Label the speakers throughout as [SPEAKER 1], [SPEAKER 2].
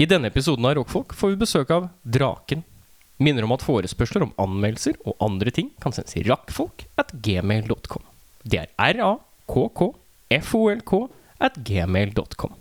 [SPEAKER 1] I denne episoden av Rockfolk får vi besøk av Draken. Minner om at forespørsler om anmeldelser og andre ting kan sendes i rakkfolk at gmail.com. Det er r-a-k-k-f-o-l-k at gmail.com.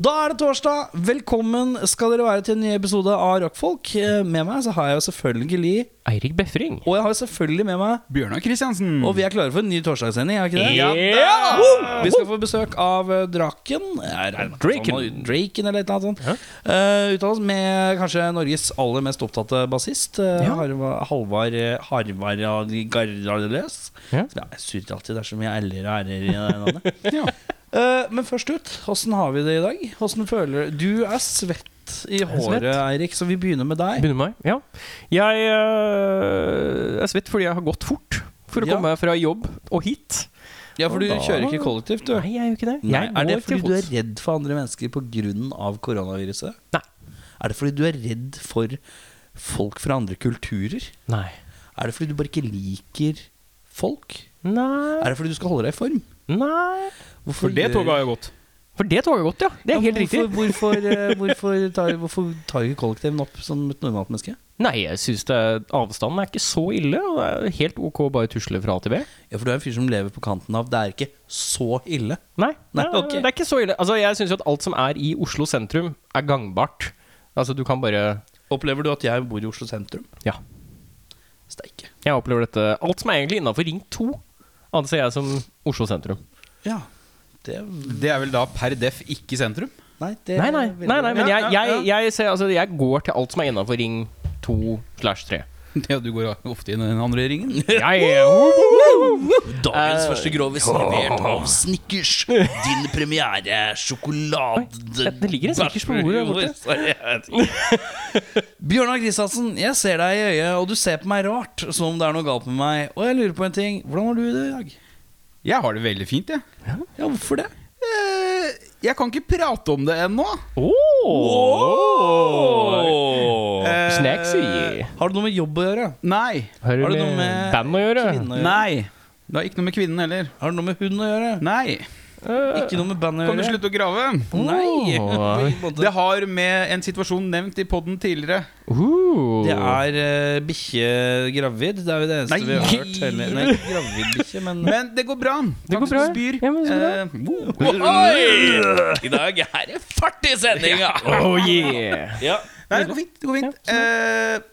[SPEAKER 2] Da er det torsdag. Velkommen skal dere være til en ny episode av Rockfolk. Eh, Med meg så har jeg jo selvfølgelig
[SPEAKER 1] Eirik Befring.
[SPEAKER 2] Og jeg har jo selvfølgelig med meg
[SPEAKER 3] Bjørnar Kristiansen.
[SPEAKER 2] Og vi er klare for en ny torsdagssending, er vi ikke det?
[SPEAKER 1] Ja.
[SPEAKER 2] Woo! Vi skal få besøk av eh, Draken. Jeg regner med at
[SPEAKER 1] Draken.
[SPEAKER 2] han var- Draken eller et eller annet sånt.
[SPEAKER 1] Ja.
[SPEAKER 2] Eh, uttales med kanskje Norges aller mest opptatte bassist. eh,
[SPEAKER 1] Ja.
[SPEAKER 2] Harva- Halvard eh, Harvard Gardarløs.
[SPEAKER 1] Ja.
[SPEAKER 2] Ja, jeg surrer alltid. Det er så mye l-er og r-er i det navnet.
[SPEAKER 3] Ja.
[SPEAKER 2] Eh, men først ut, åssen har vi det i dag? Hvordan føler Du er svett i
[SPEAKER 1] er svett.
[SPEAKER 2] håret, Eirik, så vi begynner med deg.
[SPEAKER 1] Begynner meg? Ja. Jeg øh, er svett fordi jeg har gått fort for å
[SPEAKER 2] Ja.
[SPEAKER 1] komme meg fra jobb og hit.
[SPEAKER 2] Ja, for du
[SPEAKER 1] Da-
[SPEAKER 2] kjører ikke kollektivt, du.
[SPEAKER 1] Nei, jeg er jo ikke det.
[SPEAKER 2] Nei,
[SPEAKER 1] jeg
[SPEAKER 2] er det
[SPEAKER 1] går
[SPEAKER 2] fordi
[SPEAKER 1] til
[SPEAKER 2] du er
[SPEAKER 1] fots.
[SPEAKER 2] redd for andre mennesker pga. koronaviruset?
[SPEAKER 1] Nei.
[SPEAKER 2] Er det fordi du er redd for folk fra andre kulturer?
[SPEAKER 1] Nei.
[SPEAKER 2] Er det fordi du bare ikke liker folk?
[SPEAKER 1] Nei.
[SPEAKER 2] Er det fordi du skal holde deg i form?
[SPEAKER 1] Nei.
[SPEAKER 2] Hvorfor
[SPEAKER 3] For det
[SPEAKER 2] gjør-
[SPEAKER 3] toget har jo gått.
[SPEAKER 1] For det toget godt, ja. Det er helt riktig.
[SPEAKER 2] hvorfor, Hvorfor, eh, hvorfor, tar, hvorfor tar ikke kollektiven opp som et normalt menneske?
[SPEAKER 1] Nei, jeg syns avstanden er ikke så ille. Og det er helt ok å bare tusle fra A til B.
[SPEAKER 2] Ja, for du er en fyr som lever på kanten av Det er ikke så ille.
[SPEAKER 1] Nei,
[SPEAKER 2] Nei,
[SPEAKER 1] nei,
[SPEAKER 2] ok.
[SPEAKER 1] det er ikke så ille. Altså, jeg syns jo at alt som er i Oslo sentrum, er gangbart. Altså, du kan bare
[SPEAKER 2] Opplever du at jeg bor i Oslo sentrum?
[SPEAKER 1] Ja.
[SPEAKER 2] Steike.
[SPEAKER 1] Jeg opplever dette Alt som er egentlig innafor Ring 2, anser jeg som Oslo sentrum.
[SPEAKER 2] Ja. Det
[SPEAKER 3] Det er vel da per def ikke sentrum?
[SPEAKER 2] Nei, det
[SPEAKER 1] Nei, nei, nei, nei men jeg,
[SPEAKER 3] Ja, ja,
[SPEAKER 1] jeg, jeg, ser, altså, jeg går til alt som er innafor Ring 2 slash 3.
[SPEAKER 3] Ja, du går ofte inn i den andre ringen.
[SPEAKER 2] Dagens
[SPEAKER 1] Eh,
[SPEAKER 2] første grovis servert av Snickers. Din premiere sjokolade...
[SPEAKER 1] det ligger en Snickers på bordet der borte.
[SPEAKER 2] Sorry, jeg vet ikke. Bjørnar Kristiansen, jeg ser deg i øyet, og du ser på meg rart, som om det er noe galt med meg. Og jeg lurer på en ting. Hvordan har du det i dag?
[SPEAKER 3] Jeg har det veldig fint, jeg.
[SPEAKER 2] Ja, hvorfor det?
[SPEAKER 3] Eh, Jeg kan ikke prate om det ennå.
[SPEAKER 2] Åh.
[SPEAKER 3] Eh,
[SPEAKER 1] Snacksy.
[SPEAKER 2] Har det noe med jobb å gjøre?
[SPEAKER 3] Nei.
[SPEAKER 1] Har
[SPEAKER 2] har
[SPEAKER 1] du
[SPEAKER 2] det noe
[SPEAKER 1] med,
[SPEAKER 2] med
[SPEAKER 1] band å gjøre?
[SPEAKER 2] kvinner å gjøre?
[SPEAKER 3] Nei. Det har ikke noe med kvinnen heller.
[SPEAKER 2] Har det noe med hund å gjøre?
[SPEAKER 3] Nei.
[SPEAKER 2] Ikke noe med band å
[SPEAKER 3] Kan du
[SPEAKER 2] gjøre?
[SPEAKER 3] slutte å grave?
[SPEAKER 2] Nei!
[SPEAKER 1] Åh.
[SPEAKER 2] på ingen måte.
[SPEAKER 3] Det har med en situasjon nevnt i poden tidligere.
[SPEAKER 1] Uh.
[SPEAKER 2] Det er uh, bikkje gravid. Det er jo det eneste
[SPEAKER 3] Nei.
[SPEAKER 2] vi har hørt. Heller. Nei, ikke gravid bikkje, men
[SPEAKER 3] Men det går bra.
[SPEAKER 1] Det går
[SPEAKER 3] Takk
[SPEAKER 1] bra.
[SPEAKER 3] som spyr.
[SPEAKER 1] Ja, men så bra.
[SPEAKER 3] Eh, wow.
[SPEAKER 2] Oi! I dag er det fart i sendinga!
[SPEAKER 1] Oh yeah!
[SPEAKER 2] Ja.
[SPEAKER 3] Nei, det går fint. Det går fint. Eh,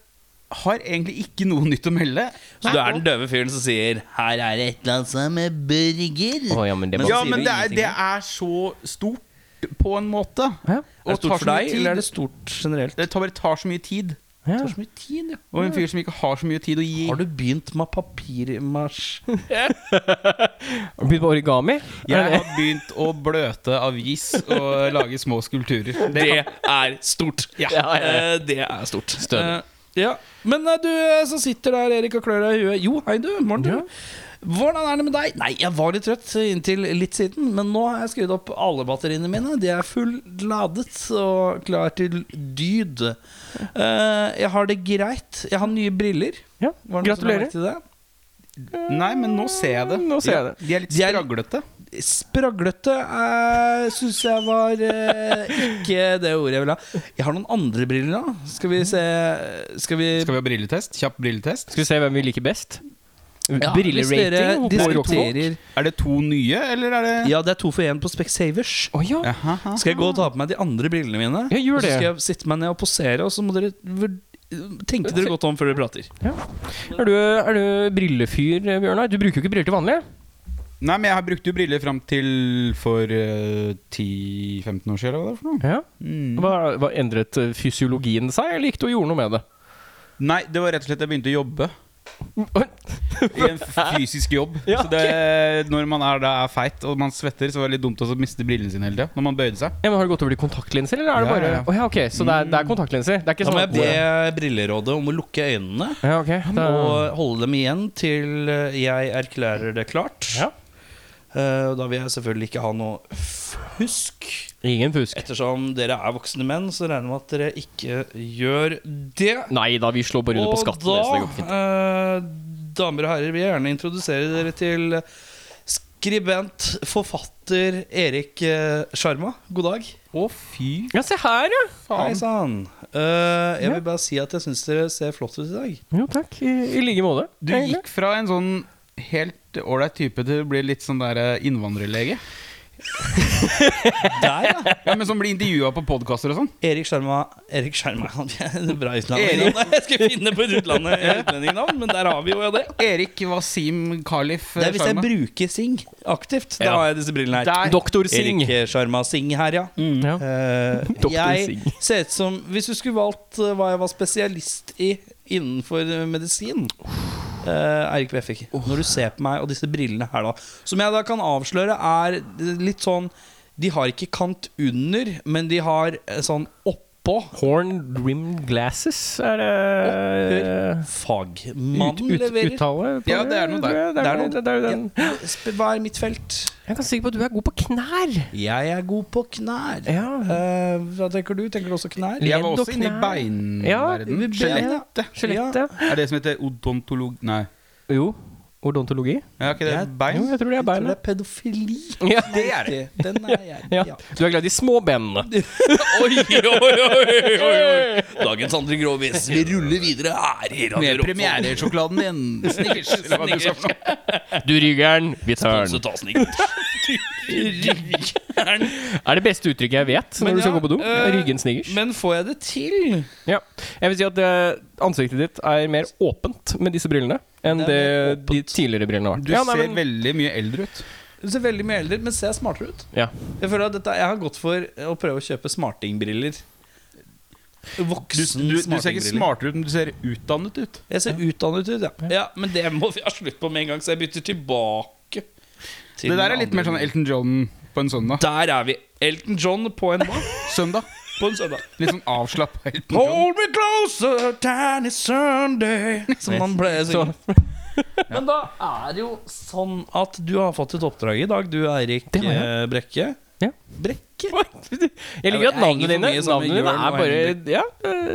[SPEAKER 3] har egentlig ikke noe nytt å melde.
[SPEAKER 2] Så du er den døve fyren som sier 'Her er det et eller annet som er burger'.
[SPEAKER 1] Å, ja, men det
[SPEAKER 2] Men
[SPEAKER 1] må-
[SPEAKER 3] Ja,
[SPEAKER 2] sier
[SPEAKER 3] men
[SPEAKER 2] du
[SPEAKER 3] det er,
[SPEAKER 2] ingenting
[SPEAKER 3] det
[SPEAKER 2] om?
[SPEAKER 3] er så stort på en måte.
[SPEAKER 1] Ja.
[SPEAKER 2] Er det
[SPEAKER 3] tar
[SPEAKER 2] stort
[SPEAKER 3] så
[SPEAKER 2] for
[SPEAKER 3] mye
[SPEAKER 2] deg,
[SPEAKER 3] tid.
[SPEAKER 2] eller er det stort generelt?
[SPEAKER 3] Det tar bare tar så mye tid.
[SPEAKER 1] Ja.
[SPEAKER 2] tar så mye tid, ja.
[SPEAKER 3] Og en fyr som ikke har så mye tid å gi.
[SPEAKER 2] Har du begynt med papirmarsj?
[SPEAKER 1] Har du Begynt på origami?
[SPEAKER 3] Jeg har begynt å bløte avis og lage små skulpturer. Det
[SPEAKER 2] Det er stort. Ja, eh, det er stort.
[SPEAKER 1] Stødig.
[SPEAKER 2] Eh, ja. Men eh, du eh, som sitter der, Erik, og klør deg i huet. Jo, hei, du. Morgen, du.
[SPEAKER 1] Ja.
[SPEAKER 2] Hvordan er det med deg? Nei, jeg var litt trøtt inntil litt siden, men nå har jeg skrudd opp alle batteriene mine. De er fulladet og klar til dyd. Eh, jeg har det greit. Jeg har nye briller.
[SPEAKER 1] Ja,
[SPEAKER 2] Var det noen som la merke
[SPEAKER 1] Gratulerer.
[SPEAKER 2] til det?
[SPEAKER 3] Nei, men nå ser jeg det.
[SPEAKER 1] Nå ser jeg
[SPEAKER 3] Ja,
[SPEAKER 1] det.
[SPEAKER 3] De er litt
[SPEAKER 2] De er-
[SPEAKER 3] straglete.
[SPEAKER 2] Spraglete uh, syns jeg var eh, ikke det ordet jeg ville ha. Jeg har noen andre briller nå. Skal vi se Skal vi
[SPEAKER 3] Skal vi ha brilletest? Kjapp brilletest.
[SPEAKER 1] Skal vi se hvem vi liker best?
[SPEAKER 2] Ja, hvis dere
[SPEAKER 1] Brillerating på rockfolk?
[SPEAKER 2] diskuterer
[SPEAKER 3] Er det to nye, eller er det
[SPEAKER 2] Ja, det er to for én på Specsavers.
[SPEAKER 1] Å ja.
[SPEAKER 3] Aha, aha.
[SPEAKER 2] Skal jeg gå og ta på meg de andre brillene mine?
[SPEAKER 1] Ja, gjør
[SPEAKER 2] og så
[SPEAKER 1] det.
[SPEAKER 2] skal jeg sitte meg ned og posere, og så må dere vur- tenke dere godt om før dere prater.
[SPEAKER 1] ja. Er, du, er du brillefyr, Bjørnar? Du bruker jo ikke briller til vanlig?
[SPEAKER 3] Nei, men jeg har brukt jo briller fram til for eh, 10-15 år siden, eller hva det er for noe.
[SPEAKER 1] Ja.
[SPEAKER 2] Mm.
[SPEAKER 1] Hva, hva Endret eh, fysiologien seg, eller gikk du og gjorde noe med det?
[SPEAKER 3] Nei, det var rett og slett jeg begynte å jobbe.
[SPEAKER 4] I en fysisk jobb.
[SPEAKER 1] Ja,
[SPEAKER 4] så det, når man er, da er feit og man svetter, så var det litt dumt å miste brillene sine hele tida. Når man bøyde seg.
[SPEAKER 1] Ja, men Har det gått over til kontaktlinser, eller er det
[SPEAKER 4] Ja,
[SPEAKER 1] bare
[SPEAKER 4] ja, ja.
[SPEAKER 1] Å ja, ok, Så det er, det er kontaktlinser? Det er ikke
[SPEAKER 2] Da
[SPEAKER 1] sånn
[SPEAKER 2] må
[SPEAKER 1] at
[SPEAKER 2] jeg be Brillerådet om å lukke øynene
[SPEAKER 1] Ja, ok da,
[SPEAKER 2] og holde dem igjen til eh, jeg erklærer det klart.
[SPEAKER 1] Ja.
[SPEAKER 2] Eh, Da vil jeg selvfølgelig ikke ha noe fusk.
[SPEAKER 1] Ingen fusk.
[SPEAKER 2] Ettersom dere er voksne menn, så regner jeg med at dere ikke gjør det.
[SPEAKER 1] Nei da, vi slår bare under på skatten. det, så det går
[SPEAKER 2] Og
[SPEAKER 1] fint.
[SPEAKER 2] da, eh, damer og herrer, vil jeg gjerne introdusere dere til skribent, forfatter Erik eh, Sjarma. God dag.
[SPEAKER 4] Å, fy
[SPEAKER 1] Ja, se her, ja.
[SPEAKER 2] Hei
[SPEAKER 4] faen.
[SPEAKER 2] sann. Eh, jeg
[SPEAKER 1] Ja.
[SPEAKER 2] vil bare si at jeg syns dere ser flott ut i dag.
[SPEAKER 1] Jo, takk. I, i like måte.
[SPEAKER 4] Du gikk fra en sånn helt ålreit type til å bli litt sånn der eh, innvandrerlege.
[SPEAKER 2] Der, ja.
[SPEAKER 4] Ja, men Som blir intervjua på podkaster og sånn.
[SPEAKER 2] Erik Sjarma Erik Sjarma Det er Bra
[SPEAKER 4] Erik.
[SPEAKER 2] utenlandsk. Jeg skal finne på et utlandet utlendingnavn, men der har vi jo det.
[SPEAKER 4] Erik Wasim Khalif eh,
[SPEAKER 2] Det er hvis jeg
[SPEAKER 4] Sharma.
[SPEAKER 2] bruker Sing aktivt. Da
[SPEAKER 1] Ja.
[SPEAKER 2] har jeg disse brillene her.
[SPEAKER 4] Der.
[SPEAKER 1] Doktor Mm. Singh.
[SPEAKER 2] Erik Sharma Singh her, ja.
[SPEAKER 1] Ja.
[SPEAKER 2] Eh,
[SPEAKER 1] Dr.
[SPEAKER 2] jeg
[SPEAKER 1] Singh.
[SPEAKER 2] ser ut som Hvis du skulle valgt eh, hva jeg var spesialist i innenfor eh, medisin eh, Eirik Befik, når du ser på meg og disse brillene her, da som jeg da kan avsløre, er litt sånn De har ikke kant under, men de har eh, sånn oppå.
[SPEAKER 1] Horn rimmed glasses er det eh, ut,
[SPEAKER 2] Fagmannen
[SPEAKER 1] ut,
[SPEAKER 2] leverer.
[SPEAKER 1] uttale? på
[SPEAKER 4] Ja, det er noe der.
[SPEAKER 1] tror jeg. Det er noe det er jo den.
[SPEAKER 2] Ja, sp- hva er mitt felt?
[SPEAKER 1] Jeg er ganske sikker på at du er god på knær.
[SPEAKER 2] Jeg er god på knær.
[SPEAKER 1] Ja.
[SPEAKER 2] Eh, hva tenker du? Tenker du også knær?
[SPEAKER 4] Jeg
[SPEAKER 1] Ledd
[SPEAKER 4] var
[SPEAKER 1] og
[SPEAKER 4] også inne i
[SPEAKER 1] knær.
[SPEAKER 4] beinverden.
[SPEAKER 2] Ja,
[SPEAKER 4] Skjelettet.
[SPEAKER 1] Skjelettet.
[SPEAKER 4] Er det som heter odontolog... Nei.
[SPEAKER 1] Jo. Odontologi.
[SPEAKER 4] Er ikke det
[SPEAKER 2] Jeg-
[SPEAKER 1] Jo,
[SPEAKER 4] bein?
[SPEAKER 1] jeg tror det er
[SPEAKER 2] Jeg tror det
[SPEAKER 1] beinet.
[SPEAKER 2] er pedofili.
[SPEAKER 1] Ja.
[SPEAKER 4] Det er det.
[SPEAKER 2] Den er jeg.
[SPEAKER 1] Ja.
[SPEAKER 2] Ja.
[SPEAKER 1] Du er glad i de små benene.
[SPEAKER 2] Oi, oi, oi, oi, oi, oi. Dagens Andre Gråvis, vi ruller videre her i Radio
[SPEAKER 4] Med
[SPEAKER 2] Rockfolk.
[SPEAKER 4] premieresjokoladen din. Snickers. eller hva du sa for noe.
[SPEAKER 1] Du ryggeren, vi tar
[SPEAKER 2] Så
[SPEAKER 1] den.
[SPEAKER 2] tas den ikke. Ryggeren.
[SPEAKER 1] Er det beste uttrykket jeg vet når
[SPEAKER 2] Men
[SPEAKER 1] du skal
[SPEAKER 2] ja,
[SPEAKER 1] gå på do.
[SPEAKER 2] eh,
[SPEAKER 1] Ryggen sniggers.
[SPEAKER 2] Men får jeg det til?
[SPEAKER 1] Ja. Jeg vil si at eh, ansiktet ditt er mer åpent med disse brillene enn
[SPEAKER 2] Det
[SPEAKER 1] det
[SPEAKER 2] er mer
[SPEAKER 1] de tidligere brillene har vært.
[SPEAKER 4] Du
[SPEAKER 1] Ja, nei,
[SPEAKER 4] ser
[SPEAKER 1] men-
[SPEAKER 4] veldig mye eldre ut.
[SPEAKER 2] Du ser veldig mye eldre ut, men ser jeg smartere ut?
[SPEAKER 1] ja.
[SPEAKER 2] Jeg føler at dette, jeg har gått for å prøve å kjøpe smartingbriller.
[SPEAKER 4] Du,
[SPEAKER 2] Voksen
[SPEAKER 4] du, du ser ikke
[SPEAKER 2] smartingbriller.
[SPEAKER 4] smartere ut, men du ser utdannet ut.
[SPEAKER 2] Jeg ser utdannet ut, ja. ja. Men det må vi ha slutt på med en gang, så jeg bytter tilbake. til
[SPEAKER 4] Det der er
[SPEAKER 2] den
[SPEAKER 4] litt mer sånn
[SPEAKER 2] andre.
[SPEAKER 4] Elton John på en søndag.
[SPEAKER 2] Der er vi. Elton John på en hva?
[SPEAKER 4] Søndag.
[SPEAKER 2] På en søndag.
[SPEAKER 4] Litt sånn avslappa Elton John.
[SPEAKER 2] Hold me closer, tiny Sunday Som han pleier å synge. Men da er det jo sånn at du har fått et oppdrag i dag, du Eirik
[SPEAKER 1] Det har jeg.
[SPEAKER 2] eh, Brekke.
[SPEAKER 1] Ja.
[SPEAKER 2] Brekke?
[SPEAKER 1] Jeg liker at
[SPEAKER 2] Jeg henger for
[SPEAKER 1] navnene dine
[SPEAKER 2] mye sammen med
[SPEAKER 1] Navnene dine
[SPEAKER 2] Jørn
[SPEAKER 1] er
[SPEAKER 2] og
[SPEAKER 1] bare Ja,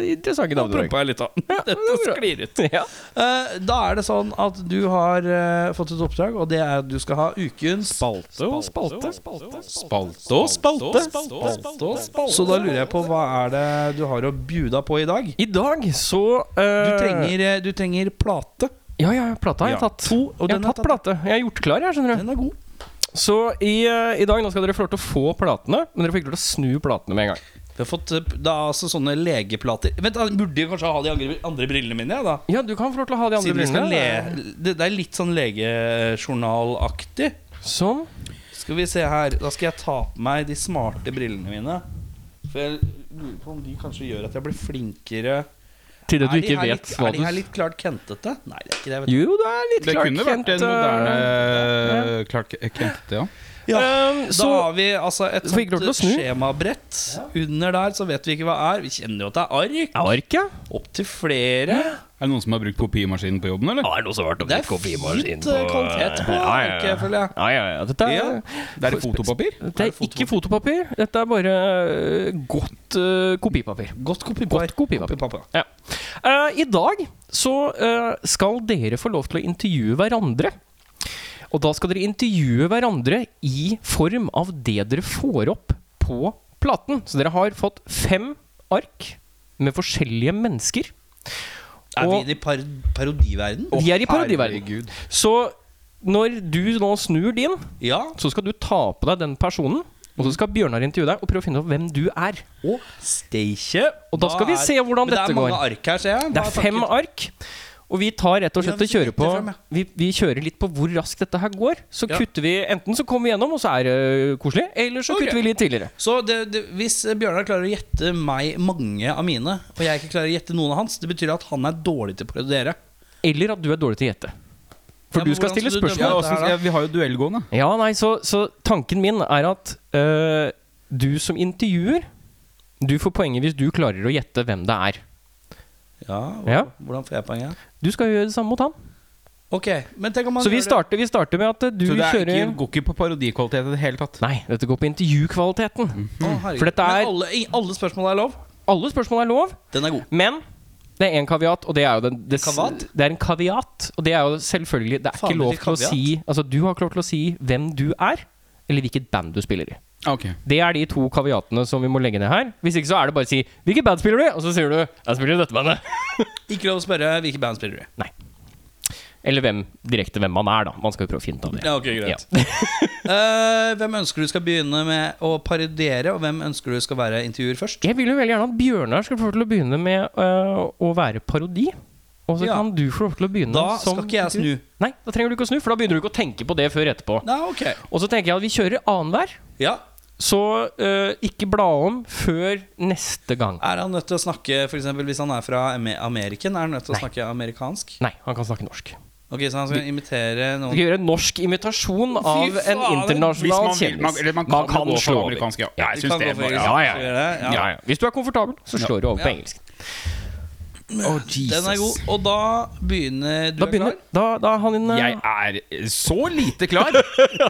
[SPEAKER 1] eh, interessante
[SPEAKER 2] Nå
[SPEAKER 1] navn.
[SPEAKER 2] prompa jeg litt, da. Dette
[SPEAKER 1] det er bra.
[SPEAKER 2] sklir ut.
[SPEAKER 1] Ja.
[SPEAKER 2] Eh, Da er det sånn at du har eh, fått et oppdrag, og det er at du skal ha ukens Spalte og spalte.
[SPEAKER 4] Spalte og spalte.
[SPEAKER 2] Så da lurer jeg på hva er det du har å bjuda på i dag?
[SPEAKER 1] I dag så
[SPEAKER 2] Du trenger, eh, du trenger plate.
[SPEAKER 1] Ja, ja, plata har jeg
[SPEAKER 2] Ja.
[SPEAKER 1] tatt.
[SPEAKER 2] To, og
[SPEAKER 1] jeg
[SPEAKER 2] den
[SPEAKER 1] har
[SPEAKER 2] er
[SPEAKER 1] tatt
[SPEAKER 2] tatt.
[SPEAKER 1] plate. Jeg har gjort klar, jeg, skjønner du.
[SPEAKER 2] Den er god.
[SPEAKER 1] Så i, eh, i dag nå skal dere få lov til å få platene, men dere får ikke lov til å snu platene med en gang.
[SPEAKER 2] Vi har fått eh, da, altså, sånne legeplater Vent, da, Burde jeg kanskje ha de andre, andre brillene mine? Ja, da
[SPEAKER 1] Ja, du kan få lov til å ha de andre
[SPEAKER 2] Siden vi skal le
[SPEAKER 1] brillene.
[SPEAKER 2] det, det er litt sånn legejournalaktig.
[SPEAKER 1] Sånn.
[SPEAKER 2] Skal vi se her. Da skal jeg ta på meg de smarte brillene mine. For jeg lurer på om de kanskje gjør at jeg blir flinkere.
[SPEAKER 1] Til det du
[SPEAKER 2] Er de
[SPEAKER 1] ikke
[SPEAKER 2] her
[SPEAKER 1] vet
[SPEAKER 2] litt,
[SPEAKER 1] hva
[SPEAKER 2] Er
[SPEAKER 1] du
[SPEAKER 2] de her litt klart kentete? Nei, det er ikke det. Vet du.
[SPEAKER 1] Jo, det er litt eh,
[SPEAKER 4] Det
[SPEAKER 1] Clark
[SPEAKER 4] kunne vært en
[SPEAKER 1] Kent,
[SPEAKER 3] eh,
[SPEAKER 4] moderne Clark Kent, ja.
[SPEAKER 1] eh,
[SPEAKER 2] Ja.
[SPEAKER 1] ehm,
[SPEAKER 2] Da
[SPEAKER 1] så
[SPEAKER 2] har vi altså et
[SPEAKER 1] Så vi ikke
[SPEAKER 2] sånt
[SPEAKER 1] lov til å snu?
[SPEAKER 2] skjemabrett. Under der så vet vi ikke hva er. Vi kjenner jo at det er ark.
[SPEAKER 1] Ja, ark, ja.
[SPEAKER 2] Opptil flere.
[SPEAKER 4] Er det noen som har brukt kopimaskinen på jobben,
[SPEAKER 3] Ah,
[SPEAKER 4] eller?
[SPEAKER 1] Ja, er det noen som har vært og
[SPEAKER 2] Det er
[SPEAKER 1] brukt kopimaskin
[SPEAKER 2] fint, eh, kvalitet på
[SPEAKER 1] Ja, ja,
[SPEAKER 2] arket,
[SPEAKER 1] ja.
[SPEAKER 2] jeg føler jeg.
[SPEAKER 1] Ja, ja, ja. Dette er,
[SPEAKER 2] Ja.
[SPEAKER 4] Det er fotopapir?
[SPEAKER 1] Dette er ikke fotopapir. Dette er bare eh, godt eh, kopipapir.
[SPEAKER 2] Godt kopipapir.
[SPEAKER 1] Godt kopipapir.
[SPEAKER 2] Kopipapir.
[SPEAKER 1] Ja. Eh, I dag så eh, skal dere få lov til å intervjue hverandre. Og da skal dere intervjue hverandre i form av det dere får opp på platen. Så dere har fått fem ark med forskjellige mennesker.
[SPEAKER 2] Er vi
[SPEAKER 1] Og-
[SPEAKER 2] i de par parodiverden?
[SPEAKER 1] Vi er i parodiverden.
[SPEAKER 4] herregud.
[SPEAKER 1] Så når du nå snur din,
[SPEAKER 2] Ja.
[SPEAKER 1] så skal du ta på deg den personen. Og så skal Bjørnar intervjue deg og prøve å finne ut hvem du er.
[SPEAKER 2] Og Stakje.
[SPEAKER 1] Og da skal vi se hvordan
[SPEAKER 2] Men
[SPEAKER 1] dette
[SPEAKER 2] Det er mange
[SPEAKER 1] går.
[SPEAKER 2] ark her, ser
[SPEAKER 1] Det
[SPEAKER 2] jeg. Hva
[SPEAKER 1] er
[SPEAKER 2] er
[SPEAKER 1] fem
[SPEAKER 2] tanken?
[SPEAKER 1] ark. Og vi tar rett og
[SPEAKER 2] Ja,
[SPEAKER 1] slett
[SPEAKER 2] vi
[SPEAKER 1] og kjører på
[SPEAKER 2] setter frem, ja.
[SPEAKER 1] vi, vi kjører litt på hvor raskt dette her går. Så
[SPEAKER 2] Ja.
[SPEAKER 1] kutter vi Enten så kommer vi gjennom, og så er det øh, koselig. Eller så
[SPEAKER 2] Ok.
[SPEAKER 1] kutter vi litt tidligere.
[SPEAKER 2] Så det, det, hvis Bjørnar klarer å gjette meg mange av mine, og jeg ikke klarer å gjette noen av hans, det betyr at han er dårlig til å parodiere.
[SPEAKER 1] eller at du er dårlig til å gjette. For
[SPEAKER 2] Ja, men
[SPEAKER 1] du skal
[SPEAKER 2] hvordan
[SPEAKER 1] stille
[SPEAKER 2] skal du dømme
[SPEAKER 1] spørsmål.
[SPEAKER 2] dette
[SPEAKER 4] altså,
[SPEAKER 3] åssen
[SPEAKER 2] her, da?
[SPEAKER 3] skal jeg- vi har jo duell gående.
[SPEAKER 1] Ja, nei, så, så tanken min er at eh, du som intervjuer, du får poenget hvis du klarer å gjette hvem det er.
[SPEAKER 2] Ja, hva-
[SPEAKER 1] Ja.
[SPEAKER 2] Hvordan får jeg poenget?
[SPEAKER 1] Du skal gjøre det samme mot han.
[SPEAKER 2] Ok, men tenk om man
[SPEAKER 1] Så vi
[SPEAKER 2] gjør det-
[SPEAKER 1] starter, vi starter med at eh, du
[SPEAKER 3] Så det er
[SPEAKER 1] kjører
[SPEAKER 3] ikke, går ikke på parodikvalitet i det hele tatt.
[SPEAKER 1] Nei, dette går på intervjukvaliteten.
[SPEAKER 2] Å, herregud.
[SPEAKER 1] For dette er-
[SPEAKER 2] Men alle, i- alle spørsmål er lov?
[SPEAKER 1] Alle spørsmål er lov,
[SPEAKER 2] Den er god.
[SPEAKER 1] men det er en kaviat, og det er jo den det,
[SPEAKER 2] Kavat?
[SPEAKER 1] det er en kaviat, og det er jo selvfølgelig Det er
[SPEAKER 2] Faen,
[SPEAKER 1] ikke lov
[SPEAKER 2] hvilken
[SPEAKER 1] til å
[SPEAKER 2] kaviat?
[SPEAKER 1] si Altså, du har ikke lov til å si hvem du er, eller hvilket band du spiller i.
[SPEAKER 3] Ok
[SPEAKER 1] Det er de to kaviatene som vi må legge ned her. Hvis ikke så er det bare å si 'Hvilket band spiller du?' Og så sier du 'Jeg spiller i dette bandet'.
[SPEAKER 2] Ikke lov å spørre hvilke band spiller du i.
[SPEAKER 1] Eller hvem, direkte hvem man er, da. Man skal jo prøve å finne ut av det.
[SPEAKER 2] Ja, ok, greit Eh, Hvem ønsker du skal begynne med å parodiere, og hvem ønsker du skal være intervjuer først?
[SPEAKER 1] Jeg vil jo veldig gjerne at Bjørnar skal få lov til å begynne med øh, å være parodi. Og så
[SPEAKER 2] Ja.
[SPEAKER 1] kan du få lov til å begynne
[SPEAKER 2] Da
[SPEAKER 1] som
[SPEAKER 2] skal ikke jeg snu.
[SPEAKER 1] Nei, da trenger du ikke å snu, for da begynner du ikke å tenke på det før etterpå.
[SPEAKER 2] Nei, ok
[SPEAKER 1] Og så tenker jeg at vi kjører annenhver,
[SPEAKER 2] Ja
[SPEAKER 1] så øh, ikke bla om før neste gang.
[SPEAKER 2] Er han nødt til å snakke, for eksempel hvis han er fra Ame- Ameriken, er han nødt til å snakke amerikansk?
[SPEAKER 1] Nei, han kan snakke norsk.
[SPEAKER 2] Ok, så han skal imitere
[SPEAKER 1] Du
[SPEAKER 2] noen
[SPEAKER 1] skal gjøre en norsk imitasjon av
[SPEAKER 3] faen,
[SPEAKER 1] en internasjonal
[SPEAKER 3] hvis man vil-
[SPEAKER 1] kjendis.
[SPEAKER 3] man- eller man kan jo gå for amerikansk, ja. Jeg
[SPEAKER 2] Vi
[SPEAKER 3] synes
[SPEAKER 2] kan
[SPEAKER 3] det
[SPEAKER 2] gå for
[SPEAKER 3] var-
[SPEAKER 2] engelsk,
[SPEAKER 1] ja, ja.
[SPEAKER 2] skal vi gjøre det?
[SPEAKER 1] Ja. Ja, Hvis du er komfortabel, så slår du over på
[SPEAKER 2] Ja.
[SPEAKER 1] engelsk.
[SPEAKER 3] Å, Jesus.
[SPEAKER 2] Den er god. Og da begynner du
[SPEAKER 1] Da begynner da, da er han eh, inne
[SPEAKER 3] Jeg er så lite klar,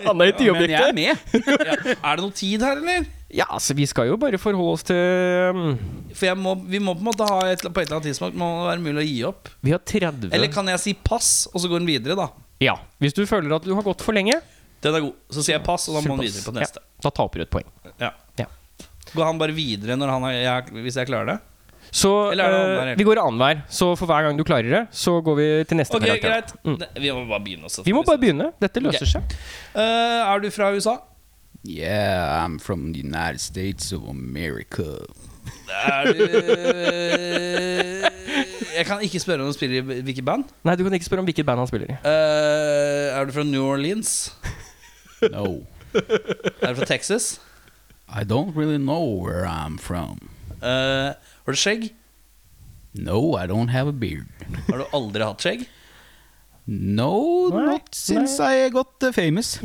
[SPEAKER 1] Han er i
[SPEAKER 3] men jeg er med.
[SPEAKER 2] Er, klar? er det noe tid her, eller?
[SPEAKER 1] Ja, altså, vi skal jo bare forholde oss til um,
[SPEAKER 2] For jeg må, vi må på en måte ha et, på et eller annet tidspunkt må det være mulig å gi opp.
[SPEAKER 1] Vi har 30
[SPEAKER 2] Eller kan jeg si pass, og så går den videre, da?
[SPEAKER 1] Ja. Hvis du føler at du har gått for lenge,
[SPEAKER 2] Den er god. Så sier jeg pass, og da må
[SPEAKER 1] surpass.
[SPEAKER 2] han videre på neste.
[SPEAKER 1] Ja, da taper du et poeng.
[SPEAKER 2] Ja.
[SPEAKER 1] Ja.
[SPEAKER 2] Går han bare videre når han er, jeg, hvis jeg klarer det?
[SPEAKER 1] Så
[SPEAKER 2] Eller er det
[SPEAKER 1] eh,
[SPEAKER 2] annenhver,
[SPEAKER 1] vi går annenhver. Så for hver gang du klarer det, så går vi til neste
[SPEAKER 2] Ok,
[SPEAKER 1] karakter.
[SPEAKER 2] greit.
[SPEAKER 1] Mm.
[SPEAKER 2] Ne- Vi må bare begynne. også.
[SPEAKER 1] Vi må bare begynne. Dette løser
[SPEAKER 2] Ok.
[SPEAKER 1] seg.
[SPEAKER 2] Eh, er du fra USA?
[SPEAKER 3] Yeah, I'm from the United States of America.
[SPEAKER 2] Er du Jeg kan ikke spørre om du spiller i hvilket band.
[SPEAKER 1] Nei, du kan ikke spørre om hvilket band han spiller i.
[SPEAKER 2] Eh, er du fra New Orleans?
[SPEAKER 3] No,
[SPEAKER 2] Er du fra Texas?
[SPEAKER 3] I don't really know where I'm from.
[SPEAKER 2] Eh, har du skjegg?
[SPEAKER 3] No, I don't have a beard.
[SPEAKER 2] Har du aldri hatt skjegg?
[SPEAKER 3] No,
[SPEAKER 1] Nei,
[SPEAKER 3] not since I got uh, famous.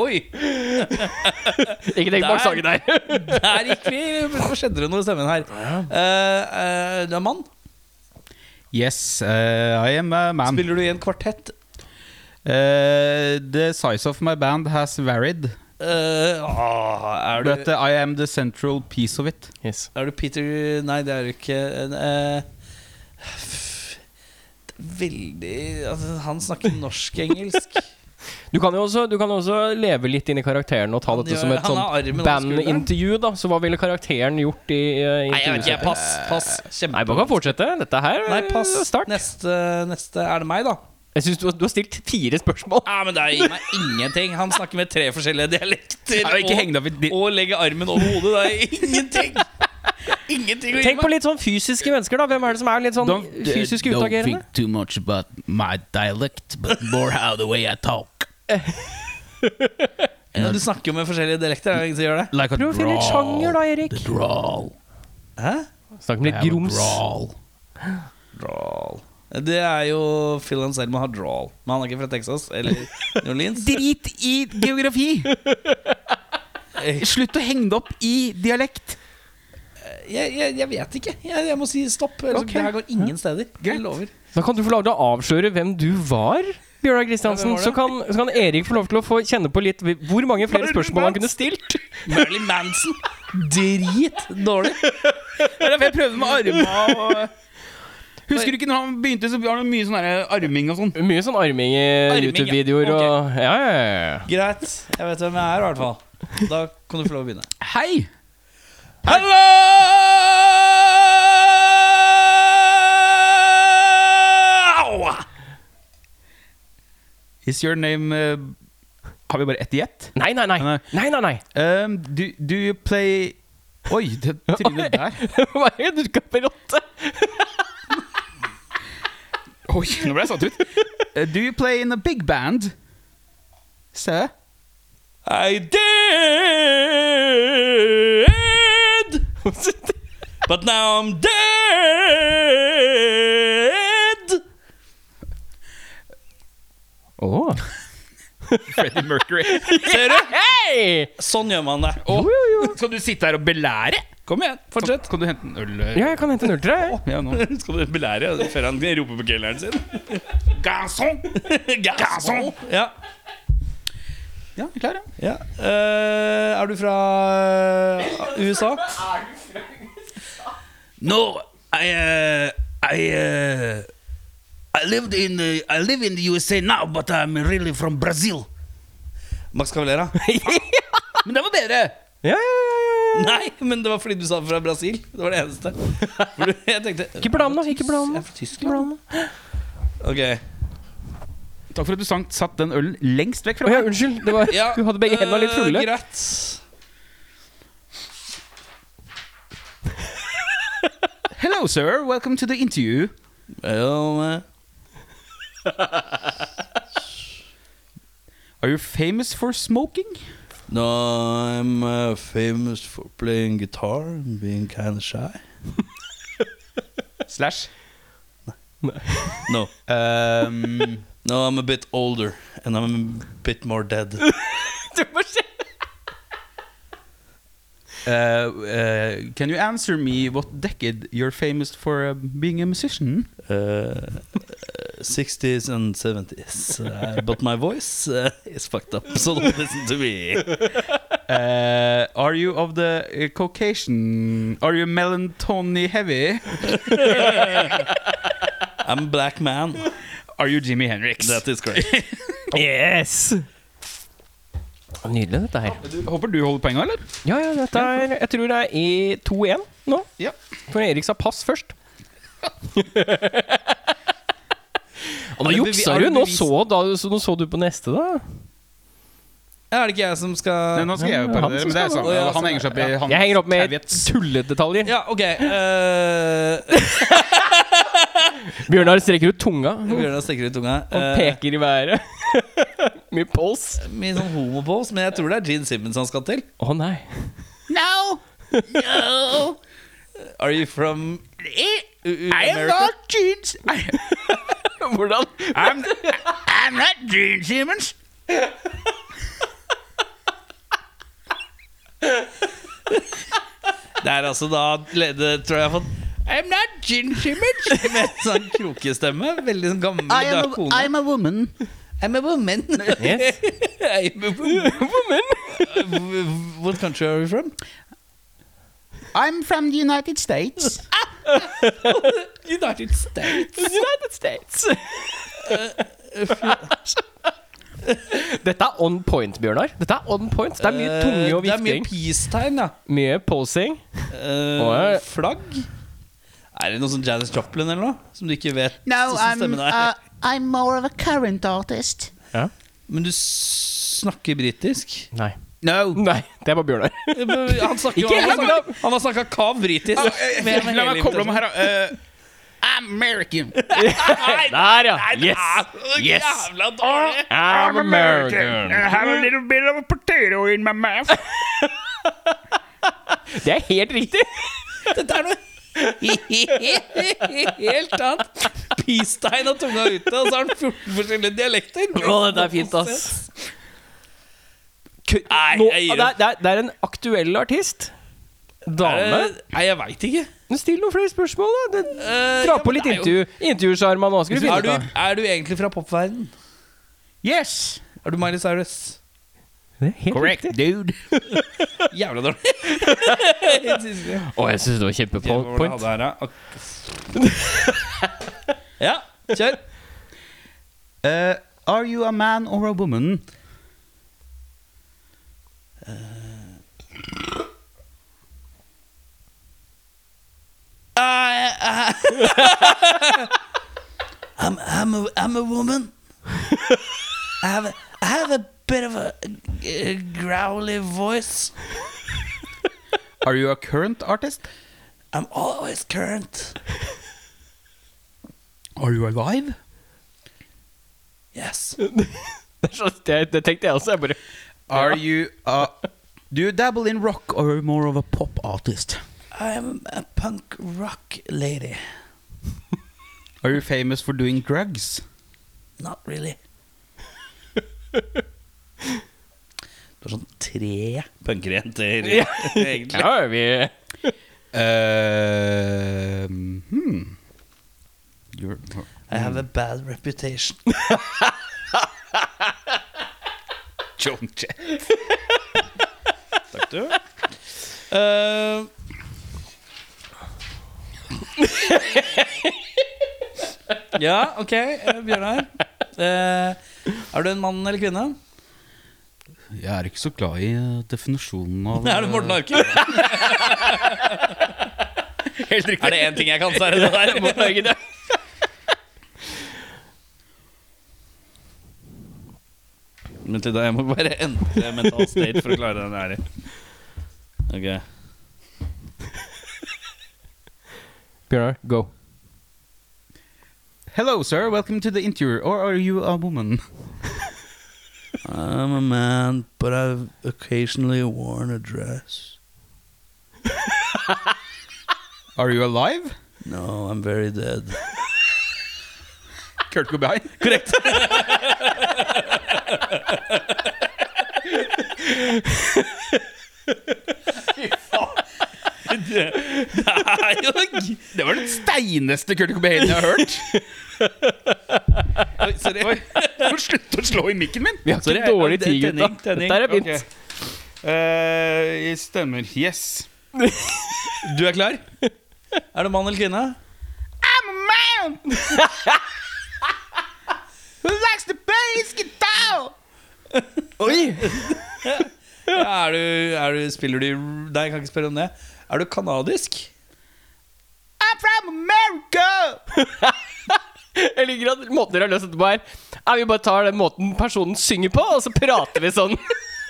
[SPEAKER 2] Oi!
[SPEAKER 1] Ikke tenk bak
[SPEAKER 2] Der.
[SPEAKER 1] sangen der.
[SPEAKER 2] Der gikk vi! Hvorfor skjedde det noe i stemmen her? Eh, eh, du er mann.
[SPEAKER 3] Yes, uh, I am a man.
[SPEAKER 2] Spiller du i en kvartett?
[SPEAKER 3] Uh, the size of my band has varied,
[SPEAKER 2] Eh, ah, er,
[SPEAKER 3] but
[SPEAKER 2] du,
[SPEAKER 3] uh, I am the central piece of it.
[SPEAKER 1] Yes.
[SPEAKER 2] er du Peter Nei, det er du ikke. Eh, f- veldig altså, Han snakker norsk-engelsk.
[SPEAKER 1] Du kan jo også, du kan også leve litt inn i karakteren og ta
[SPEAKER 2] Han
[SPEAKER 1] dette
[SPEAKER 2] gjør-
[SPEAKER 1] som et
[SPEAKER 2] han har
[SPEAKER 1] sånt
[SPEAKER 2] armen over skulderen.
[SPEAKER 1] bandintervju, da. Så hva ville karakteren gjort i uh,
[SPEAKER 2] Nei, jeg vet ikke.
[SPEAKER 1] intervjuet?
[SPEAKER 2] Pass. pass Kjempe-
[SPEAKER 1] Nei, bare kan fortsette. Dette her
[SPEAKER 2] Nei, pass.
[SPEAKER 1] eh, Start.
[SPEAKER 2] Neste, neste er det meg, da.
[SPEAKER 1] Jeg syns du, har- du har stilt fire spørsmål.
[SPEAKER 2] Ja, men det gir meg ingenting. Han snakker med tre forskjellige dialekter.
[SPEAKER 3] Jeg vil ikke
[SPEAKER 2] og-
[SPEAKER 3] henge deg opp i di-
[SPEAKER 2] Og legge armen over hodet. Det er ingenting. Ingenting å gi
[SPEAKER 1] Tenk på
[SPEAKER 2] meg.
[SPEAKER 1] litt sånn fysiske mennesker, da. Hvem er det som er litt sånn fysisk utagerende?
[SPEAKER 3] Uh, too much about my dialect, but more how the way I talk.
[SPEAKER 2] Men du snakker jo med forskjellige dialekter. Er det ingen som gjør det?
[SPEAKER 3] Like a
[SPEAKER 1] Prøv å finne litt sjanger, da, Erik.
[SPEAKER 3] Drawl.
[SPEAKER 2] Hæ?
[SPEAKER 1] Snakk med litt grums.
[SPEAKER 2] Drawl. Det er jo Phil Anselmo har drawl. Men han er ikke fra Texas eller New Orleans.
[SPEAKER 3] Drit i geografi! Slutt å henge det opp i dialekt.
[SPEAKER 2] Jeg, jeg, jeg vet ikke. Jeg, jeg må si stopp. ellers
[SPEAKER 1] Ok.
[SPEAKER 2] Det her går ingen steder. Jeg lover.
[SPEAKER 1] Da kan du få lov til å avsløre hvem du var, Bjørnar Kristiansen.
[SPEAKER 2] Ja, hvem var det?
[SPEAKER 1] så, kan, så kan Erik få lov til å få kjenne på litt hvor mange flere
[SPEAKER 3] Marilyn
[SPEAKER 1] spørsmål han kunne
[SPEAKER 3] Manson.
[SPEAKER 1] stilt.
[SPEAKER 2] Marilyn Manson. Dritdårlig.
[SPEAKER 3] Jeg prøvde med arma og Husker du ikke når han begynte, så var det mye sånn der arming og sånn?
[SPEAKER 1] Mye sånn arming i
[SPEAKER 2] Arming, ja.
[SPEAKER 1] YouTube-videoer og Ja, ja, ja. ja.
[SPEAKER 2] Greit. Jeg vet hvem jeg er, i hvert fall. Da kan du få lov å begynne.
[SPEAKER 3] Hei!
[SPEAKER 2] Hello!
[SPEAKER 3] Is your name uh, Har vi bare ett gjett?
[SPEAKER 1] Nei, nei, nei.
[SPEAKER 3] Nei.
[SPEAKER 1] nei, nei, nei.
[SPEAKER 3] Um, do, do you play Oi, det trillet der.
[SPEAKER 1] Hva er det du skal berotte?
[SPEAKER 3] Oi, nå ble jeg satt ut. Uh, do you play in a big band? Se.
[SPEAKER 2] I did But now I'm dead
[SPEAKER 1] Åh.
[SPEAKER 3] Freddie Mercury.
[SPEAKER 2] Ser du?
[SPEAKER 1] Hei!
[SPEAKER 2] Sånn gjør man det.
[SPEAKER 3] Og, Skal du sitte her og belære?
[SPEAKER 2] Kom igjen, fortsett.
[SPEAKER 3] Kan du hente en øl? eh?
[SPEAKER 1] Ja, jeg kan hente en øl til deg.
[SPEAKER 3] Ja, nå.
[SPEAKER 2] Skal du belære før han roper på kelneren sin?
[SPEAKER 3] Garçon! Garçon!
[SPEAKER 2] Ja.
[SPEAKER 3] Ja, vi er klar, ja.
[SPEAKER 2] ja. Eh, er du fra eh, USA?
[SPEAKER 3] No, I, uh, I, uh, I lived in, uh, I live in the USA now, but I'm really from Brazil.
[SPEAKER 2] Max Cavalera?
[SPEAKER 3] Men det var bedre!
[SPEAKER 1] Ja, ja, ja, ja.
[SPEAKER 2] Nei, men det var fordi du sa fra Brasil. Det var det eneste. For du- jeg tenkte
[SPEAKER 1] Ikke blanda, ikke blanda.
[SPEAKER 2] Jeg er fra Tyskland. Ok.
[SPEAKER 3] Takk for at du sang, satt den ølen lengst
[SPEAKER 1] Å
[SPEAKER 3] vekk fra
[SPEAKER 1] ja,
[SPEAKER 3] meg.
[SPEAKER 1] unnskyld. Det var,
[SPEAKER 2] Ja,
[SPEAKER 1] du hadde begge hendene litt
[SPEAKER 2] eh,
[SPEAKER 1] fulle.
[SPEAKER 2] greit.
[SPEAKER 3] Hello, sir. Welcome to the interview.
[SPEAKER 2] Well, eh,
[SPEAKER 3] Are you famous for smoking?
[SPEAKER 2] No, I'm uh, famous for playing guitar and being kind of shy.
[SPEAKER 3] Slash.
[SPEAKER 2] No,
[SPEAKER 3] Um,
[SPEAKER 2] no, I'm a bit older and I'm a bit more dead.
[SPEAKER 3] uh, uh, can you answer me what decade you're famous for uh, being a musician?
[SPEAKER 2] Uh, uh, 60s and 70s. Uh, but my voice uh, is fucked up, so don't listen to me.
[SPEAKER 3] Uh, are you of the uh, Caucasian? Are you melancholy heavy?
[SPEAKER 2] I'm a black man.
[SPEAKER 3] Are you Jimi Hendrix?
[SPEAKER 2] That is correct.
[SPEAKER 1] Yes! Nydelig, dette her.
[SPEAKER 3] Håper du holder poenga, eller?
[SPEAKER 1] Ja, ja, dette er Jeg tror det er i 2-1 nå.
[SPEAKER 3] Ja.
[SPEAKER 1] For Erik sa pass først. Og nå
[SPEAKER 2] Er det bevi-
[SPEAKER 1] juksa
[SPEAKER 2] er
[SPEAKER 1] du!
[SPEAKER 2] det
[SPEAKER 1] Nå
[SPEAKER 2] bevis-
[SPEAKER 1] så, da, så, nå så du på neste, da.
[SPEAKER 2] Er det ikke jeg som
[SPEAKER 3] Nei,
[SPEAKER 2] skal
[SPEAKER 3] nå skal jeg jo
[SPEAKER 1] Ja,
[SPEAKER 3] parodiere,
[SPEAKER 1] han som
[SPEAKER 3] men det
[SPEAKER 1] skal-
[SPEAKER 3] er samme.
[SPEAKER 2] Å, ja,
[SPEAKER 3] Han henger seg opp i hans
[SPEAKER 1] Jeg henger opp med
[SPEAKER 3] tauets.
[SPEAKER 1] tulledetaljer.
[SPEAKER 2] Ja, ok. Uh,
[SPEAKER 1] Bjørnar strekker ut tunga og
[SPEAKER 2] Bjørnar stikker ut tunga. Eh,
[SPEAKER 1] peker i været. Mye pols.
[SPEAKER 2] Mye sånn homopose, men jeg tror det er Gene Simmons han skal til.
[SPEAKER 1] Å nei.
[SPEAKER 3] No,
[SPEAKER 2] Are you from
[SPEAKER 3] I
[SPEAKER 2] U-
[SPEAKER 3] I am
[SPEAKER 2] America?
[SPEAKER 3] eh, not Gene. I-
[SPEAKER 1] Hvordan
[SPEAKER 3] I'm, I'm not Gene Simmons.
[SPEAKER 2] Det er altså da Det tror jeg jeg har fått
[SPEAKER 3] I'm not Gene Simmons.
[SPEAKER 2] med sånn krokestemme. Veldig sånn gammel
[SPEAKER 3] I
[SPEAKER 2] død
[SPEAKER 3] am a,
[SPEAKER 2] kone.
[SPEAKER 3] I'm a woman.
[SPEAKER 2] I'm a woman.
[SPEAKER 1] Yes.
[SPEAKER 2] I'm a woman. What country are you from?
[SPEAKER 3] I'm from the United States.
[SPEAKER 2] United States.
[SPEAKER 1] United States.
[SPEAKER 2] Eh,
[SPEAKER 1] Dette er on point, Bjørnar. Dette er on point. Det er mye tunge og
[SPEAKER 2] Eh, det er mye
[SPEAKER 1] vifting.
[SPEAKER 2] peace-tegn, ja.
[SPEAKER 1] Mye posing.
[SPEAKER 2] Eh,
[SPEAKER 1] Åh, ja.
[SPEAKER 2] flagg? Er det noe sånn Janis Joplin eller noe? Som du ikke vet
[SPEAKER 5] No,
[SPEAKER 2] som
[SPEAKER 5] I'm
[SPEAKER 2] stemmen er?
[SPEAKER 5] uh, I'm more of a current artist.
[SPEAKER 2] Men du s- snakker britisk?
[SPEAKER 1] Nei.
[SPEAKER 3] No.
[SPEAKER 1] Nei, det er bare Bjørnar.
[SPEAKER 2] Han, snakker,
[SPEAKER 1] Ikke
[SPEAKER 2] han, har
[SPEAKER 1] helt,
[SPEAKER 2] snakket, han har snakka kav britisk.
[SPEAKER 3] La meg koble om her, da. Eh, American.
[SPEAKER 1] Der, ja. Yes.
[SPEAKER 3] Yes.
[SPEAKER 2] Jævla dårlig!
[SPEAKER 1] I'm American.
[SPEAKER 3] I have a little bit of a potato in my mouth.
[SPEAKER 1] Det er helt riktig.
[SPEAKER 2] Dette Ah, er noe helt annet. Pistein og tunga ute, og så har han 14 forskjellige dialekter.
[SPEAKER 1] Å, dette er fint, ass.
[SPEAKER 2] Nei,
[SPEAKER 1] Nå,
[SPEAKER 2] jeg
[SPEAKER 1] det,
[SPEAKER 2] gir
[SPEAKER 1] er,
[SPEAKER 2] opp.
[SPEAKER 1] det, er, det er en aktuell artist. Dame.
[SPEAKER 2] Eh, Nei, jeg veit ikke.
[SPEAKER 1] Men Still noen flere spørsmål, da. Det,
[SPEAKER 2] Eh,
[SPEAKER 1] dra
[SPEAKER 2] ja,
[SPEAKER 1] på
[SPEAKER 2] men
[SPEAKER 1] litt
[SPEAKER 2] det er jo-
[SPEAKER 1] intervju. Intervjusjarma nå. Skal du finne
[SPEAKER 2] Er
[SPEAKER 1] ut
[SPEAKER 2] du,
[SPEAKER 1] av.
[SPEAKER 2] er du egentlig fra popverden?
[SPEAKER 3] Yes.
[SPEAKER 2] Er du Miley Cyrus?
[SPEAKER 1] Det er helt
[SPEAKER 3] Correct,
[SPEAKER 1] riktig.
[SPEAKER 3] dude.
[SPEAKER 2] Jævla dårlig. Helt sinnssykt.
[SPEAKER 1] Å, jeg syns det var
[SPEAKER 2] Hvor var det jeg
[SPEAKER 1] kjempepoint.
[SPEAKER 2] hadde her, da? Ja, kjør.
[SPEAKER 3] Uh, are you a man or a woman?
[SPEAKER 2] I'm, I'm, a, I'm a woman. I have a, I have a bit of a, a growly voice.
[SPEAKER 3] Are you a current artist?
[SPEAKER 2] I'm always current.
[SPEAKER 3] Are you alive?
[SPEAKER 2] Yes.
[SPEAKER 1] Det er så- Det, det tenkte jeg også. Jeg bare
[SPEAKER 3] Are you uh, Do you dabble in rock or are you more of a pop artist?
[SPEAKER 2] I'm a punk rock lady.
[SPEAKER 3] Are you famous for doing drugs?
[SPEAKER 2] Not really. Du har sånn tre punkerjenter,
[SPEAKER 1] Ja.
[SPEAKER 2] egentlig.
[SPEAKER 1] Ja, vi
[SPEAKER 3] Eh, hmm. You're-
[SPEAKER 2] I have a bad reputation.
[SPEAKER 3] Joan Jett.
[SPEAKER 2] Takk, du. Eh, ja, ok, eh, Bjørnar. Eh, er du en mann eller kvinne?
[SPEAKER 3] Jeg er ikke så glad i eh, definisjonen av eh,
[SPEAKER 2] Er du Morten Harket?
[SPEAKER 1] Helt riktig.
[SPEAKER 2] Er det én ting jeg kan, så er det det der.
[SPEAKER 1] Morten Harket, ja.
[SPEAKER 2] Vent litt, da. Jeg må bare endre mental state for å klare den her. Ok.
[SPEAKER 1] Bjørnar, go.
[SPEAKER 3] Hello, sir. Welcome to the interior. Or are you a woman?
[SPEAKER 2] I'm a man, but I've occasionally worn a dress.
[SPEAKER 3] Are you alive?
[SPEAKER 2] No, I'm very dead.
[SPEAKER 3] Kurt Cobain.
[SPEAKER 2] Korrekt.
[SPEAKER 3] Det var den steineste Kurt Cobain jeg har hørt. Oi, Sorry. Må slutte å slå i mikken min.
[SPEAKER 1] Vi har
[SPEAKER 2] Sorry,
[SPEAKER 1] ikke dårlig
[SPEAKER 2] det er
[SPEAKER 1] tid, gutta.
[SPEAKER 2] tenning, tenning.
[SPEAKER 1] Dette er fint.
[SPEAKER 3] Ok. Eh, stemmer. Yes.
[SPEAKER 2] Du er klar? Er du mann eller kvinne?
[SPEAKER 3] Man who likes to play guitar.
[SPEAKER 2] Ja, er du, er du, spiller du i- Nei, jeg kan ikke spørre om det. Er du kanadisk?
[SPEAKER 3] I'm from America.
[SPEAKER 1] Jeg liker at måten dere har løst dette på her Er vi bare tar den måten personen synger på, og så prater vi sånn.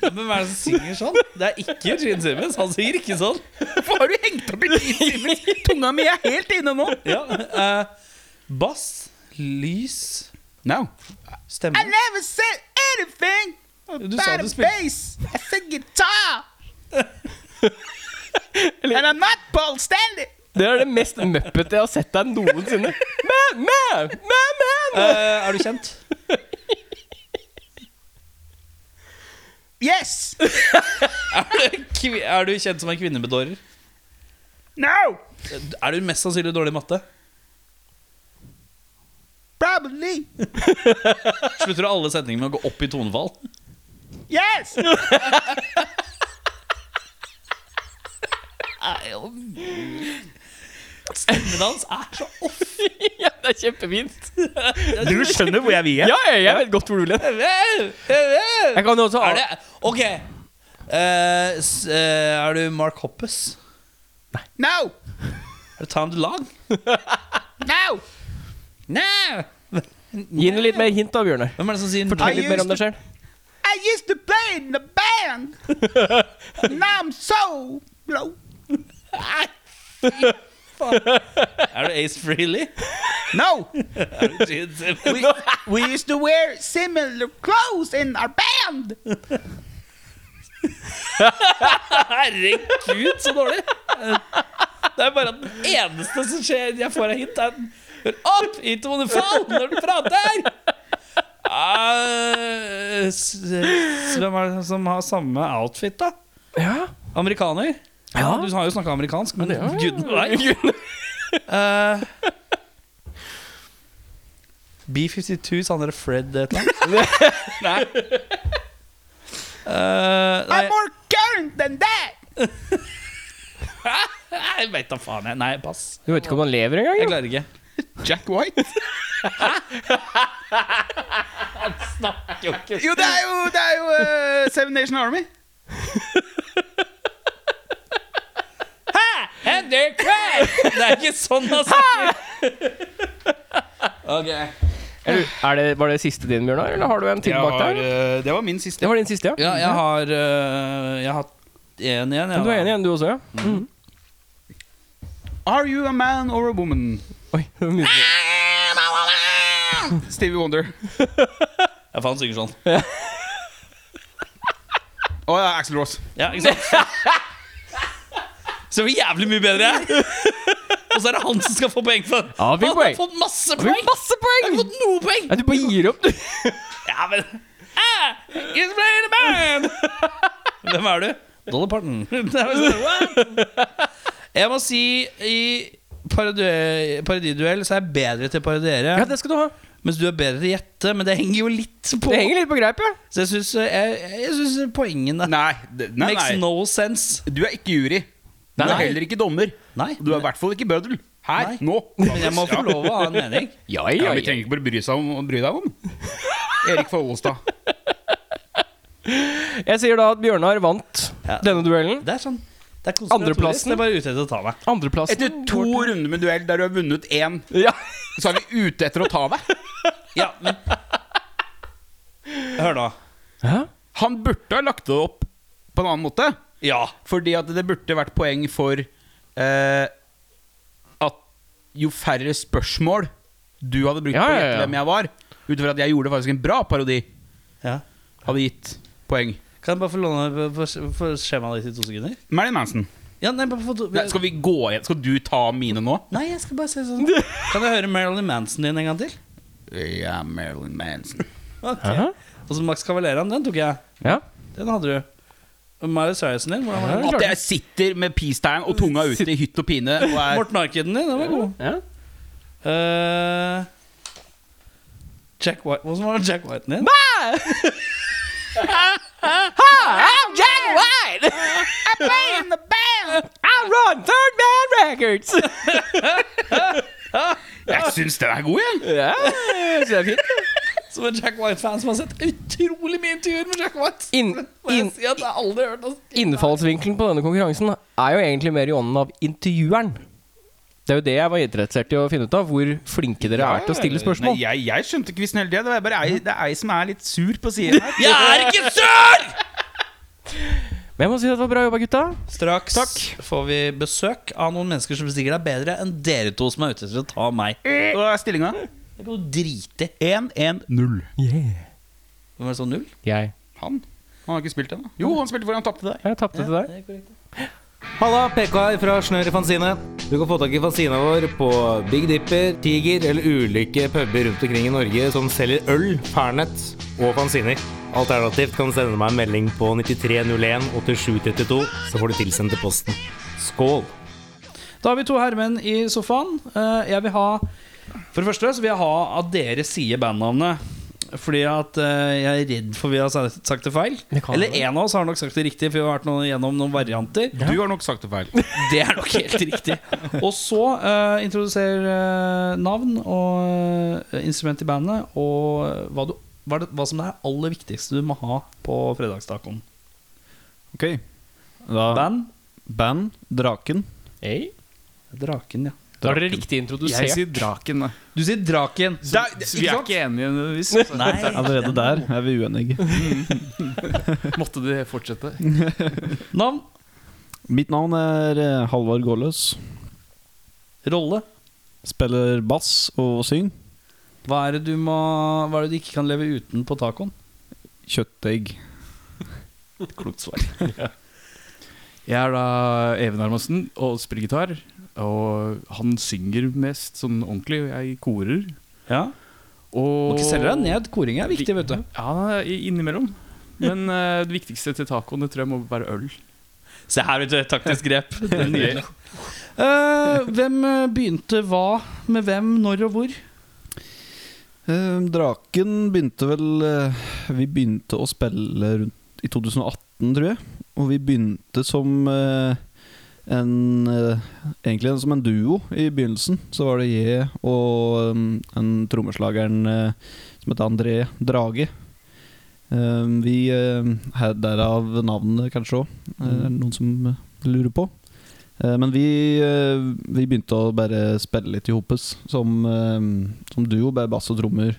[SPEAKER 2] Hvem er det som synger sånn? Det er ikke Gene Simmons. Han synger ikke sånn.
[SPEAKER 3] Hvorfor har du hengt opp i din time? Tunga mi er helt inne nå.
[SPEAKER 2] Ja, eh, bass, lys,
[SPEAKER 3] No.
[SPEAKER 2] stemme.
[SPEAKER 3] never said anything
[SPEAKER 2] Du sa du spilte
[SPEAKER 3] bass. I said guitar. And I'm not Paul Stanley.
[SPEAKER 1] Det er det mest muppete jeg har sett deg noensinne. Mæ, mæ, mæ, mæ, mæ.
[SPEAKER 2] Eh, Er du kjent?
[SPEAKER 3] Yes.
[SPEAKER 2] Er du, kvi- er du kjent som en kvinnebedårer?
[SPEAKER 3] No.
[SPEAKER 2] Er du mest sannsynlig dårlig i matte?
[SPEAKER 3] Probably.
[SPEAKER 2] Slutter du alle setningene med å gå opp i tonefall?
[SPEAKER 3] Yes.
[SPEAKER 2] Stemmedans er så ofte
[SPEAKER 1] Ja, det er kjempefint.
[SPEAKER 3] Du skjønner hvor jeg vil
[SPEAKER 1] Ja, jeg, jeg vet godt hvor du lener. Jeg kan også
[SPEAKER 2] Er det Ok. Eh, s- eh, er du Mark Hoppes?
[SPEAKER 3] No.
[SPEAKER 2] Er det Time to Long?
[SPEAKER 3] No.
[SPEAKER 2] Nei!
[SPEAKER 1] Gi henne litt mer hint, da, Bjørnar.
[SPEAKER 2] Hvem er det som sier
[SPEAKER 1] Fortell
[SPEAKER 2] nei?
[SPEAKER 1] litt mer om deg selv.
[SPEAKER 3] I used to play in the band. now I'm so low.
[SPEAKER 2] Er du Ace Frehley?
[SPEAKER 3] No.
[SPEAKER 2] Er du Gene Simmons?
[SPEAKER 3] We, we used to wear similar clothes in our band.
[SPEAKER 2] Herregud, så dårlig! Eh, Det er bare at den eneste som skjer jeg får av hint, er den Hør opp! Ikke må du falle når du prater! Eh, s- s- Hvem er det som har samme outfit, da?
[SPEAKER 1] Ja.
[SPEAKER 2] Amerikaner?
[SPEAKER 1] Ja.
[SPEAKER 2] Du har jo snakka amerikansk, men
[SPEAKER 1] Ja, ja.
[SPEAKER 2] gudene veit. Eh, B52 Sandre Fred et eller annet? Eh, nei,
[SPEAKER 3] I'm more current than that.
[SPEAKER 2] jeg veit da faen. jeg Nei, pass.
[SPEAKER 1] Du vet ikke om han lever engang?
[SPEAKER 2] Jeg
[SPEAKER 1] jo.
[SPEAKER 2] klarer ikke.
[SPEAKER 3] Jack White? Jo, det er jo, det er jo eh, Seven Nation Army.
[SPEAKER 2] Henrik Wei! Det er ikke sånn han snakker. Ok.
[SPEAKER 1] Eller, er det, var det siste din, Bjørnar, eller har eh, du en til bak der?
[SPEAKER 3] det var min siste.
[SPEAKER 1] Det var din siste, ja.
[SPEAKER 2] Ja, jeg har øh, Jeg har én igjen.
[SPEAKER 1] Men
[SPEAKER 2] Jeg,
[SPEAKER 1] Du er enig igjen, du også? ja?
[SPEAKER 3] Are you a man or a woman?
[SPEAKER 1] Oi, det var mye.
[SPEAKER 3] Stevie Wonder.
[SPEAKER 2] Ja, faen, han synger sånn.
[SPEAKER 3] Og oh, Axel Ross.
[SPEAKER 2] Ja, ikke sant? Så det er jævlig mye bedre. Og så er det han som skal få poeng for
[SPEAKER 1] Ja, fikk
[SPEAKER 2] Han har
[SPEAKER 1] poeng.
[SPEAKER 2] fått masse
[SPEAKER 1] Du
[SPEAKER 2] poeng.
[SPEAKER 1] fikk masse poeng!
[SPEAKER 2] Fått noe poeng.
[SPEAKER 1] Ja, du bare gir opp, du.
[SPEAKER 2] Ja, men Ah! He's playing a band! Hvem er du? Dolly Parton. Det er sånn, what? jeg må si i parodi- parodiduell så er jeg bedre til å parodiere.
[SPEAKER 1] Ja, det skal du ha.
[SPEAKER 2] Mens du er bedre til å gjette, men det henger jo litt på.
[SPEAKER 1] Det henger litt på greip, ja.
[SPEAKER 2] Så jeg syns, jeg, jeg synes poengene
[SPEAKER 3] Nei, det- nei,
[SPEAKER 2] makes
[SPEAKER 3] nei.
[SPEAKER 2] no sense.
[SPEAKER 3] Du er ikke jury. Du er
[SPEAKER 1] Nei.
[SPEAKER 3] heller ikke dommer.
[SPEAKER 2] Nei.
[SPEAKER 3] Du er i hvert fall ikke bøddel. Her,
[SPEAKER 2] Nei.
[SPEAKER 3] nå.
[SPEAKER 2] Men jeg må få lov å ha en mening.
[SPEAKER 1] Ja,
[SPEAKER 3] Ja, vi trenger ikke bare bry, seg om, bry deg om Erik Follestad.
[SPEAKER 1] Jeg sier da at Bjørnar vant
[SPEAKER 2] Ja.
[SPEAKER 1] denne duellen.
[SPEAKER 2] Det er sånn det er konspiratorisk.
[SPEAKER 1] Andreplassen.
[SPEAKER 2] Det er bare ute etter å ta meg.
[SPEAKER 1] Andreplassen
[SPEAKER 3] Etter to runder med duell der du har vunnet én,
[SPEAKER 1] Ja.
[SPEAKER 3] så er vi ute etter å ta deg.
[SPEAKER 2] Ja, men Hør nå.
[SPEAKER 1] Hæ?
[SPEAKER 3] Han burde ha lagt det opp på en annen måte.
[SPEAKER 2] Ja.
[SPEAKER 3] Fordi at det burde vært poeng for eh, at jo færre spørsmål du hadde brukt
[SPEAKER 1] Ja,
[SPEAKER 3] på å
[SPEAKER 1] ja,
[SPEAKER 3] gjette
[SPEAKER 1] ja.
[SPEAKER 3] hvem jeg var, ut over at jeg gjorde faktisk en bra parodi,
[SPEAKER 2] ja.
[SPEAKER 3] hadde gitt poeng.
[SPEAKER 2] Kan jeg bare få låne få- få skjemaet ditt i to sekunder?
[SPEAKER 3] Marilyn Manson.
[SPEAKER 2] Ja, nei, bare få to
[SPEAKER 3] Nei, skal vi gå igjen? Skal du ta mine nå?
[SPEAKER 2] Nei, jeg skal bare se sånn. Kan jeg høre Marilyn Manson din en gang til?
[SPEAKER 3] Ja, Marilyn Manson.
[SPEAKER 2] Ok.
[SPEAKER 1] Hæ?
[SPEAKER 2] Og så Max Cavaleraen, den tok jeg.
[SPEAKER 1] Ja.
[SPEAKER 2] Den hadde du. Og Marius Harrison din, hvordan var den?
[SPEAKER 1] Ja.
[SPEAKER 3] At jeg sitter med peace-tegn og tunga ute i hytt og pine og er
[SPEAKER 2] Morten Arkeden din, den var god.
[SPEAKER 1] ja.
[SPEAKER 2] Eh, Jack White Hvordan var det Jack Whiten din?
[SPEAKER 1] I'm Jack White! I play in the band! I run Third Man Records!
[SPEAKER 3] Jeg syns den er god, jeg!
[SPEAKER 1] ja, så det er fint.
[SPEAKER 2] Som en Jack White-fan som har sett utrolig mye intervjuer med Jack White.
[SPEAKER 1] Inn,
[SPEAKER 2] Må jeg
[SPEAKER 1] inn,
[SPEAKER 2] si at jeg aldri har hørt noe sånt.
[SPEAKER 1] innfallsvinkelen på denne konkurransen er jo egentlig mer i ånden av intervjueren. Det er jo det jeg var interessert i å finne ut av, hvor flinke dere er til å stille
[SPEAKER 3] Nei,
[SPEAKER 1] spørsmål.
[SPEAKER 3] jeg, jeg skjønte ikke quizen hele tida. Det er bare ei, det er ei som er litt sur på siden her.
[SPEAKER 2] Jeg er ikke sur!
[SPEAKER 1] Men jeg må si at det var bra jobba, gutta.
[SPEAKER 2] Straks får vi besøk av noen mennesker som sikkert er bedre enn dere to som er ute etter å ta meg.
[SPEAKER 3] Og stillinga?
[SPEAKER 2] Det kan du drite i.
[SPEAKER 3] 1-1-0.
[SPEAKER 2] Hvem er det som null?
[SPEAKER 1] Jeg,
[SPEAKER 3] Han? Han har ikke spilt ennå. Jo, han spilte hvor han tapte deg.
[SPEAKER 1] jeg tapte til deg.
[SPEAKER 6] Halla, PK her fra Snør i Fanzine. Du kan få tak i fanzina vår på Big Dipper, Tiger eller ulike puber rundt omkring i Norge som selger øl, Fernet og fanziner. Alternativt kan du sende meg en melding på 9301 8732, så får du tilsendt til posten. Skål!
[SPEAKER 2] Da har vi to herremenn i sofaen. Eh, Jeg vil ha For det første så vil jeg ha at dere sier bandnavnet. Fordi at eh, jeg er redd for vi har sagt sagt det feil.
[SPEAKER 1] Det kan
[SPEAKER 2] Eller
[SPEAKER 1] være.
[SPEAKER 2] en av oss har nok sagt det riktig, for vi har vært noe, gjennom noen varianter.
[SPEAKER 3] Du har nok sagt det feil.
[SPEAKER 2] Det er nok helt riktig. Og så eh, introduser eh, navn og eh, instrument i bandet, og hva, du, hva, det, hva som er det aller viktigste du må ha på fredagstacoen.
[SPEAKER 7] Ok. Da,
[SPEAKER 2] Band,
[SPEAKER 7] Band. Draken.
[SPEAKER 1] Hey.
[SPEAKER 2] Draken, ja.
[SPEAKER 1] Da er dere riktig introdusert.
[SPEAKER 7] Jeg sier draken, da.
[SPEAKER 2] Du sier Draken.
[SPEAKER 7] Vi er ikke enige nødvendigvis. altså. Allerede der er vi uenige.
[SPEAKER 3] Måtte det fortsette?
[SPEAKER 2] Navn,
[SPEAKER 7] Mitt navn er eh, Halvard Gåløs.
[SPEAKER 2] rolle.
[SPEAKER 7] Spiller bass og syng.
[SPEAKER 2] Hva er det du, må, hva er det du ikke kan leve uten på tacoen?
[SPEAKER 7] Kjøttdeig. Klokt svar. Jeg er da Even Hermansen og spiller gitar. Og han synger mest sånn ordentlig, og jeg korer.
[SPEAKER 2] Ja. Må
[SPEAKER 7] Og
[SPEAKER 2] ikke selge deg ned. Koring er viktig, vet du.
[SPEAKER 7] Ja, i- innimellom. Men eh, det viktigste til tacoen det tror jeg må være øl.
[SPEAKER 2] Se her, vet du. Taktisk grep. Det er nydelig. Eh, hvem eh, begynte hva med hvem, når og hvor?
[SPEAKER 7] Eh, Draken begynte vel eh, Vi begynte å spille rundt i 2018, tror jeg. Og vi begynte som eh, en eh, Egentlig som en duo i begynnelsen. Så var det jeg og um, en trommeslageren eh, som het André Drage. Eh, vi eh, har derav navnet, kanskje òg. Noen som eh, lurer på. Eh, Men vi, eh, vi begynte å bare spille litt i hopes som, eh, som duo, bare bass og trommer.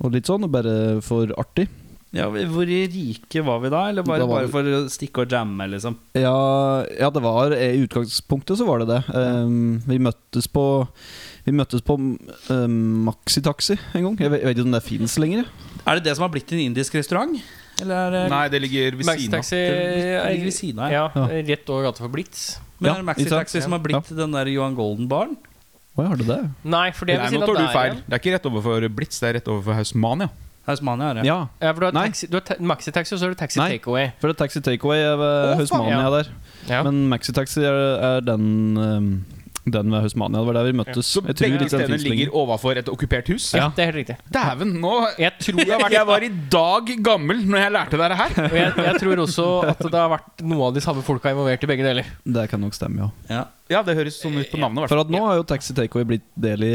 [SPEAKER 7] Og litt sånn, og bare for artig.
[SPEAKER 2] Ja, Hvor i rike var vi da? Eller bare,
[SPEAKER 7] Da var
[SPEAKER 2] bare
[SPEAKER 7] vi-
[SPEAKER 2] for å stikke og jamme, liksom?
[SPEAKER 7] Ja, ja, det var i utgangspunktet så var det det. Eh, vi møttes på Vi møttes på eh, Maxitaxi en gang. Jeg vet, jeg vet ikke om det fins lenger.
[SPEAKER 2] Er det det som har blitt en indisk restaurant? Eller er det
[SPEAKER 3] Nei, det ligger ved
[SPEAKER 1] Max
[SPEAKER 3] siden av.
[SPEAKER 1] Taxi
[SPEAKER 2] Det ligger ved siden av,
[SPEAKER 1] Ja,
[SPEAKER 2] ja.
[SPEAKER 1] rett over gata for Blitz.
[SPEAKER 2] Men
[SPEAKER 7] Ja,
[SPEAKER 2] er det Maxi
[SPEAKER 7] ikke sant?
[SPEAKER 2] Taxi som har blitt den der Johan Golden-baren?
[SPEAKER 7] Å, jeg har det det?
[SPEAKER 1] Nei, for det
[SPEAKER 3] Nei,
[SPEAKER 1] vil si at
[SPEAKER 3] nå tar du
[SPEAKER 1] det er
[SPEAKER 3] feil.
[SPEAKER 1] en-
[SPEAKER 3] Det er ikke rett overfor Blitz, det er rett overfor Hausmania.
[SPEAKER 2] Hausmania er det.
[SPEAKER 7] Ja,
[SPEAKER 1] Ja, for du har,
[SPEAKER 7] Nei.
[SPEAKER 1] taxi, du har ta maxitaxi, og så har du taxi
[SPEAKER 7] Nei.
[SPEAKER 1] takeaway.
[SPEAKER 7] for det er Taxi Takeaway er ved
[SPEAKER 1] Å,
[SPEAKER 7] Hausmania
[SPEAKER 1] faen,
[SPEAKER 7] der.
[SPEAKER 1] Ja.
[SPEAKER 7] Men Maxi Taxi er, er den eh, Den ved Hausmania. Det var der vi møttes.
[SPEAKER 3] Så
[SPEAKER 7] Jeg tror
[SPEAKER 3] begge
[SPEAKER 7] ikke den
[SPEAKER 3] stedene
[SPEAKER 7] finnes
[SPEAKER 3] ligger
[SPEAKER 7] lenger.
[SPEAKER 3] overfor et okkupert hus?
[SPEAKER 1] sånn ja, det er helt riktig.
[SPEAKER 3] Dæven, nå
[SPEAKER 1] Jeg tror jeg, har vært,
[SPEAKER 3] Jeg var i dag gammel når jeg lærte dere her.
[SPEAKER 1] og jeg, jeg tror også at det har vært noe av de samme folka involvert i begge deler.
[SPEAKER 7] Det kan nok stemme, ja.
[SPEAKER 3] Ja, det høres sånn ut på navnet. i hvert fall.
[SPEAKER 7] For at nå har jo Taxi Takeaway blitt del i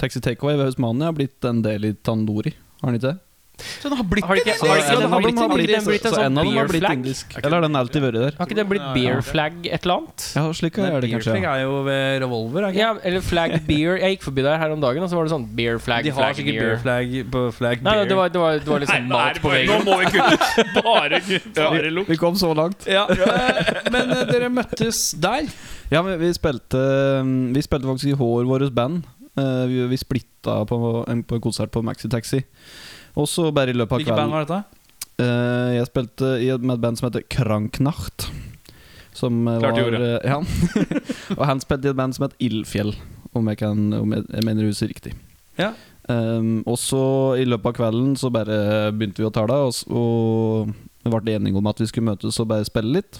[SPEAKER 7] Taxi Takeaway ved Hausmania har blitt en del i Tandoori. Har den ikke det?
[SPEAKER 3] Så den har blitt
[SPEAKER 1] Har det ikke-
[SPEAKER 3] det,
[SPEAKER 7] Så
[SPEAKER 1] har
[SPEAKER 3] det,
[SPEAKER 1] det ikke-
[SPEAKER 7] en av dem har
[SPEAKER 1] blitt-
[SPEAKER 7] blitt-
[SPEAKER 1] den blitt en
[SPEAKER 7] så
[SPEAKER 1] sånn
[SPEAKER 7] en av dem har
[SPEAKER 1] beer
[SPEAKER 7] blitt
[SPEAKER 1] flag?
[SPEAKER 7] indisk. Eller har den alltid vært der?
[SPEAKER 1] Har ikke det blitt beer flag et eller annet?
[SPEAKER 7] Ja, slik er det kanskje.
[SPEAKER 2] Beerflag
[SPEAKER 7] Ja.
[SPEAKER 2] er jo ved Revolver. Er ikke?
[SPEAKER 1] Ja, eller flag beer. Jeg gikk forbi der her om dagen, og så var det sånn beer flag,
[SPEAKER 2] De har
[SPEAKER 1] flag
[SPEAKER 2] sikkert
[SPEAKER 1] beer.
[SPEAKER 2] Beerflag på Flag
[SPEAKER 1] Nei,
[SPEAKER 2] Beer.
[SPEAKER 1] det var, det var, det var liksom mat på
[SPEAKER 3] Nå
[SPEAKER 1] veggen.
[SPEAKER 3] må vi kutte.
[SPEAKER 8] Bare gutt, bare lukk.
[SPEAKER 7] Vi kom så langt.
[SPEAKER 2] Ja, eh, men eh, dere møttes der.
[SPEAKER 7] Ja, men vi spilte eh, Vi spilte faktisk i hår vårt band. Eh, Vi, vi splitta på en på en konsert på Maxi Taxi. Og så bare i løpet av
[SPEAKER 2] Hvilket band
[SPEAKER 7] kvelden
[SPEAKER 2] var dette?
[SPEAKER 7] Eh, Jeg spilte i et, med et band som heter Kranknacht. Som eh,
[SPEAKER 3] Klart du
[SPEAKER 7] var
[SPEAKER 3] gjorde.
[SPEAKER 7] eh, Ja. og han spilte i et band som het Ildfjell, om jeg, kan, om jeg, jeg mener huset riktig.
[SPEAKER 2] Ja.
[SPEAKER 7] Ehm, og så i løpet av kvelden så bare begynte vi å tale, og, s- og vi ble enige om at vi skulle møtes og bare spille litt.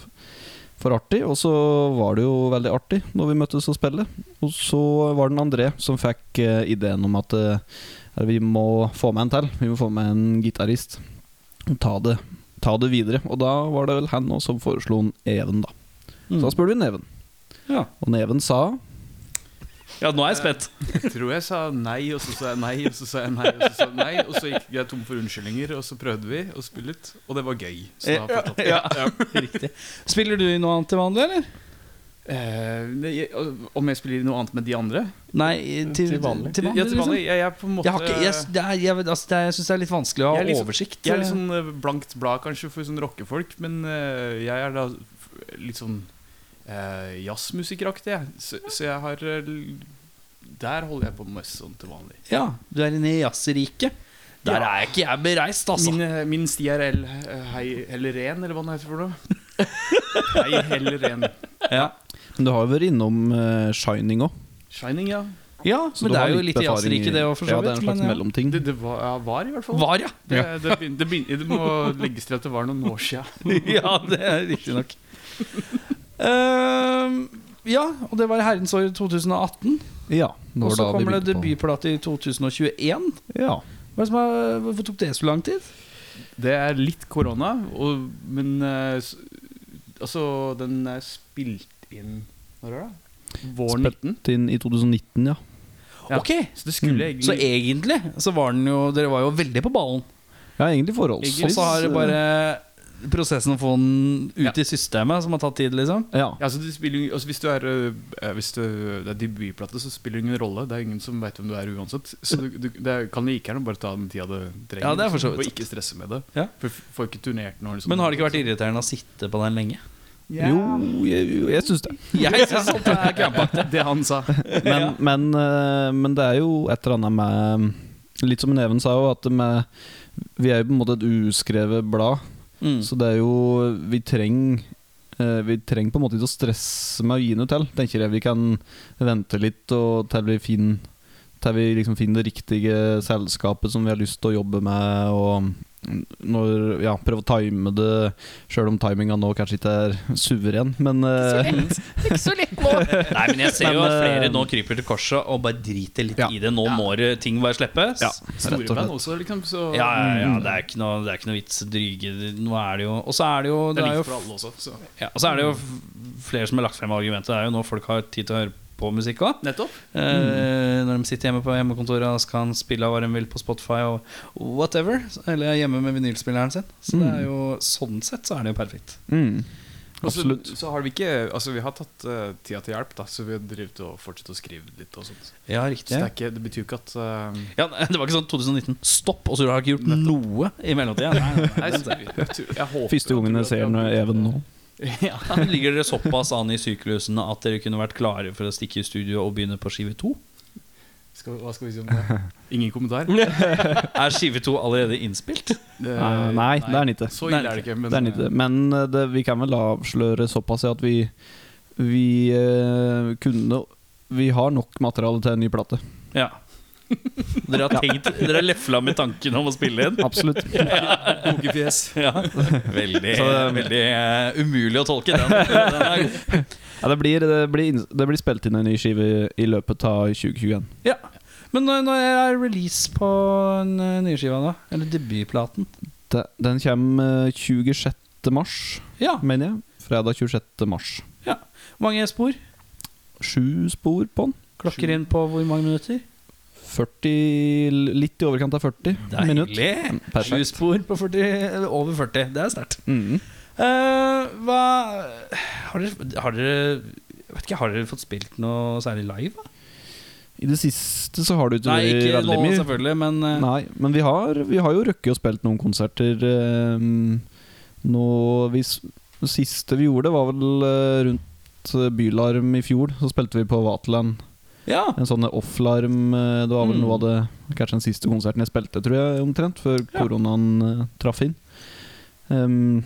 [SPEAKER 7] For artig, og så var det jo veldig artig når vi møttes og spille. Og så var det en André som fikk eh, ideen om at eh, eller vi må få med en til. Vi må få med en gitarist. Og ta det, ta det videre. Og da var det vel han også som foreslo en Even, da. Så da spurte vi Neven.
[SPEAKER 2] Mm. Ja.
[SPEAKER 7] Og Neven sa
[SPEAKER 2] Ja, nå er jeg spent.
[SPEAKER 8] Jeg tror jeg sa nei, og så sa jeg nei, og så sa jeg nei, og så sa jeg nei. Og så gikk jeg tom for unnskyldninger, og så prøvde vi å spille litt, og det var gøy. Så da har jeg fått opp.
[SPEAKER 2] Riktig. Spiller du i noe annet til vanlig, eller?
[SPEAKER 8] Eh, det- jeg- Om jeg spiller noe annet med de andre?
[SPEAKER 2] Nei, til,
[SPEAKER 1] Til vanlig.
[SPEAKER 2] Til vanlig,
[SPEAKER 8] Ja, til
[SPEAKER 2] liksom.
[SPEAKER 8] vanlig. Jeg, jeg, er på en måte,
[SPEAKER 2] Jeg, har ikke, jeg, det er- jeg, vet- altså, det er- jeg syns det er liksom- litt vanskelig å ha
[SPEAKER 8] Jeg er litt sånn-
[SPEAKER 2] oversikt.
[SPEAKER 8] Jeg er litt sånn eh, blankt blad kanskje for sånn rockefolk, men eh, jeg er da f- litt sånn uh, jazzmusikeraktig, jeg. Så, så jeg har eh, l- Der holder jeg på mest sånn til vanlig.
[SPEAKER 2] Ja, du er inne i jazzriket. Der
[SPEAKER 8] Ja.
[SPEAKER 2] er ikke jeg bereist, altså.
[SPEAKER 8] Min, eh, min sti er El eh, Hei Helleren, eller hva den heter for noe. Hei Helleren.
[SPEAKER 7] Men du har jo vært innom eh, Shining òg.
[SPEAKER 8] Shining, ja.
[SPEAKER 2] Ja, men det er jo litt jazzrike, det òg, for så
[SPEAKER 7] Ja, det er
[SPEAKER 2] vidt.
[SPEAKER 7] en
[SPEAKER 2] men
[SPEAKER 7] slags
[SPEAKER 2] ja.
[SPEAKER 7] mellomting.
[SPEAKER 8] Det, det var, ja, var i hvert fall.
[SPEAKER 2] Var, ja.
[SPEAKER 8] Det, det, begyn- det, begyn- det må legges til at det var noen år sia.
[SPEAKER 2] ja, det er riktig nok. Ehm, ja, og det var i herrens år 2018.
[SPEAKER 7] Ja, det var
[SPEAKER 2] Og så
[SPEAKER 7] da vi
[SPEAKER 2] kommer det
[SPEAKER 7] begynte på-
[SPEAKER 2] debutplate i 2021.
[SPEAKER 7] Ja.
[SPEAKER 2] Hva er det som er, hvorfor tok det så lang tid?
[SPEAKER 8] Det er litt korona, og- men eh, s- Altså, den er spilt inn Når var det? Våren
[SPEAKER 7] Spilt-
[SPEAKER 8] 19.
[SPEAKER 7] Inn i 2019, ja.
[SPEAKER 8] Ja.
[SPEAKER 2] Ok,
[SPEAKER 8] Så det skulle
[SPEAKER 7] Mm.
[SPEAKER 2] Så e-
[SPEAKER 8] egentlig
[SPEAKER 2] egentlig så var den jo Dere var jo veldig på ballen.
[SPEAKER 7] Ja, egentlig
[SPEAKER 2] Og
[SPEAKER 7] forholdsvis. eh,
[SPEAKER 2] så har det bare prosessen å få den ut i systemet, som har tatt tid, liksom.
[SPEAKER 7] eh, Ja.
[SPEAKER 8] ja, altså, det spiller, jo- altså, Hvis du er eh, Hvis du, det er debutplate, så spiller det ingen rolle. Det er ingen som veit hvem du er uansett. Så du, du det er- kan like gjerne bare ta den tida det trenger.
[SPEAKER 2] Ja, det er for så
[SPEAKER 8] liksom,
[SPEAKER 2] vidt
[SPEAKER 8] Og ikke stresse med det.
[SPEAKER 2] Ja.
[SPEAKER 8] For f- får ikke turnert noe. Liksom,
[SPEAKER 2] Men har det ikke vært irriterende å sitte på den lenge?
[SPEAKER 7] Jo, jeg, jo, jeg syns det.
[SPEAKER 2] Jeg synes sånt er krampaktig.
[SPEAKER 8] Det han sa.
[SPEAKER 7] Men, men, eh, men det er jo et eller annet med Litt som Neven sa, jo, at det med, vi er jo på en måte et uskrevet blad.
[SPEAKER 2] Mm.
[SPEAKER 7] Så det er jo Vi trenger eh, Vi trenger på en måte ikke å stresse med å gi noe til, tenker jeg. Vi kan vente litt og til vi finner til vi liksom finner det riktige selskapet som vi har lyst til å jobbe med. Og når, ja, prøve å time det, sjøl om timinga nå kanskje ikke er suveren. Men eh,
[SPEAKER 1] Ikke så lett nå.
[SPEAKER 2] Nei, men jeg ser jo
[SPEAKER 7] Men,
[SPEAKER 2] at flere
[SPEAKER 7] eh,
[SPEAKER 2] nå kryper til korset og bare driter litt
[SPEAKER 7] Ja.
[SPEAKER 2] i det. Nå må det- ting bare slippes.
[SPEAKER 7] ja,
[SPEAKER 8] Store
[SPEAKER 7] rett og
[SPEAKER 8] band
[SPEAKER 7] slett.
[SPEAKER 8] også, liksom. Så
[SPEAKER 2] Ja, ja, ja, det er ikke noe, det er ikke noe vits dryge Nå er det jo Og så er det jo,
[SPEAKER 8] Det
[SPEAKER 2] det
[SPEAKER 8] er
[SPEAKER 2] er jo,
[SPEAKER 8] likt for alle også. Så.
[SPEAKER 2] ja, og så er det jo f- flere som har lagt frem argumentet. Det er jo nå folk har tid til å høre på musikk òg.
[SPEAKER 8] Nettopp.
[SPEAKER 2] Eh, når de sitter hjemme på hjemmekontoret og skal spille av hva de vil på Spotify og whatever. Eller er hjemme med vinylspilleren sin. Så det er jo, sånn sett så er det jo perfekt.
[SPEAKER 7] Mm.
[SPEAKER 8] Og så-
[SPEAKER 7] Absolutt.
[SPEAKER 8] Så har vi ikke Altså, vi har tatt eh, tida til hjelp, da, så vi har drevet og fortsatt å skrive litt og sånt.
[SPEAKER 2] Ja,
[SPEAKER 8] Så det, er ikke, det betyr jo ikke at eh,
[SPEAKER 2] Ja, det var ikke sånn 2019. Stopp! Og så har du ikke gjort noe i mellomtida. Nei, nei, nei.
[SPEAKER 8] Nei, så, jeg, tror- jeg håper
[SPEAKER 7] Første gangen jeg ser noe Even nå.
[SPEAKER 8] Ja.
[SPEAKER 2] Ligger dere såpass an i syklusen at dere kunne vært klare for å stikke i studio og begynne på skive to?
[SPEAKER 8] Skal, hva skal vi si om det? Ingen kommentar?
[SPEAKER 2] Er skive to allerede innspilt?
[SPEAKER 8] Det-
[SPEAKER 7] Nei, Eh, nei, det er den ikke.
[SPEAKER 8] Så ille er det ikke. Men,
[SPEAKER 7] Det er den ikke. Men eh, det, vi kan vel avsløre såpass ja, at vi, vi eh, kunne Vi har nok materiale til en ny plate.
[SPEAKER 2] Ja. Dere har tenkt Dere har lefla med tanken om å spille inn?
[SPEAKER 7] Absolutt.
[SPEAKER 2] Kokefjes. Ja. Veldig, veldig eh, umulig å tolke den. den er god.
[SPEAKER 7] Ja, det, blir, det, blir, inns- det blir spilt inn en ny skive i, i løpet av 2021.
[SPEAKER 2] Ja. Men når, når er release på den eh, nye skiva, da? Eller debutplaten?
[SPEAKER 7] De, den kommer eh, 26. mars,
[SPEAKER 2] Ja.
[SPEAKER 7] mener jeg. Fredag 26. mars.
[SPEAKER 2] Mange spor?
[SPEAKER 7] Sju spor på den.
[SPEAKER 2] Klokker inn på hvor mange minutter?
[SPEAKER 7] 40, litt i overkant av 40 minutter.
[SPEAKER 2] Sju spor på 40, eller over 40. Det er sterkt.
[SPEAKER 7] Mm.
[SPEAKER 2] Eh, hva har dere, har dere jeg vet ikke, Har dere fått spilt noe særlig live? Da?
[SPEAKER 7] I det siste så har du ikke
[SPEAKER 2] Nei,
[SPEAKER 7] vært
[SPEAKER 2] ikke nå
[SPEAKER 7] veldig mye.
[SPEAKER 2] selvfølgelig, men eh,
[SPEAKER 7] Nei, men vi har, vi har jo røkket og spilt noen konserter. eh, nå vi, s- Det siste vi gjorde, var vel eh, rundt eh, Bylarm i fjor. Så spilte vi på Vaterland.
[SPEAKER 2] Ja,
[SPEAKER 7] En sånn offlarm. eh, Det var vel
[SPEAKER 2] Mm.
[SPEAKER 7] noe av det Kanskje den siste konserten jeg spilte, tror jeg, omtrent. Før koronaen eh, traff inn. Ehm,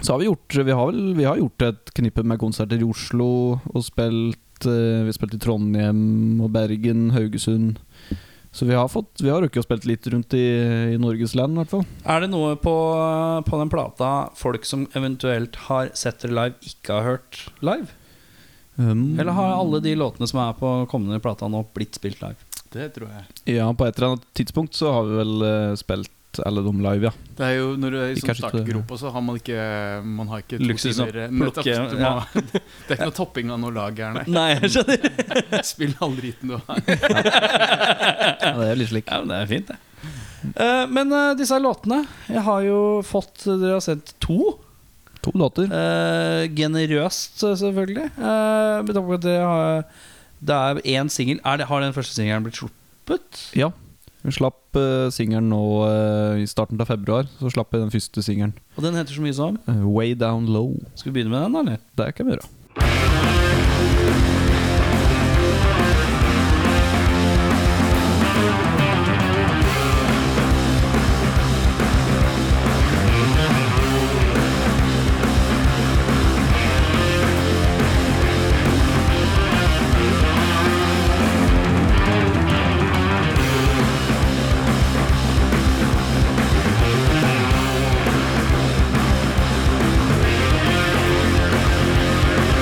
[SPEAKER 7] så har vi gjort Vi har vel vi har gjort et knippe med konserter i Oslo, og spilt eh, Vi har spilt i Trondheim og Bergen, Haugesund. Så vi har fått Vi har rukket å spilt litt rundt i, i Norges land, i hvert fall.
[SPEAKER 2] Er det noe på, på den plata folk som eventuelt har sett dere live, ikke har hørt live?
[SPEAKER 7] Ehm,
[SPEAKER 2] Eller har alle de låtene som er på kommende plata nå, blitt spilt live?
[SPEAKER 8] eh, Det tror jeg.
[SPEAKER 7] Ja, på et eller annet tidspunkt så har vi vel eh, spilt alle dem live, ja.
[SPEAKER 8] Det er jo Når du er i sånn
[SPEAKER 7] Kanskje ikke-
[SPEAKER 8] startgropa, så har man ikke Man har ikke to
[SPEAKER 2] Luksus å
[SPEAKER 8] timer-
[SPEAKER 2] plukke,
[SPEAKER 8] Nettopp, du
[SPEAKER 2] ja.
[SPEAKER 8] må- Det er ikke noe topping av noe lag her, nei.
[SPEAKER 2] Nei, jeg skjønner.
[SPEAKER 8] Spill all driten du har.
[SPEAKER 7] ja det er litt slik.
[SPEAKER 2] Ja, men det er fint, det. Eh, men eh, disse låtene Jeg har jo fått Dere har sendt to.
[SPEAKER 7] To låter.
[SPEAKER 2] Uh, Generøst, eh, selvfølgelig. Eh, med tanke på at det, har, det er én singel. Er det- Har den første singelen blitt sluppet?
[SPEAKER 7] Ja. Vi slapp uh, singelen nå eh, i starten av februar. Så slapp vi den første singelen.
[SPEAKER 2] Og den heter så mye som
[SPEAKER 7] eh, Way Down Low.
[SPEAKER 2] Skal vi begynne med den, da? eller?
[SPEAKER 7] Det kan vi gjøre.
[SPEAKER 9] Thank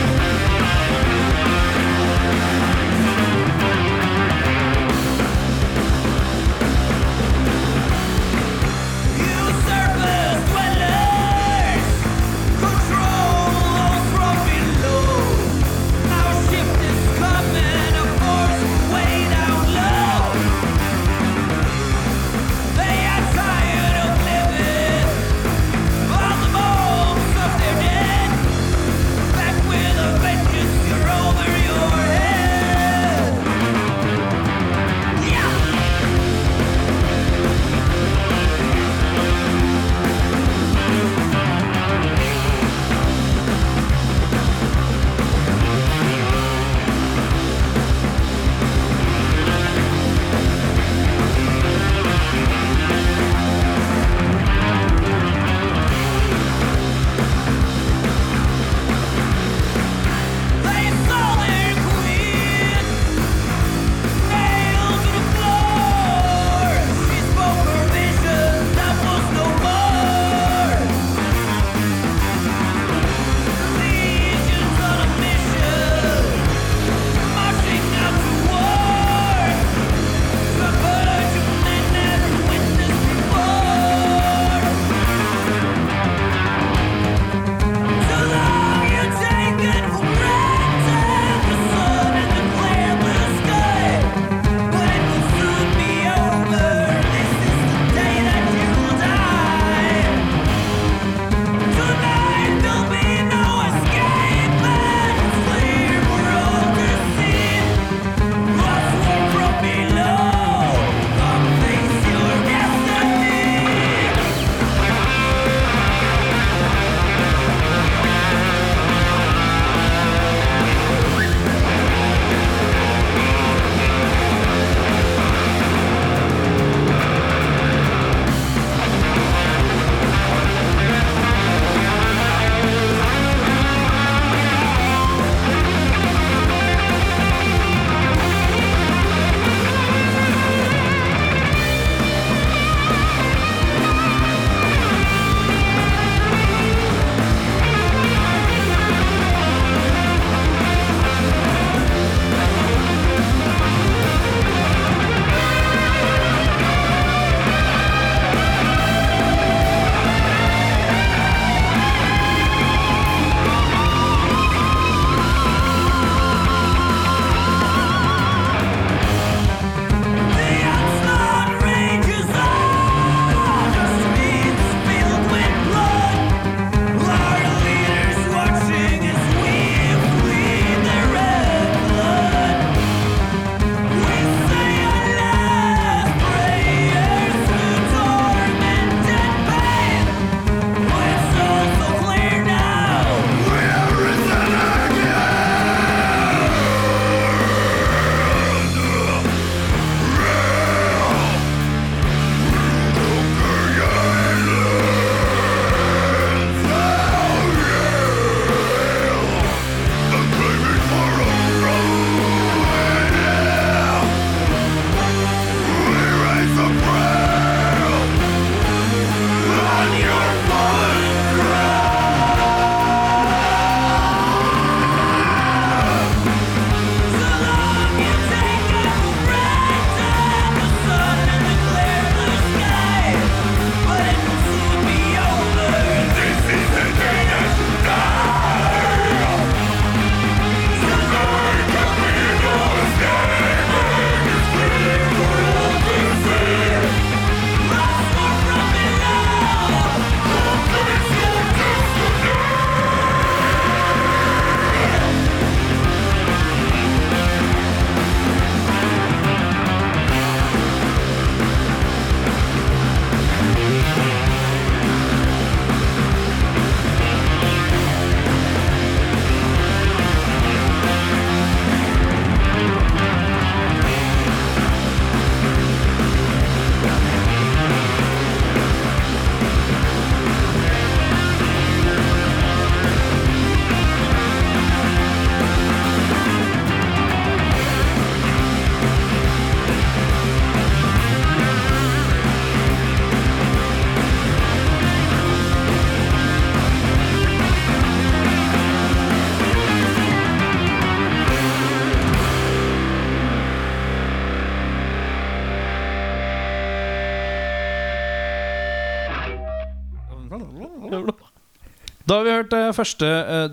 [SPEAKER 2] Da har vi hørt eh, første eh,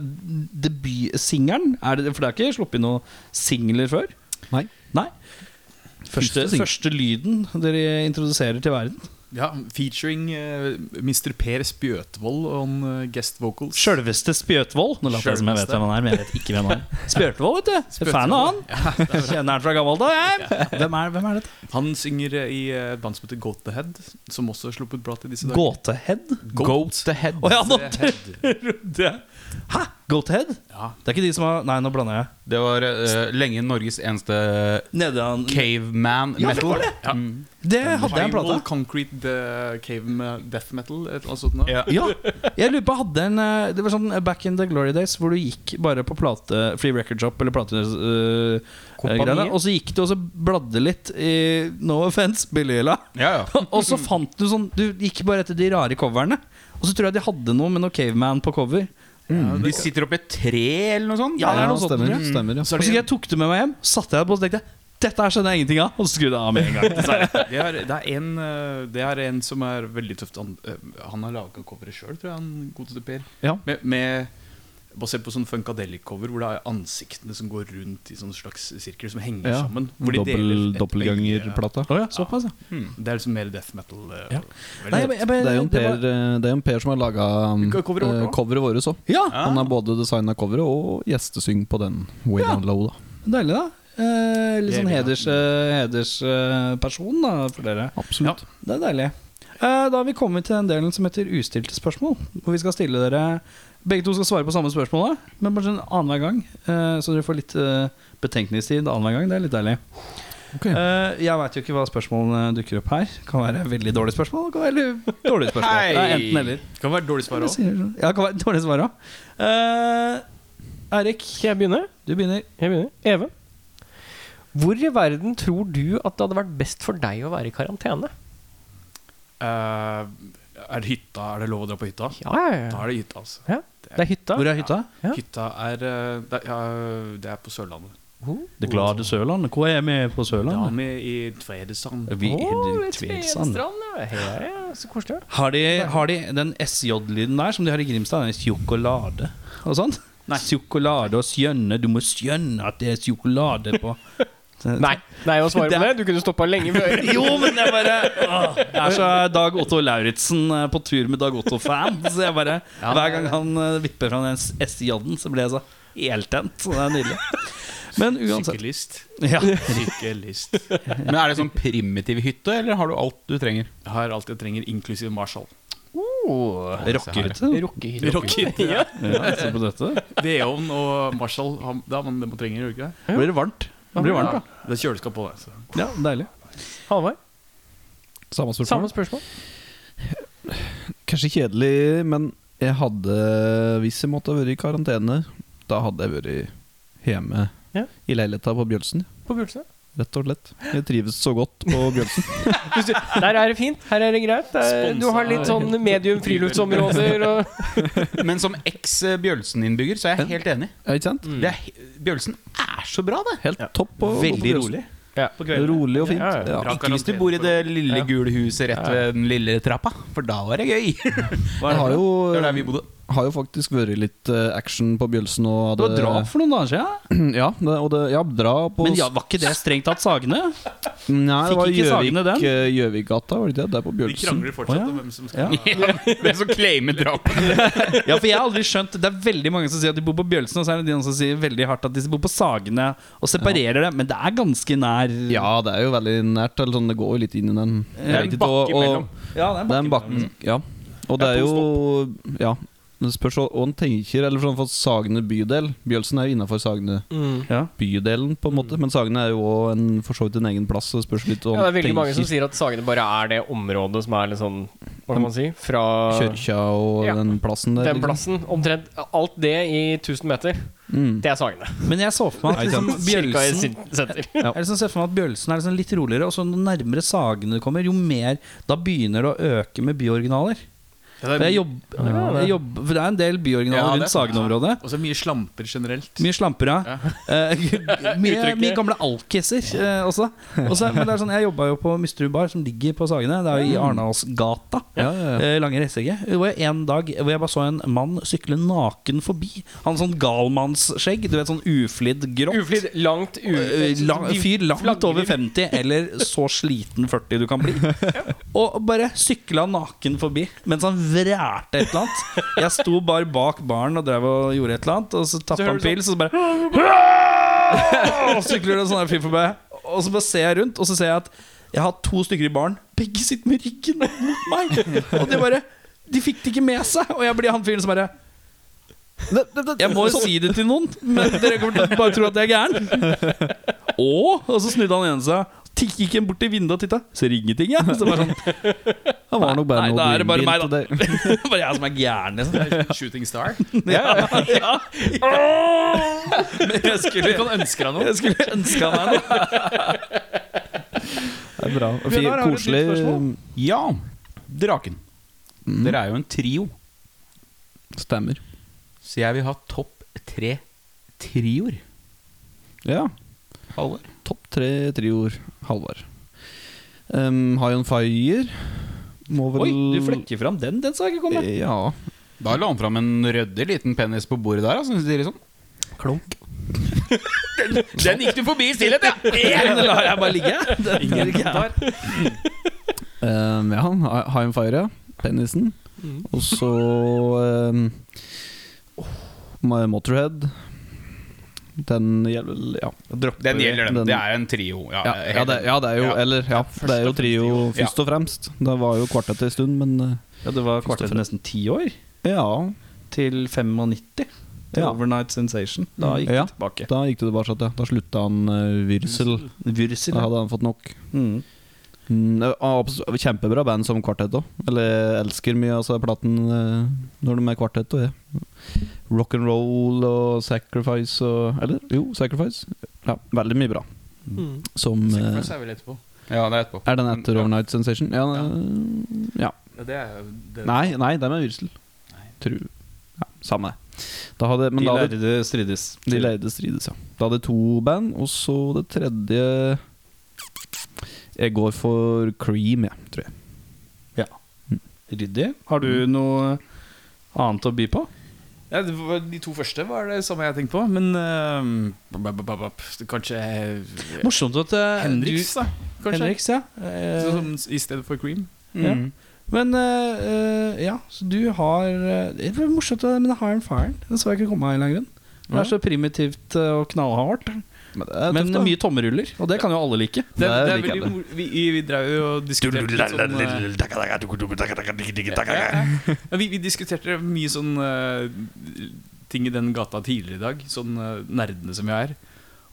[SPEAKER 2] debutsingelen. Er det- For det er ikke sluppet inn noen singler før?
[SPEAKER 7] Nei.
[SPEAKER 2] Nei. Første, første lyden dere introduserer til verden.
[SPEAKER 8] Ja, featuring eh, Mr. Per Spjøtvold on eh, guest vocals.
[SPEAKER 2] Sjølveste Spjøtvold. Nå later jeg som jeg vet
[SPEAKER 8] Sjølveste.
[SPEAKER 2] hvem han er, men jeg vet ikke hvem han er. Spjøtvold, vet du. Fan av han. Kjenner han fra gammelt av. jeg. Hvem er, hvem er dette?
[SPEAKER 8] Han synger eh, i eh, et band som heter Goat the Head, som også har sluppet bra til disse dager.
[SPEAKER 2] Gåtehead?
[SPEAKER 3] Goat the head.
[SPEAKER 2] Å ja, nå
[SPEAKER 8] The
[SPEAKER 2] trodde
[SPEAKER 8] Head.
[SPEAKER 2] jeg Hæ? Goathead?
[SPEAKER 8] Ja.
[SPEAKER 2] Det er ikke de som har Nei, nå blander jeg.
[SPEAKER 3] Det var eh, lenge Norges eneste
[SPEAKER 2] Nedan
[SPEAKER 3] caveman
[SPEAKER 2] Ja, det
[SPEAKER 3] metal. Mm.
[SPEAKER 2] var det.
[SPEAKER 8] Ja.
[SPEAKER 2] Det hadde jeg en plate
[SPEAKER 8] Primal Concrete the Cave med Death Metal. Et eller annet sånt nå.
[SPEAKER 3] Ja.
[SPEAKER 2] Ja, jeg lurer på hadde en eh, Det var sånn eh, back in the glory days Hvor du gikk bare på plate Free record shop Eller plate eh,
[SPEAKER 1] Kompaniet.
[SPEAKER 2] greiene, Og så gikk du og så bladde litt i No offense, Billyla
[SPEAKER 3] Ja, ja.
[SPEAKER 2] Og så fant du sånn Du gikk bare etter de rare coverne Og så tror jeg de hadde noe med noe caveman på cover
[SPEAKER 3] De sitter oppi et tre eller noe sånt.
[SPEAKER 2] Ja, det er noe sånt
[SPEAKER 7] stemmer.
[SPEAKER 2] tror jeg.
[SPEAKER 7] stemmer ja.
[SPEAKER 2] Og
[SPEAKER 8] Så
[SPEAKER 2] så
[SPEAKER 8] er
[SPEAKER 2] husker
[SPEAKER 8] det,
[SPEAKER 2] jeg tok det med meg hjem Satte jeg det på og så tenkte jeg, Dette her skjønner jeg ingenting av Og så skrudde jeg av med en gang
[SPEAKER 8] det, er, det, er en, eh, det er en som er veldig tøft. Han, eh, han har laga coveret sjøl, tror jeg. han godeste Per
[SPEAKER 2] Ja.
[SPEAKER 8] med, med, Basert på sånn funkadelic-cover hvor det er ansiktene som går rundt i sånn slags sirkel som henger
[SPEAKER 2] Ja.
[SPEAKER 8] sammen. Hvor de deler
[SPEAKER 7] Dobbel,
[SPEAKER 8] et
[SPEAKER 7] Doppelgangerplata.
[SPEAKER 2] Åja, såpass ja
[SPEAKER 8] øye. Det er liksom mer death metal. eh,
[SPEAKER 2] Ja.
[SPEAKER 8] veldig
[SPEAKER 2] Nei,
[SPEAKER 8] tøft.
[SPEAKER 2] jeg, jeg, bare-
[SPEAKER 7] Det er jo en
[SPEAKER 2] det var-
[SPEAKER 7] Per, eh, det er jo en per som har laga
[SPEAKER 8] Coveret vårt også.
[SPEAKER 7] coveret vårt òg.
[SPEAKER 2] Ja,
[SPEAKER 7] Han har både designa coveret og gjestesyng på den. Way
[SPEAKER 2] Ja.
[SPEAKER 7] Down Low, da.
[SPEAKER 2] Deilig, da. Eh, litt sånn
[SPEAKER 8] Jævlig, ja.
[SPEAKER 2] hedersperson eh, hedersperson, da, for dere.
[SPEAKER 7] Absolutt.
[SPEAKER 2] Det er deilig. Eh, da har vi kommet til den delen som heter ustilte spørsmål. Hvor vi skal stille dere Begge to skal svare på samme spørsmålet, men bare sånn annenhver gang. eh, så dere får litt eh, betenkningstid annenhver gang. Det er litt deilig.
[SPEAKER 7] Ok.
[SPEAKER 2] Eh, jeg veit jo ikke hva spørsmålene dukker opp her. Kan være veldig dårlige spørsmål. Kan være veldig dårlige spørsmål
[SPEAKER 3] Hei!
[SPEAKER 2] Det er Enten eller.
[SPEAKER 8] Det kan være dårlig svar òg.
[SPEAKER 2] Ja, det kan være dårlige svar òg. Eirik,
[SPEAKER 1] Skal jeg begynne?
[SPEAKER 2] du begynner.
[SPEAKER 1] Jeg begynner. Even. Hvor i verden tror du at det hadde vært best for deg å være i karantene?
[SPEAKER 8] Eh, er det hytta? Er det lov å dra på hytta?
[SPEAKER 1] Ja, ja,
[SPEAKER 8] Da
[SPEAKER 1] ja.
[SPEAKER 8] er det hytta, altså.
[SPEAKER 1] ja. Det er hytta.
[SPEAKER 2] Hvor er hytta?
[SPEAKER 1] Ja.
[SPEAKER 8] Hytta er, eh, det, er ja, det er på Sørlandet.
[SPEAKER 1] Oh.
[SPEAKER 2] Det glade Sørland. Hvor er vi på
[SPEAKER 8] Da er
[SPEAKER 2] Sørland?
[SPEAKER 8] vi i Tvedestrand.
[SPEAKER 2] Vi
[SPEAKER 1] Å,
[SPEAKER 2] er i
[SPEAKER 1] et
[SPEAKER 2] Tvedestrand.
[SPEAKER 1] Tvedestrand, ja. Ja, ja, så koselig.
[SPEAKER 2] Har de, har de den SJ-lyden der som de har i Grimstad? Den sjokolade og sånn?
[SPEAKER 8] Nei.
[SPEAKER 2] Sjokolade og skjønne. Du må skjønne at det er sjokolade på
[SPEAKER 1] Nei, nei å svare på det. Du kunne stoppa lenge før.
[SPEAKER 2] Jo, men jeg bare åh, Jeg er så Dag Otto Lauritzen eh, på tur med Dag Otto-fan. Så jeg bare Hver gang han eh, vipper fra den SJ-en, så blir jeg så heltent. Så det er nydelig. Men uansett
[SPEAKER 8] Sykkelist.
[SPEAKER 2] ja.
[SPEAKER 8] Sykkelist.
[SPEAKER 3] Men er det sånn primitiv hytte, eller har du alt du trenger?
[SPEAKER 8] Jeg har alt jeg trenger, inklusiv Marshall.
[SPEAKER 3] Oh,
[SPEAKER 2] Rockehytte.
[SPEAKER 1] Rockehytte.
[SPEAKER 8] Rocket.
[SPEAKER 2] Ja, se på dette.
[SPEAKER 8] Veovn og Marshall, han- da man det man trenger, gjør du ikke det?
[SPEAKER 2] Blir det varmt? Det blir varmt, da.
[SPEAKER 8] Ja, Det er kjøleskap på det. Så.
[SPEAKER 2] Ja, deilig.
[SPEAKER 1] Halvard,
[SPEAKER 7] Samme spørsmål.
[SPEAKER 1] samme spørsmål.
[SPEAKER 7] Kanskje kjedelig, men jeg hadde Hvis jeg måtte ha vært i karantene, da hadde jeg vært hjemme
[SPEAKER 1] Ja.
[SPEAKER 7] i leiligheta på Bjølsen.
[SPEAKER 1] På Bjølsen.
[SPEAKER 7] Rett og slett. Jeg trives så godt på Bjølsen.
[SPEAKER 1] Hvis du- Der er det fint. Her er det greit. Der, du har litt sånn medium friluftsområder og
[SPEAKER 3] Men som eks-Bjølsen-innbygger så er jeg helt enig.
[SPEAKER 7] Ja, ikke
[SPEAKER 8] Mm.
[SPEAKER 7] sant?
[SPEAKER 3] Det er, he- Bjølsen er så bra, det.
[SPEAKER 7] Helt topp. å gå på
[SPEAKER 3] Veldig
[SPEAKER 7] Bjølsen.
[SPEAKER 3] rolig.
[SPEAKER 7] Rolig og fint.
[SPEAKER 1] Ja, ja,
[SPEAKER 7] Ja,
[SPEAKER 8] Bra
[SPEAKER 3] Ikke hvis du
[SPEAKER 8] karantene
[SPEAKER 3] bor i
[SPEAKER 8] for-
[SPEAKER 3] det lille gule huset rett ved den lille trappa, for da var det gøy.
[SPEAKER 7] Jeg har jo,
[SPEAKER 3] Det var der vi bodde.
[SPEAKER 7] har jo faktisk vært litt eh, action på Bjølsen. Og
[SPEAKER 2] Det var
[SPEAKER 7] hadde-
[SPEAKER 2] drap for noen dager siden.
[SPEAKER 7] Ja, det, og det, ja, drap og
[SPEAKER 2] Men ja, var ikke det strengt tatt Sagene?
[SPEAKER 7] Nei, det
[SPEAKER 2] fikk
[SPEAKER 7] var
[SPEAKER 2] ikke Sagene
[SPEAKER 7] Gjøvik-
[SPEAKER 2] den?
[SPEAKER 7] eh, Gjøvikgata, var det ikke det? Det er på
[SPEAKER 8] De
[SPEAKER 7] Bjølsen.
[SPEAKER 8] krangler fortsatt
[SPEAKER 2] Å, ja.
[SPEAKER 8] om hvem som skal
[SPEAKER 3] Hvem som claimer drap?
[SPEAKER 2] Ja, for jeg har aldri skjønt Det er veldig mange som sier at de bor på Bjølsen, og så er det de som sier veldig hardt at de bor på Sagene, og separerer det, men det er ganske nær
[SPEAKER 7] Ja, det er jo veldig nært. Eller sånn, det går jo litt inn i den.
[SPEAKER 2] er
[SPEAKER 7] Det er
[SPEAKER 2] en
[SPEAKER 7] riktig,
[SPEAKER 3] bakke
[SPEAKER 7] og- og-
[SPEAKER 3] imellom.
[SPEAKER 2] Ja, det er
[SPEAKER 7] Det er
[SPEAKER 2] bakken.
[SPEAKER 7] en bakken, ja. Og det er jo Ja. Det spørs hva hva en tenker, eller sånn for Sagene bydel. Bjølsen er jo innafor Sagene
[SPEAKER 2] Ja.
[SPEAKER 7] bydelen, på en måte. Men Sagene er jo også en, for så vidt en egen plass. Så det spørs litt om
[SPEAKER 1] Ja, det er veldig mange som
[SPEAKER 7] tenker
[SPEAKER 1] sier at Sagene bare er det området som er litt sånn Hva kan man si? Fra
[SPEAKER 7] Kyrkja og
[SPEAKER 1] Ja.
[SPEAKER 7] den plassen der.
[SPEAKER 1] den
[SPEAKER 7] liksom.
[SPEAKER 1] plassen. Omtrent alt det i 1000 meter,
[SPEAKER 7] Mm.
[SPEAKER 1] det er Sagene.
[SPEAKER 2] Men jeg så for meg at liksom,
[SPEAKER 1] Cirka i
[SPEAKER 2] Bjølsen
[SPEAKER 1] sin- senter.
[SPEAKER 2] Jeg liksom ser for meg at Bjølsen er liksom litt roligere, og så jo nærmere Sagene du kommer, jo mer Da begynner det å øke med byoriginaler.
[SPEAKER 8] Ja, det
[SPEAKER 2] Jeg
[SPEAKER 8] er mye,
[SPEAKER 2] jobb, jeg jobb, for det er en del
[SPEAKER 8] Ja,
[SPEAKER 2] byoriginaler
[SPEAKER 8] det er
[SPEAKER 2] rundt Sagen-området.
[SPEAKER 8] og så er det mye slamper generelt.
[SPEAKER 2] Mye slamper, ja. Eh, mye,
[SPEAKER 8] Uttrykket.
[SPEAKER 2] mye gamle alkiser eh, også. også. Men det er sånn, jeg jobba jo på Misterud bar, som ligger på Sagene. Det er jo i Arendalsgata. Ja, Lange Ressegge. Det var jo en dag hvor jeg bare så en mann sykle naken forbi. Han hadde sånn galmannsskjegg. Du vet, sånn uflidd grått.
[SPEAKER 1] Uflidd langt u...
[SPEAKER 2] Eh, lang,
[SPEAKER 1] de
[SPEAKER 2] fyr langt
[SPEAKER 1] flagrer.
[SPEAKER 2] over 50, eller så sliten 40 du kan bli. Og bare sykla naken forbi mens han vrælte et eller annet. Jeg sto bare bak baren og drev og gjorde et eller annet, og så sånn tappa han pils, og så bare Og sykler det en sånn her fyr forbi. Og så bare ser jeg rundt, og så ser jeg at jeg har to stykker i baren. Begge sitter med ryggen mot meg. Og de bare De fikk det ikke med seg. Og jeg blir han fyren som bare jeg må jo si det til noen, men dere kommer til å bare tro at jeg er gæren. Og, og så snudde han igjen seg. Tikk gikk han bort til vinduet og titta. Ser ingenting, jeg. Så det var sånn,
[SPEAKER 7] Han var nok bare
[SPEAKER 2] nei,
[SPEAKER 7] noe
[SPEAKER 2] da er det bare
[SPEAKER 7] brunbint,
[SPEAKER 2] meg, da.
[SPEAKER 7] og det-
[SPEAKER 2] bare jeg som er gæren, liksom.
[SPEAKER 8] Shooting Star.
[SPEAKER 2] Ja, ja. Men jeg
[SPEAKER 8] Du
[SPEAKER 2] skulle,
[SPEAKER 8] kan ønske deg noe.
[SPEAKER 2] jeg skulle ønske han meg noe.
[SPEAKER 7] Det er bra. Og
[SPEAKER 8] Bjørnar, har du
[SPEAKER 7] Fint,
[SPEAKER 8] et nytt
[SPEAKER 7] koselig.
[SPEAKER 8] spørsmål?
[SPEAKER 3] Ja, Draken.
[SPEAKER 2] Mm.
[SPEAKER 3] Dere er jo en trio,
[SPEAKER 7] Stemmer.
[SPEAKER 3] så jeg vil ha topp tre trioer.
[SPEAKER 7] Ja.
[SPEAKER 3] Halvor?
[SPEAKER 7] Topp tre trioer. Halvard. Um, High on Fire må vel
[SPEAKER 2] Oi, du flekker fram den. Den sa jeg ikke komme.
[SPEAKER 7] Ja.
[SPEAKER 3] Da la han fram en ryddig liten penis på bordet der. Altså, sier de sånn.
[SPEAKER 7] Klunk.
[SPEAKER 3] Den gikk du forbi i stillhet, ja!
[SPEAKER 2] Den lar jeg bare ligge. Den,
[SPEAKER 7] Um, ja, High High on Fire, ja. Pennisen.
[SPEAKER 2] Mm.
[SPEAKER 7] Og så um, åh, My Motorhead. Den gjelder vel Ja.
[SPEAKER 3] Den gjelder, den.
[SPEAKER 7] Den-
[SPEAKER 3] Det er en trio. Ja,
[SPEAKER 7] Ja, ja, det, ja, det er jo
[SPEAKER 3] Ja.
[SPEAKER 7] Eller, ja, for det er jo trio først og fremst. Det var jo kvartett en stund, men uh,
[SPEAKER 2] Ja, det var kvarter til nesten ti år.
[SPEAKER 7] ja.
[SPEAKER 2] Til 95. Til
[SPEAKER 7] Ja.
[SPEAKER 2] Overnight Sensation. Da gikk
[SPEAKER 7] Ja.
[SPEAKER 2] det tilbake.
[SPEAKER 7] Da gikk det tilbake. at, ja. Da slutta han uh, Vyrsel.
[SPEAKER 2] Vyrsel.
[SPEAKER 7] Da hadde han fått nok.
[SPEAKER 2] Mm.
[SPEAKER 7] Mm, det var abs- kjempebra band som Kvartett òg. Eller jeg elsker mye altså, platen eh, når de er Kvartett og jeg. Rock and roll og Sacrifice og Eller jo, Sacrifice. Ja, veldig mye bra. Som eh,
[SPEAKER 8] Sacrifice er vel etterpå.
[SPEAKER 3] Ja, det er etterpå.
[SPEAKER 7] Er den etter Overnight Sensation? Ja, eh, ja.
[SPEAKER 8] Ja, det er jo det.
[SPEAKER 7] Nei, nei, den er Vyrsel. Tru. Ja, samme det. Da hadde, men
[SPEAKER 2] De
[SPEAKER 7] da hadde
[SPEAKER 2] lærde strides.
[SPEAKER 7] De leide strides, ja. Da hadde to band, og så det tredje Jeg går for Cream, jeg, Mm. tror jeg.
[SPEAKER 2] Ryddig. Har du noe annet å by på?
[SPEAKER 8] Ja, det var, de to første var det samme jeg tenkte på, men ehm, bap, bap, bap, bap, Kanskje eh,
[SPEAKER 2] Morsomt at eh,
[SPEAKER 8] Henriks,
[SPEAKER 2] du-
[SPEAKER 8] da. Kanskje.
[SPEAKER 2] Henriks, ja. Eh,
[SPEAKER 8] Sånn som I stedet for Cream.
[SPEAKER 2] ja. Men eh, eh, ja, så du har eh, Det var morsomt at- med det High on Fire. Den så jeg ikke komme av en eller annen grunn. Det er så primitivt eh, og knallhardt.
[SPEAKER 7] Men det er
[SPEAKER 2] Men
[SPEAKER 7] tøft, da.
[SPEAKER 2] mye tommeruller, og det kan jo alle like.
[SPEAKER 8] Det,
[SPEAKER 7] Det
[SPEAKER 8] er- det er
[SPEAKER 7] liker jeg
[SPEAKER 8] veldig, mor- vi, vi drev jo og diskuterte litt sånn eh, ja, ja. Men vi, vi diskuterte mye sånn eh, ting i den gata tidligere i dag, sånn eh, nerdene som vi er.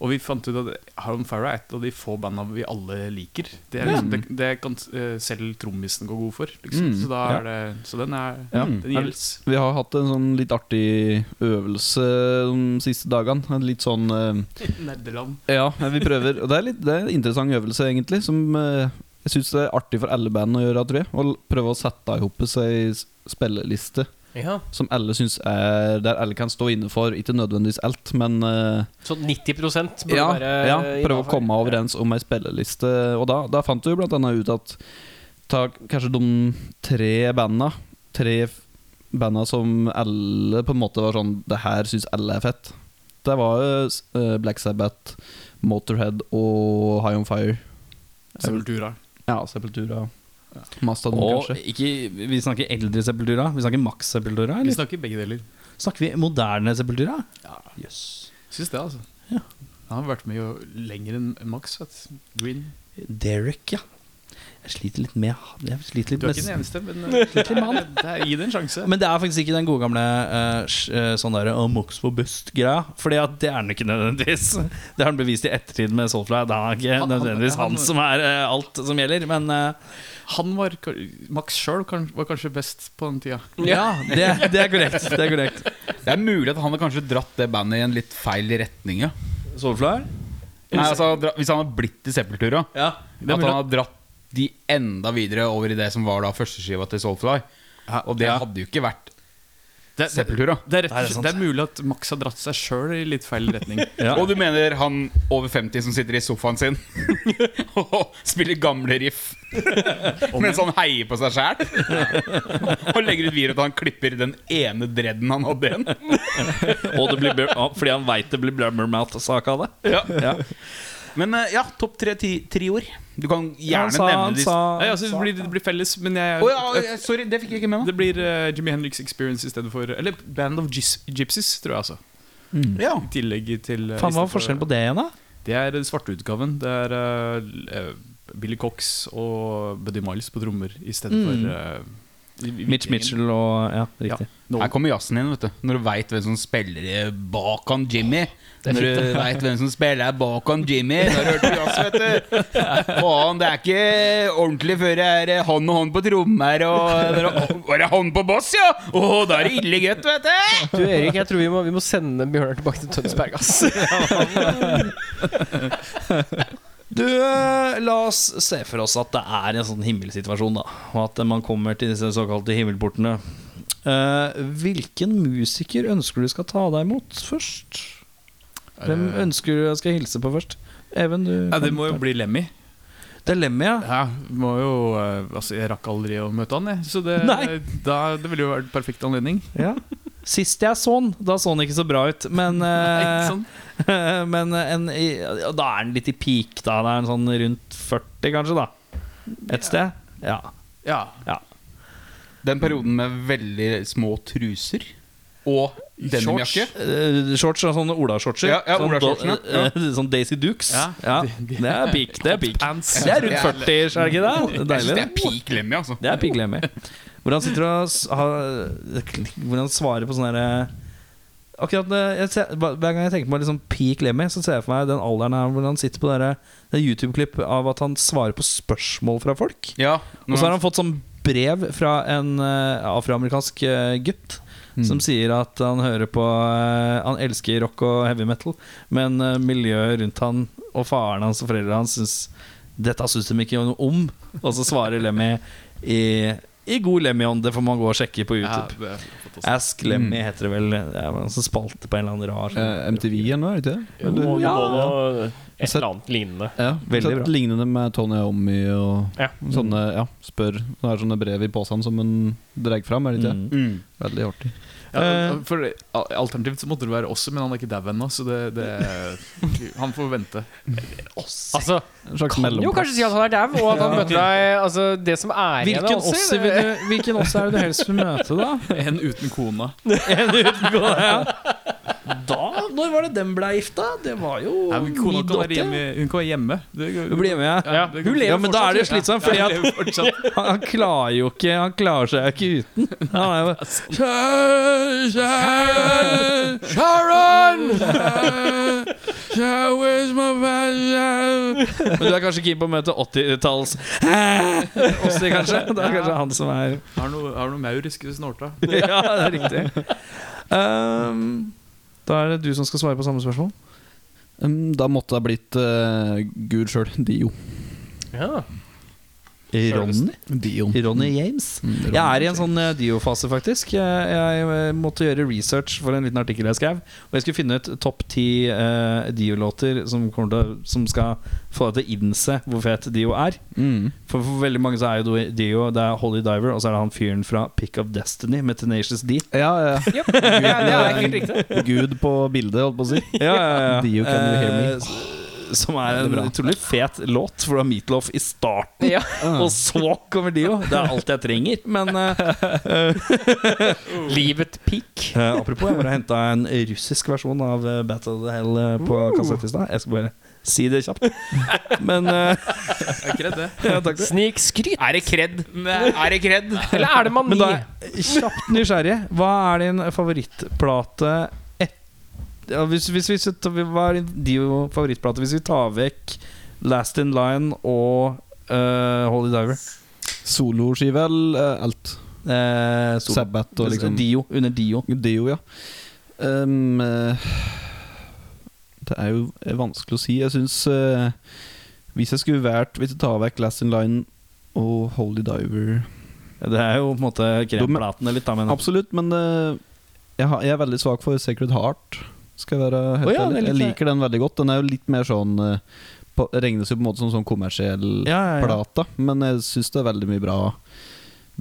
[SPEAKER 8] Og vi fant ut at Harum Farah er et av de få banda vi alle liker. Det, er liksom, det, det kan eh, selv trommisen gå god for. Liksom.
[SPEAKER 7] Mm,
[SPEAKER 8] Så, da er det, så den er
[SPEAKER 7] Ja.
[SPEAKER 8] Den gjelds.
[SPEAKER 7] Vi har hatt en sånn litt artig øvelse de siste dagene. En Litt sånn eh,
[SPEAKER 8] Nerdeland.
[SPEAKER 7] Ja, vi prøver. Og det er, litt, det er en interessant øvelse, egentlig, som eh, jeg syns det er artig for alle band å gjøre, tror jeg. Å l- prøve å sette i hop ei s- spilleliste
[SPEAKER 1] Ja.
[SPEAKER 7] som alle syns er der alle kan stå inne for. Ikke nødvendigvis alt, men eh,
[SPEAKER 1] Sånn 90 burde
[SPEAKER 7] ja,
[SPEAKER 1] være
[SPEAKER 7] ja,
[SPEAKER 1] eh,
[SPEAKER 7] prøve å
[SPEAKER 1] innenfor.
[SPEAKER 7] komme overens om ei spilleliste. Og da, da fant du blant annet ut at ta kanskje de tre banda Tre f- banda som alle på en måte var sånn Det her syns alle er fett. Det var jo s- eh, Black Sabbath, Motorhead og High On Fire.
[SPEAKER 8] Sepultura.
[SPEAKER 7] Ja, Sepultura. Mastodon,
[SPEAKER 2] Og
[SPEAKER 7] kanskje.
[SPEAKER 2] ikke, vi snakker eldre sepultura. Vi snakker maks sepultura.
[SPEAKER 8] Vi
[SPEAKER 2] Eller
[SPEAKER 8] snakker begge deler.
[SPEAKER 2] snakker vi moderne sepultura? Yes.
[SPEAKER 8] Syns det, altså. Han har vært med jo lenger enn Max. Vet. du. Green.
[SPEAKER 2] Derek, ja. Jeg sliter litt med Jeg sliter litt
[SPEAKER 8] Du er ikke
[SPEAKER 2] med
[SPEAKER 8] den eneste, men eh, det er, det er, gi det en sjanse.
[SPEAKER 2] men det er faktisk ikke den gode gamle eh, sj- eh, sånn derre oh, Mox for bust-greia. Fordi at det er han ikke nødvendigvis. Det har han bevist i ettertid med Soulfly. Det er ikke
[SPEAKER 8] Han- han-
[SPEAKER 2] nødvendigvis han,
[SPEAKER 8] han-
[SPEAKER 2] som er eh, alt som gjelder. Men eh,
[SPEAKER 8] Han var, ka- Max sjøl var kanskje best på den tida.
[SPEAKER 2] ja, det, det er korrekt. Det er korrekt.
[SPEAKER 3] Det er mulig at han hadde kanskje dratt det bandet i en litt feil retning. Ja.
[SPEAKER 2] Soulfly?
[SPEAKER 3] Nei, altså, dra- hvis han hadde blitt i Sepultura,
[SPEAKER 2] Ja.
[SPEAKER 3] at han hadde dratt de enda videre over i det som var da førsteskiva til Soulfly, Og det hadde jo ikke vært
[SPEAKER 8] Det, det,
[SPEAKER 3] Sepultura.
[SPEAKER 8] det, er rett,
[SPEAKER 2] Nei, det er sant.
[SPEAKER 8] det er mulig at Max har dratt seg sjøl i litt feil retning.
[SPEAKER 3] Og du mener han over 50 som sitter i sofaen sin og spiller gamle riff mens han heier på seg sjæl? Og legger ut video til han klipper den ene dreaden han hadde igjen.
[SPEAKER 2] Og det blir, bur- ah, fordi han veit det blir Blummermouth-sak av det.
[SPEAKER 3] Ja. Men eh, ja, topp tre ti- trioer. Du kan gjerne nevne de
[SPEAKER 8] Nei, altså, det, blir, det blir felles, men jeg
[SPEAKER 3] Å ja, eh, sorry, det fikk jeg ikke med meg.
[SPEAKER 8] Det blir uh, Jimmy Henriks Experience i stedet for Eller Band of Gis Gypsies, tror jeg altså.
[SPEAKER 3] Ja.
[SPEAKER 8] I tillegg til eh,
[SPEAKER 2] Faen, Hva var forskjellen på det igjen, da?
[SPEAKER 8] Det er den svarte utgaven. Det er eh, eh, Billy Cox og Buddy Miles på trommer i stedet for eh, i- i-
[SPEAKER 2] Mm. Mitch Mitchell og Ja, riktig.
[SPEAKER 8] Nolan.
[SPEAKER 3] Her kommer jazzen inn, vet du. Når du veit hvem som spiller i bak han Jimmy. Når du veit hvem som spiller bak han Jimmy. Da har du hørt på jazz, vet du. Faen, det er ikke ordentlig før det er eh, hånd og hånd på trommer og når det- Å, Var det hånd på boss, ja? Å, da er det ille godt, vet du.
[SPEAKER 1] Du Erik, jeg tror vi må, vi må sende Bjørnar tilbake til Tønsberg, ass.
[SPEAKER 2] Du, eh, la oss se for oss at det er en sånn himmelsituasjon, da. Og at eh, man kommer til disse såkalte himmelportene. Eh, hvilken musiker ønsker du skal ta deg imot først? Hvem
[SPEAKER 8] Eh,
[SPEAKER 2] ønsker du jeg skal hilse på først? Even, du
[SPEAKER 8] ja, det må jo bli Lemmy.
[SPEAKER 2] Det er Lemmy, ja.
[SPEAKER 8] Ja, må jo, eh, altså, jeg rakk aldri å møte han, jeg. Så det,
[SPEAKER 2] Nei.
[SPEAKER 8] da, det ville jo vært perfekt anledning.
[SPEAKER 2] ja. Sist jeg så han, da så han ikke så bra ut, men eh,
[SPEAKER 8] Sånn.
[SPEAKER 2] Men en, i- ja, da er den litt i peak, da. Det er en sånn rundt 40, kanskje, da. Et sted. Ja.
[SPEAKER 8] Ja.
[SPEAKER 3] Den perioden med veldig små truser og denimjakke.
[SPEAKER 2] Eh, shorts, da, sånne olashortser.
[SPEAKER 3] Ja, ja,
[SPEAKER 2] sånn,
[SPEAKER 3] olashortsene,
[SPEAKER 2] do- eh, sånn Daisy Dukes. Ja.
[SPEAKER 8] Ja.
[SPEAKER 2] Det er peak. Det er peak.
[SPEAKER 8] Pants.
[SPEAKER 2] Det er rundt 40, er det ikke det?
[SPEAKER 3] Jeg synes
[SPEAKER 2] Deilig.
[SPEAKER 3] det er
[SPEAKER 2] det.
[SPEAKER 3] peak Lemmy, altså.
[SPEAKER 2] Det er peak Lemmy. Hvordan sitter du og s- har- Hvordan svarer på sånn eh, sånne derre Akkurat det- jeg ser, Hver gang jeg tenker på liksom peak Lemmy, så ser jeg for meg den alderen her hvor han sitter på det der- det YouTube-klipp av at han svarer på spørsmål fra folk.
[SPEAKER 3] Ja,
[SPEAKER 2] Og så har han fått sånn brev fra en eh, afroamerikansk eh, gutt. Som sier at han hører på eh, Han elsker rock og heavy metal, men eh, miljøet rundt han og faren hans og foreldrene hans syns dette syns de ikke noe om. Og så svarer Lemmy i, i god Lemmy-ånd. Det får man gå og sjekke på
[SPEAKER 8] Ja,
[SPEAKER 2] YouTube.
[SPEAKER 8] det er fantastisk.
[SPEAKER 2] Ask Lemmy heter det vel. Det er en sånn spalte på en eller annen rar
[SPEAKER 7] Eh, MTV igjen, var det ikke det?
[SPEAKER 1] Du må,
[SPEAKER 7] ja.
[SPEAKER 1] må nå et eller annet lignende.
[SPEAKER 7] ja.
[SPEAKER 2] Veldig
[SPEAKER 7] Veldig
[SPEAKER 2] bra.
[SPEAKER 7] bra. Lignende med Tony Ommy og
[SPEAKER 1] Ja.
[SPEAKER 7] sånne ja, spør. Det er sånne brev i posen som en drar fram, er det ikke det?
[SPEAKER 2] Mm.
[SPEAKER 3] mm.
[SPEAKER 7] Veldig artig.
[SPEAKER 8] Ja, for al- Alternativt så måtte det være også, men han er ikke dau ennå, så det, det Han får vente.
[SPEAKER 1] Altså,
[SPEAKER 7] En slags
[SPEAKER 1] kan jo
[SPEAKER 7] mellomplass.
[SPEAKER 1] kanskje si at han er dau, og at han møter deg Altså, det som er igjen
[SPEAKER 2] Hvilken
[SPEAKER 1] av Ossi,
[SPEAKER 2] Ossi vil
[SPEAKER 1] det-
[SPEAKER 2] du- hvilken Ossi er det du helst vil møte, da?
[SPEAKER 8] En uten kona.
[SPEAKER 2] Da? Når var det den ble gifta? Det var jo
[SPEAKER 8] Nei, men kona kan være
[SPEAKER 2] 80.
[SPEAKER 8] hjemme. Hun kan være hjemme. Det,
[SPEAKER 2] Hun blir hjemme, ja.
[SPEAKER 8] Ja, det kan-
[SPEAKER 2] Hun lever ja, men da er det jo
[SPEAKER 8] fortsatt,
[SPEAKER 2] slitsomt, fordi
[SPEAKER 8] Ja,
[SPEAKER 2] at
[SPEAKER 8] hun lever fortsatt.
[SPEAKER 2] han, han klarer jo ikke Han klarer seg jo ikke uten. Han er jo Sharon, Sharon, Sharon, Sharon, Sharon, where's my passion? Men du er kanskje keen på å møte 80-talls Ossi, kanskje? Det er kanskje han som er
[SPEAKER 8] Har noe, har noe mauriske snorta.
[SPEAKER 2] Ja, det er riktig. Ehm, da er det du som skal svare på samme spørsmål.
[SPEAKER 7] Mm, Da måtte det ha blitt eh, Gud sjøl, Dio.
[SPEAKER 1] ja.
[SPEAKER 2] Ronny?
[SPEAKER 7] Dion.
[SPEAKER 2] Ronny James?
[SPEAKER 7] Mm,
[SPEAKER 2] Jeg er i en sånn eh, Dio-fase, faktisk. Jeg, jeg måtte gjøre research for en liten artikkel jeg skrev. Og jeg skulle finne ut topp ti eh, Dio-låter som, kommer til å- som skal få deg til å innse hvor fet Dio er.
[SPEAKER 7] Mm.
[SPEAKER 2] For, for veldig mange så er jo Dio Det er Holly Diver, og så er det han fyren fra Pick of Destiny med Tenacious D.
[SPEAKER 7] Ja, ja.
[SPEAKER 1] Ja, det er helt riktig.
[SPEAKER 7] Gud på bildet, holdt på å si.
[SPEAKER 2] Ja, ja, ja.
[SPEAKER 7] Dio, Can You Hear Me?
[SPEAKER 2] Eh, s- som er en utrolig fet låt, for du har Meatloaf i starten.
[SPEAKER 1] Ja.
[SPEAKER 2] Og så kommer Dio. Det er alt jeg trenger. Men eh,
[SPEAKER 1] Livet peak.
[SPEAKER 2] Eh, apropos, jeg bare henta en russisk versjon av eh, Battle of the Hell eh, på kassett i stad. Jeg skal bare si det kjapt. Men eh,
[SPEAKER 8] Er ikke det det?
[SPEAKER 2] ja, takk for det.
[SPEAKER 1] Snikskryt.
[SPEAKER 3] Er det kred? Er det kred?
[SPEAKER 1] Eller er det mani?
[SPEAKER 2] Men da er jeg kjapt nysgjerrig. Hva er din favorittplate et, ja, hvis, hvis, hvis, vi- Hva er din Dio favorittplate hvis vi tar vekk Last In Line og eh, Holy Diver?
[SPEAKER 7] Soloskive eller eh, alt.
[SPEAKER 2] Eh, Sol-
[SPEAKER 7] Sabbat og liksom
[SPEAKER 2] Dio. Under Dio.
[SPEAKER 7] Dio, ja. Ehm, eh, det er jo eh, vanskelig å si. Jeg syns eh, Hvis jeg skulle vært Hvis jeg tar vekk Last in Line og Holy Diver
[SPEAKER 2] Det er jo på en måte kremplatene litt, da. Men
[SPEAKER 7] Absolutt, men eh, jeg, har, jeg er veldig svak for Sacred Heart. Skal jeg være helt
[SPEAKER 2] Å ja, det
[SPEAKER 7] ærlig. Jeg
[SPEAKER 2] liker jeg.
[SPEAKER 7] liker den veldig godt. Den er jo litt mer sånn eh, på, Regnes jo på en måte som sånn kommersiell
[SPEAKER 2] ja, ja, ja.
[SPEAKER 7] plata, men jeg syns det er veldig mye bra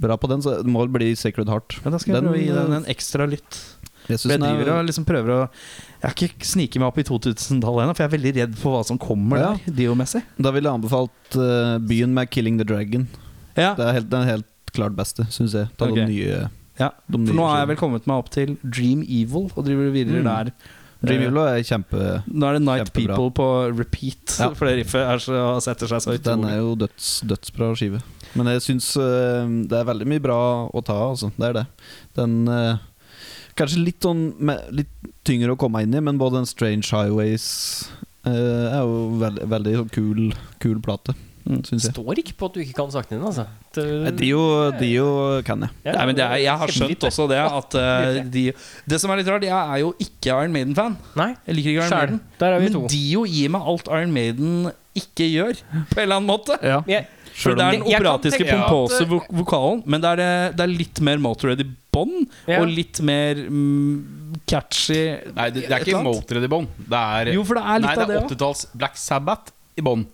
[SPEAKER 7] Bra på den, så det må bli Sacred Heart.
[SPEAKER 2] ja, da skal jeg
[SPEAKER 7] Den,
[SPEAKER 2] prøve å gi den
[SPEAKER 7] eh,
[SPEAKER 2] en ekstra lytt.
[SPEAKER 7] Jeg
[SPEAKER 2] For
[SPEAKER 7] synes
[SPEAKER 2] jeg
[SPEAKER 7] den er-
[SPEAKER 2] driver og liksom prøver å Jeg har ikke sniket meg opp i 2000-tallet ennå, for jeg er veldig redd for hva som kommer
[SPEAKER 7] Ja.
[SPEAKER 2] der, Dio-messig.
[SPEAKER 7] Da ville jeg anbefalt eh, byen med 'Killing the Dragon'.
[SPEAKER 2] Ja.
[SPEAKER 7] Det er helt, den er helt klart beste, syns jeg. Ta
[SPEAKER 2] Ok.
[SPEAKER 7] de nye
[SPEAKER 2] Ja,
[SPEAKER 7] de
[SPEAKER 2] For
[SPEAKER 7] nye
[SPEAKER 2] nå har jeg
[SPEAKER 7] skivene.
[SPEAKER 2] vel kommet meg opp til Dream Evil, og driver videre
[SPEAKER 7] Mm.
[SPEAKER 2] der.
[SPEAKER 7] Dream
[SPEAKER 2] Eh,
[SPEAKER 7] Evil er kjempe
[SPEAKER 2] Nå er det Night
[SPEAKER 7] Kjempebra.
[SPEAKER 2] People på repeat,
[SPEAKER 7] Ja.
[SPEAKER 2] for det riffet er så, setter seg så
[SPEAKER 7] Den
[SPEAKER 2] utrolig.
[SPEAKER 7] er jo døds, dødsbra skive. Men jeg syns eh, det er veldig mye bra å ta av, altså. Det er det. Den eh, Kanskje litt sånn me- Litt tyngre å komme inn i, men både den Strange Highways eh, er jo veld, veldig sånn kul, kul plate,
[SPEAKER 2] Mm.
[SPEAKER 7] syns jeg.
[SPEAKER 1] Står ikke på at du ikke kan sakene dine, altså.
[SPEAKER 7] Nei,
[SPEAKER 1] Det-
[SPEAKER 7] Dio, Dio kan jeg.
[SPEAKER 1] Ja,
[SPEAKER 2] Nei, men det er, jeg har
[SPEAKER 1] kjempefint,
[SPEAKER 2] skjønt også det at eh, de, Det som er litt rart, jeg er jo ikke Iron Maiden-fan.
[SPEAKER 1] Nei,
[SPEAKER 2] Jeg liker ikke Iron
[SPEAKER 1] sjæl.
[SPEAKER 2] Maiden.
[SPEAKER 1] Der er vi
[SPEAKER 2] Men
[SPEAKER 1] to.
[SPEAKER 2] Dio gir meg alt Iron Maiden ikke gjør, på en eller annen måte.
[SPEAKER 1] Jeg,
[SPEAKER 2] For det er den
[SPEAKER 1] Jeg kan
[SPEAKER 2] operatiske,
[SPEAKER 1] tenke at-
[SPEAKER 2] pompose vo vokalen, men det er, eh, det er litt mer Motorhead i bånn,
[SPEAKER 1] Ja.
[SPEAKER 2] og litt mer mm, catchy
[SPEAKER 3] Nei, det, det er
[SPEAKER 2] Et
[SPEAKER 3] ikke
[SPEAKER 2] eller annet?
[SPEAKER 3] Motred i bånn. Det er,
[SPEAKER 2] Jo, for det er litt
[SPEAKER 3] nei, det
[SPEAKER 2] av det
[SPEAKER 3] er
[SPEAKER 2] òg.
[SPEAKER 3] 80-talls Black Sabbath i bånn.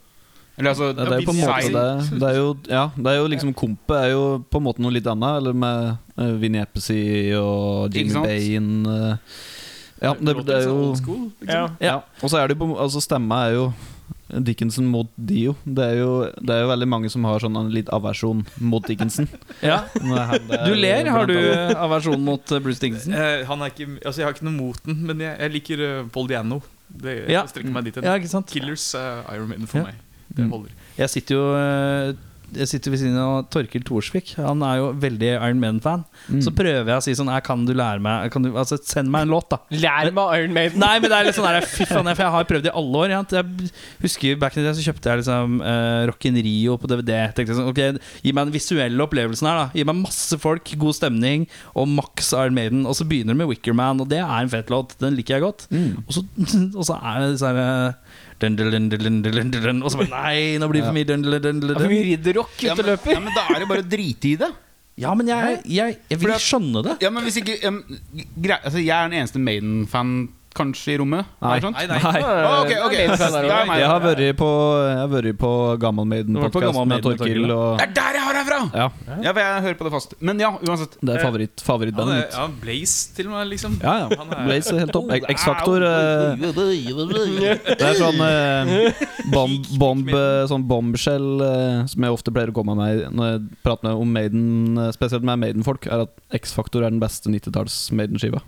[SPEAKER 3] Eller altså
[SPEAKER 7] Det er jo på en måte det. Det er jo, ja, det er jo liksom Kompet er jo på en måte noe litt annet, eller med uh, Vinnie Eppercy og
[SPEAKER 3] Ikke
[SPEAKER 7] Jimmy
[SPEAKER 3] sant?
[SPEAKER 7] Bain eh. Ja,
[SPEAKER 8] låter
[SPEAKER 7] det, det
[SPEAKER 8] litt
[SPEAKER 7] er
[SPEAKER 8] sånn
[SPEAKER 7] jo
[SPEAKER 8] old school, liksom.
[SPEAKER 1] ja.
[SPEAKER 7] Ja. Og så er det jo på- altså stemma er jo Dickinson mot Dio. Det er jo, det er jo veldig mange som har sånn en litt aversjon mot Dickinson.
[SPEAKER 2] Ja. Du
[SPEAKER 7] Du
[SPEAKER 2] ler, har du eh, aversjon mot eh, Bruce Dickinson?
[SPEAKER 8] Eh, han er ikke, altså, jeg har ikke noe mot den, men jeg, jeg liker uh, Paul Diano. Det
[SPEAKER 2] Ja.
[SPEAKER 8] jeg strekker meg dit hen.
[SPEAKER 2] Ja, ikke sant?
[SPEAKER 8] Killers eh, Iron Maiden for
[SPEAKER 2] Ja.
[SPEAKER 8] meg. Det holder.
[SPEAKER 2] Jeg sitter jo eh, Jeg sitter ved siden av Torkil Thorsvik. Han er jo veldig Iron Man-fan.
[SPEAKER 3] Mm.
[SPEAKER 2] Så prøver jeg å si sånn «Nei, Kan du lære meg kan du, Altså, send meg en låt, da.
[SPEAKER 1] Lær meg Iron Maiden.
[SPEAKER 2] Nei, men det er litt sånn der, fy faen, jeg- for jeg har prøvd i alle år. ja. Jeg husker back in the day så kjøpte jeg liksom eh, Rock in Rio på DVD. Tenkte jeg sånn, ok, Gi meg den visuelle opplevelsen her. da Gi meg masse folk, god stemning og maks Iron Maiden. Og så begynner det med Wickerman, og det er en fet låt. Den liker jeg godt. Og, så, og så er det disse her eh, dun, dun, dun, dun, dun, dun, dun, Og så bare Nei, nå blir det for mye dun, dun, dun, dun,
[SPEAKER 1] Det er for
[SPEAKER 2] dun.
[SPEAKER 1] mye ridderrock
[SPEAKER 3] Ja,
[SPEAKER 1] ute og
[SPEAKER 3] men,
[SPEAKER 1] løper.
[SPEAKER 3] ja, men da er det bare å drite i det.
[SPEAKER 2] Ja, men jeg, jeg, jeg vil skjønne det.
[SPEAKER 3] Ja, men hvis ikke em, grei, altså, Jeg er den eneste Maiden-fan kanskje i rommet? Nei. Nei, nei. Ah, ok, ok.
[SPEAKER 1] Jeg er Maiden-fan her
[SPEAKER 3] Det er meg.
[SPEAKER 7] Jeg har vært på, jeg har vært på Gammal
[SPEAKER 2] Du har vært på
[SPEAKER 7] Maiden-podkast
[SPEAKER 2] Gammal
[SPEAKER 7] med
[SPEAKER 2] Maiden,
[SPEAKER 7] Torkil. Og
[SPEAKER 3] Det er der jeg har deg fra!
[SPEAKER 7] Ja.
[SPEAKER 3] Ja, for jeg hører på det fast. Men ja, uansett.
[SPEAKER 7] det er favoritt,
[SPEAKER 8] Han
[SPEAKER 7] favorittbandet
[SPEAKER 8] er,
[SPEAKER 7] mitt.
[SPEAKER 8] ja, Blaze til og med, liksom.
[SPEAKER 7] Ja, ja.
[SPEAKER 8] Han er-
[SPEAKER 7] Blaze er helt topp.
[SPEAKER 2] Oh,
[SPEAKER 7] X-Faktor eh, Det er sånn eh, bomb, bomb, eh, sånn bombshell eh, som jeg ofte pleier å komme med når jeg prater med om Maiden, eh, spesielt med Maiden-folk, er at X-Faktor er den beste 90-talls-Maiden-skiva.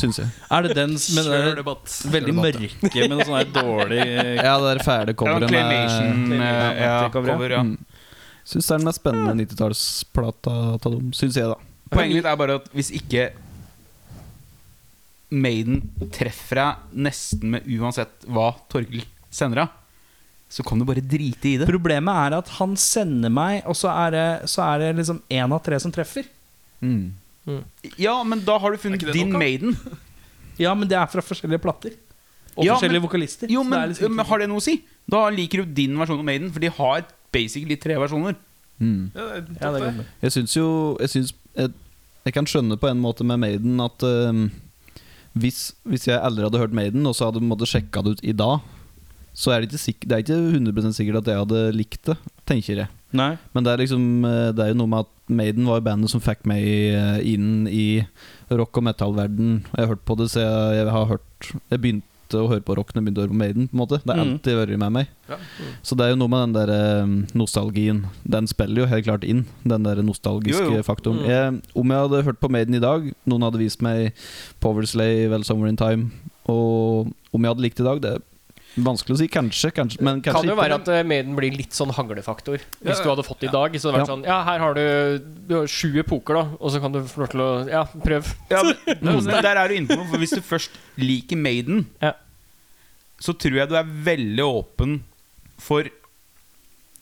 [SPEAKER 7] Syns jeg.
[SPEAKER 2] Er det den som
[SPEAKER 7] eh,
[SPEAKER 8] Kjør
[SPEAKER 2] er
[SPEAKER 8] debatt.
[SPEAKER 2] veldig mørke, men sånn her dårlig
[SPEAKER 7] Ja, det er fæle
[SPEAKER 3] Ja,
[SPEAKER 7] coveret med
[SPEAKER 3] Claymation, eh, ja,
[SPEAKER 2] cover, ja.
[SPEAKER 3] cover, ja.
[SPEAKER 7] Mm. Syns det er den mest spennende 90-tallsplata av dem, syns jeg, da.
[SPEAKER 3] Poenget mitt er bare at hvis ikke Maiden treffer deg nesten med uansett hva Torgil sender deg, så kan du bare drite i det.
[SPEAKER 2] Problemet er at han sender meg, og så er det, så er det liksom én av tre som treffer.
[SPEAKER 3] Ja, men da har du funnet
[SPEAKER 8] Er ikke det
[SPEAKER 3] din
[SPEAKER 8] nok, da?
[SPEAKER 3] Maiden.
[SPEAKER 2] Ja, men det er fra forskjellige plater. Og
[SPEAKER 3] Ja,
[SPEAKER 2] forskjellige
[SPEAKER 3] men-
[SPEAKER 2] vokalister.
[SPEAKER 3] Jo,
[SPEAKER 2] så det
[SPEAKER 3] men,
[SPEAKER 2] er liksom ikke-
[SPEAKER 3] men har det noe å si? Da liker du din versjon av Maiden, for de har basically tre versjoner.
[SPEAKER 8] Ja, det er topp,
[SPEAKER 2] ja, det er
[SPEAKER 8] det.
[SPEAKER 2] godt.
[SPEAKER 7] Jeg syns jo Jeg, synes, jeg, jeg kan skjønne på en måte med Maiden at eh, hvis, hvis jeg aldri hadde hørt Maiden, og så hadde jeg sjekka det ut i dag, så er det ikke, sikk- det er ikke 100 sikkert at jeg hadde likt det, tenker jeg.
[SPEAKER 2] Nei.
[SPEAKER 7] Men det er, liksom, eh, det er jo noe med at Maiden var jo bandet som fikk meg eh, inn i rock- og metallverden. Og Jeg har hørt på det, så jeg, jeg har hørt Jeg begynte å høre på rock når jeg begynte å høre på Maiden. på en måte Det har
[SPEAKER 2] Mm.
[SPEAKER 7] alltid vært med meg.
[SPEAKER 8] Ja.
[SPEAKER 7] Så det er jo noe med den der eh, nostalgien. Den spiller jo helt klart inn, den der nostalgiske
[SPEAKER 3] Jo, jo.
[SPEAKER 7] faktoren. Jeg, om jeg hadde hørt på Maiden i dag, noen hadde vist meg Powerslay, Well Somewhere in Time, og om jeg hadde likt det i dag, det er vanskelig å si. Kanskje, kanskje men kanskje
[SPEAKER 1] kan jo
[SPEAKER 7] ikke.
[SPEAKER 1] være at eh, Maiden blir litt sånn hanglefaktor. Hvis du hadde fått det i dag, så hadde det vært
[SPEAKER 7] Ja.
[SPEAKER 1] sånn Ja, her har du, du har sju epoker, da, og så kan du få lov til å Ja, prøv.
[SPEAKER 3] Ja, men, men der er du inne på noe, for hvis du først liker Maiden,
[SPEAKER 1] Ja.
[SPEAKER 3] så tror jeg du er veldig åpen for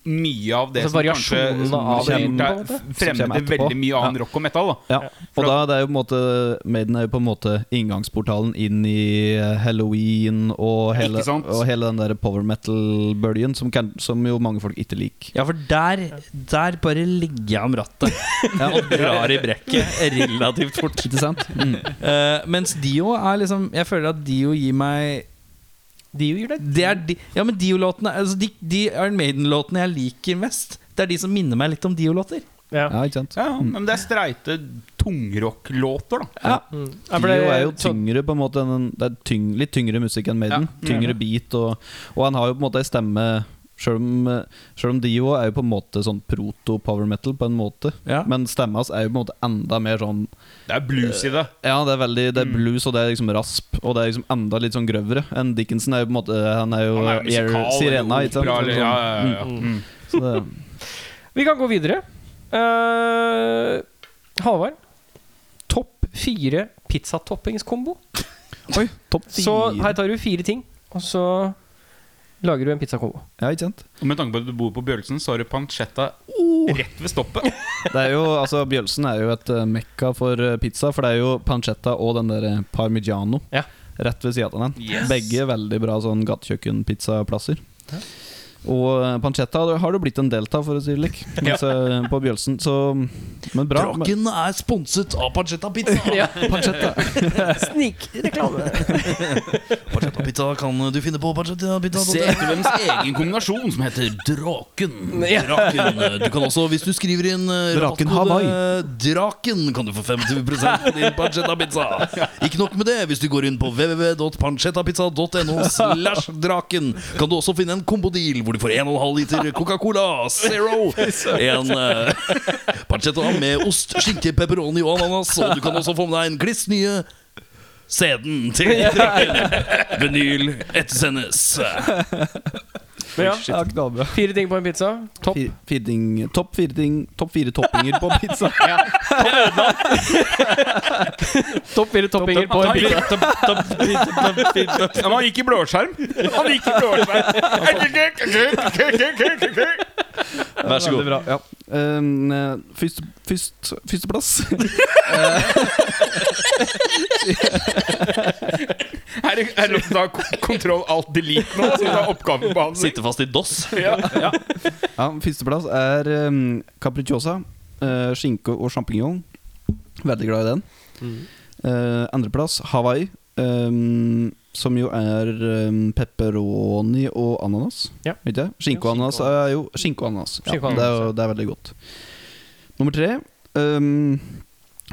[SPEAKER 3] mye av det
[SPEAKER 1] Altså
[SPEAKER 3] som kanskje
[SPEAKER 1] variasjonene
[SPEAKER 3] som
[SPEAKER 1] av
[SPEAKER 3] kommer-
[SPEAKER 7] lyden på en
[SPEAKER 1] måte,
[SPEAKER 7] som kommer
[SPEAKER 3] fremmede
[SPEAKER 7] etterpå.
[SPEAKER 3] veldig mye annen rock og metal. da
[SPEAKER 7] Ja, og da det er jo på en måte Maiden er jo på en måte inngangsportalen inn i eh, Halloween og hele,
[SPEAKER 3] Ikke sant?
[SPEAKER 7] og hele den der power metal-bølgen, som, kan- som jo mange folk ikke liker.
[SPEAKER 2] Ja, for der, der bare legger jeg om rattet og drar i brekket relativt fort.
[SPEAKER 7] Ikke sant? Mm.
[SPEAKER 2] Eh, mens Dio er liksom Jeg føler at Dio gir meg
[SPEAKER 1] Dio gjør det.
[SPEAKER 2] Det er de, Ja, men Dio-låtene altså de, de Iron Maiden-låtene jeg liker mest, det er de som minner meg litt om Dio-låter.
[SPEAKER 1] Ja.
[SPEAKER 7] Ja, ikke sant?
[SPEAKER 3] Ja, men det er streite tungrocklåter, da.
[SPEAKER 1] Ja, for det-
[SPEAKER 7] Dio er jo
[SPEAKER 1] så-
[SPEAKER 7] tyngre på en måte enn en- Det er tyng, litt tyngre musikk enn Maiden. Tyngre beat, og, og han har jo på en måte ei stemme Sjøl om, selv om Dio er jo på en måte sånn proto-power metal, på en måte.
[SPEAKER 2] Ja.
[SPEAKER 7] Men stemma hans er jo på en måte enda mer sånn
[SPEAKER 3] Det er blues i det.
[SPEAKER 7] Ja, det er veldig Det er
[SPEAKER 3] Mm.
[SPEAKER 7] blues, og det er liksom rasp, og det er liksom enda litt sånn grøvere enn Dickinson. er jo på en måte Han er jo,
[SPEAKER 3] Han er jo
[SPEAKER 7] Air
[SPEAKER 3] musikal,
[SPEAKER 7] Sirena,
[SPEAKER 3] eller
[SPEAKER 7] ikke sant? Mm.
[SPEAKER 3] opera, eller- ja, ja, ja, Mm. ja.
[SPEAKER 7] Så det,
[SPEAKER 1] Vi kan gå videre. Eh, Halvard. Topp fire pizzatoppingskombo.
[SPEAKER 7] oi, topp
[SPEAKER 1] Så her
[SPEAKER 7] fire.
[SPEAKER 1] tar du fire ting, og så lager du en pizzakombo.
[SPEAKER 7] Ja, ikke sant?
[SPEAKER 3] Og med tanke på at du bor på Bjølsen, så har du pancetta
[SPEAKER 7] Oh.
[SPEAKER 3] rett ved stoppet.
[SPEAKER 7] Det er jo, altså Bjølsen er jo et eh, mekka for eh, pizza, for det er jo pancetta og den der eh, parmigiano
[SPEAKER 1] Ja.
[SPEAKER 7] rett ved sida av den.
[SPEAKER 3] Yes.
[SPEAKER 7] Begge veldig bra sånn gatekjøkkenpizzaplasser. Og eh, pancetta det har det blitt en delta, for å si det slik, mens, eh, på Bjølsen. Så Men bra. Men,
[SPEAKER 2] Draken er sponset av Pancetta Pizza.
[SPEAKER 1] Snikreklame.
[SPEAKER 2] Pancetta Pizza kan du finne på Pancetta Pizza.
[SPEAKER 3] Se etter deres egen kombinasjon som heter Draken.
[SPEAKER 2] Draken. eh, Du kan også, hvis du skriver inn eh,
[SPEAKER 7] Draken
[SPEAKER 2] rabattkode,
[SPEAKER 7] Hawaii.
[SPEAKER 2] eh, Draken, kan du få 50 på din pancetta pizza. Ikke nok med det. Hvis du går inn på www.pancettapizza.no slash draken, kan du også finne en kombodeal hvor du får 1,5 liter Coca-Cola Zero, en eh, pancetta med ost, skinke, pepperoni og ananas, og du kan også få med deg en kliss nye Sæden til draken. Vinyl ettersendes.
[SPEAKER 1] Men ja,
[SPEAKER 7] ja, knallbra.
[SPEAKER 1] fire ting på en pizza. Topp.
[SPEAKER 7] Fi- fire ting- Topp fire ting Topp fire toppinger på pizza.
[SPEAKER 1] Topp fire toppinger på en pizza.
[SPEAKER 3] Ja, men han gikk i blåskjerm. Han gikk i Altså- blåskjerm.
[SPEAKER 7] Vær så god. Bra, ja. um, eh, først, først, førsteplass.
[SPEAKER 3] Er det er det lov til å ta kontroll alt delete nå? Så ta oppgaven på han.
[SPEAKER 2] Sitter fast i DOS.
[SPEAKER 7] ja, førsteplass er um, capricciosa. eh, skinke og sjampinjong. Veldig glad i den.
[SPEAKER 1] Mm.
[SPEAKER 7] Eh, Andreplass Hawaii. Um, som jo er um, pepperoni og ananas.
[SPEAKER 1] Ja.
[SPEAKER 7] Vet jeg? Skinke og
[SPEAKER 1] Ja,
[SPEAKER 7] ananas
[SPEAKER 1] skinke og-
[SPEAKER 7] er jo Skinke og ananas. Ja,
[SPEAKER 1] Skinke og
[SPEAKER 7] det, er
[SPEAKER 1] ananas,
[SPEAKER 7] jo, det er veldig godt. Nummer tre um,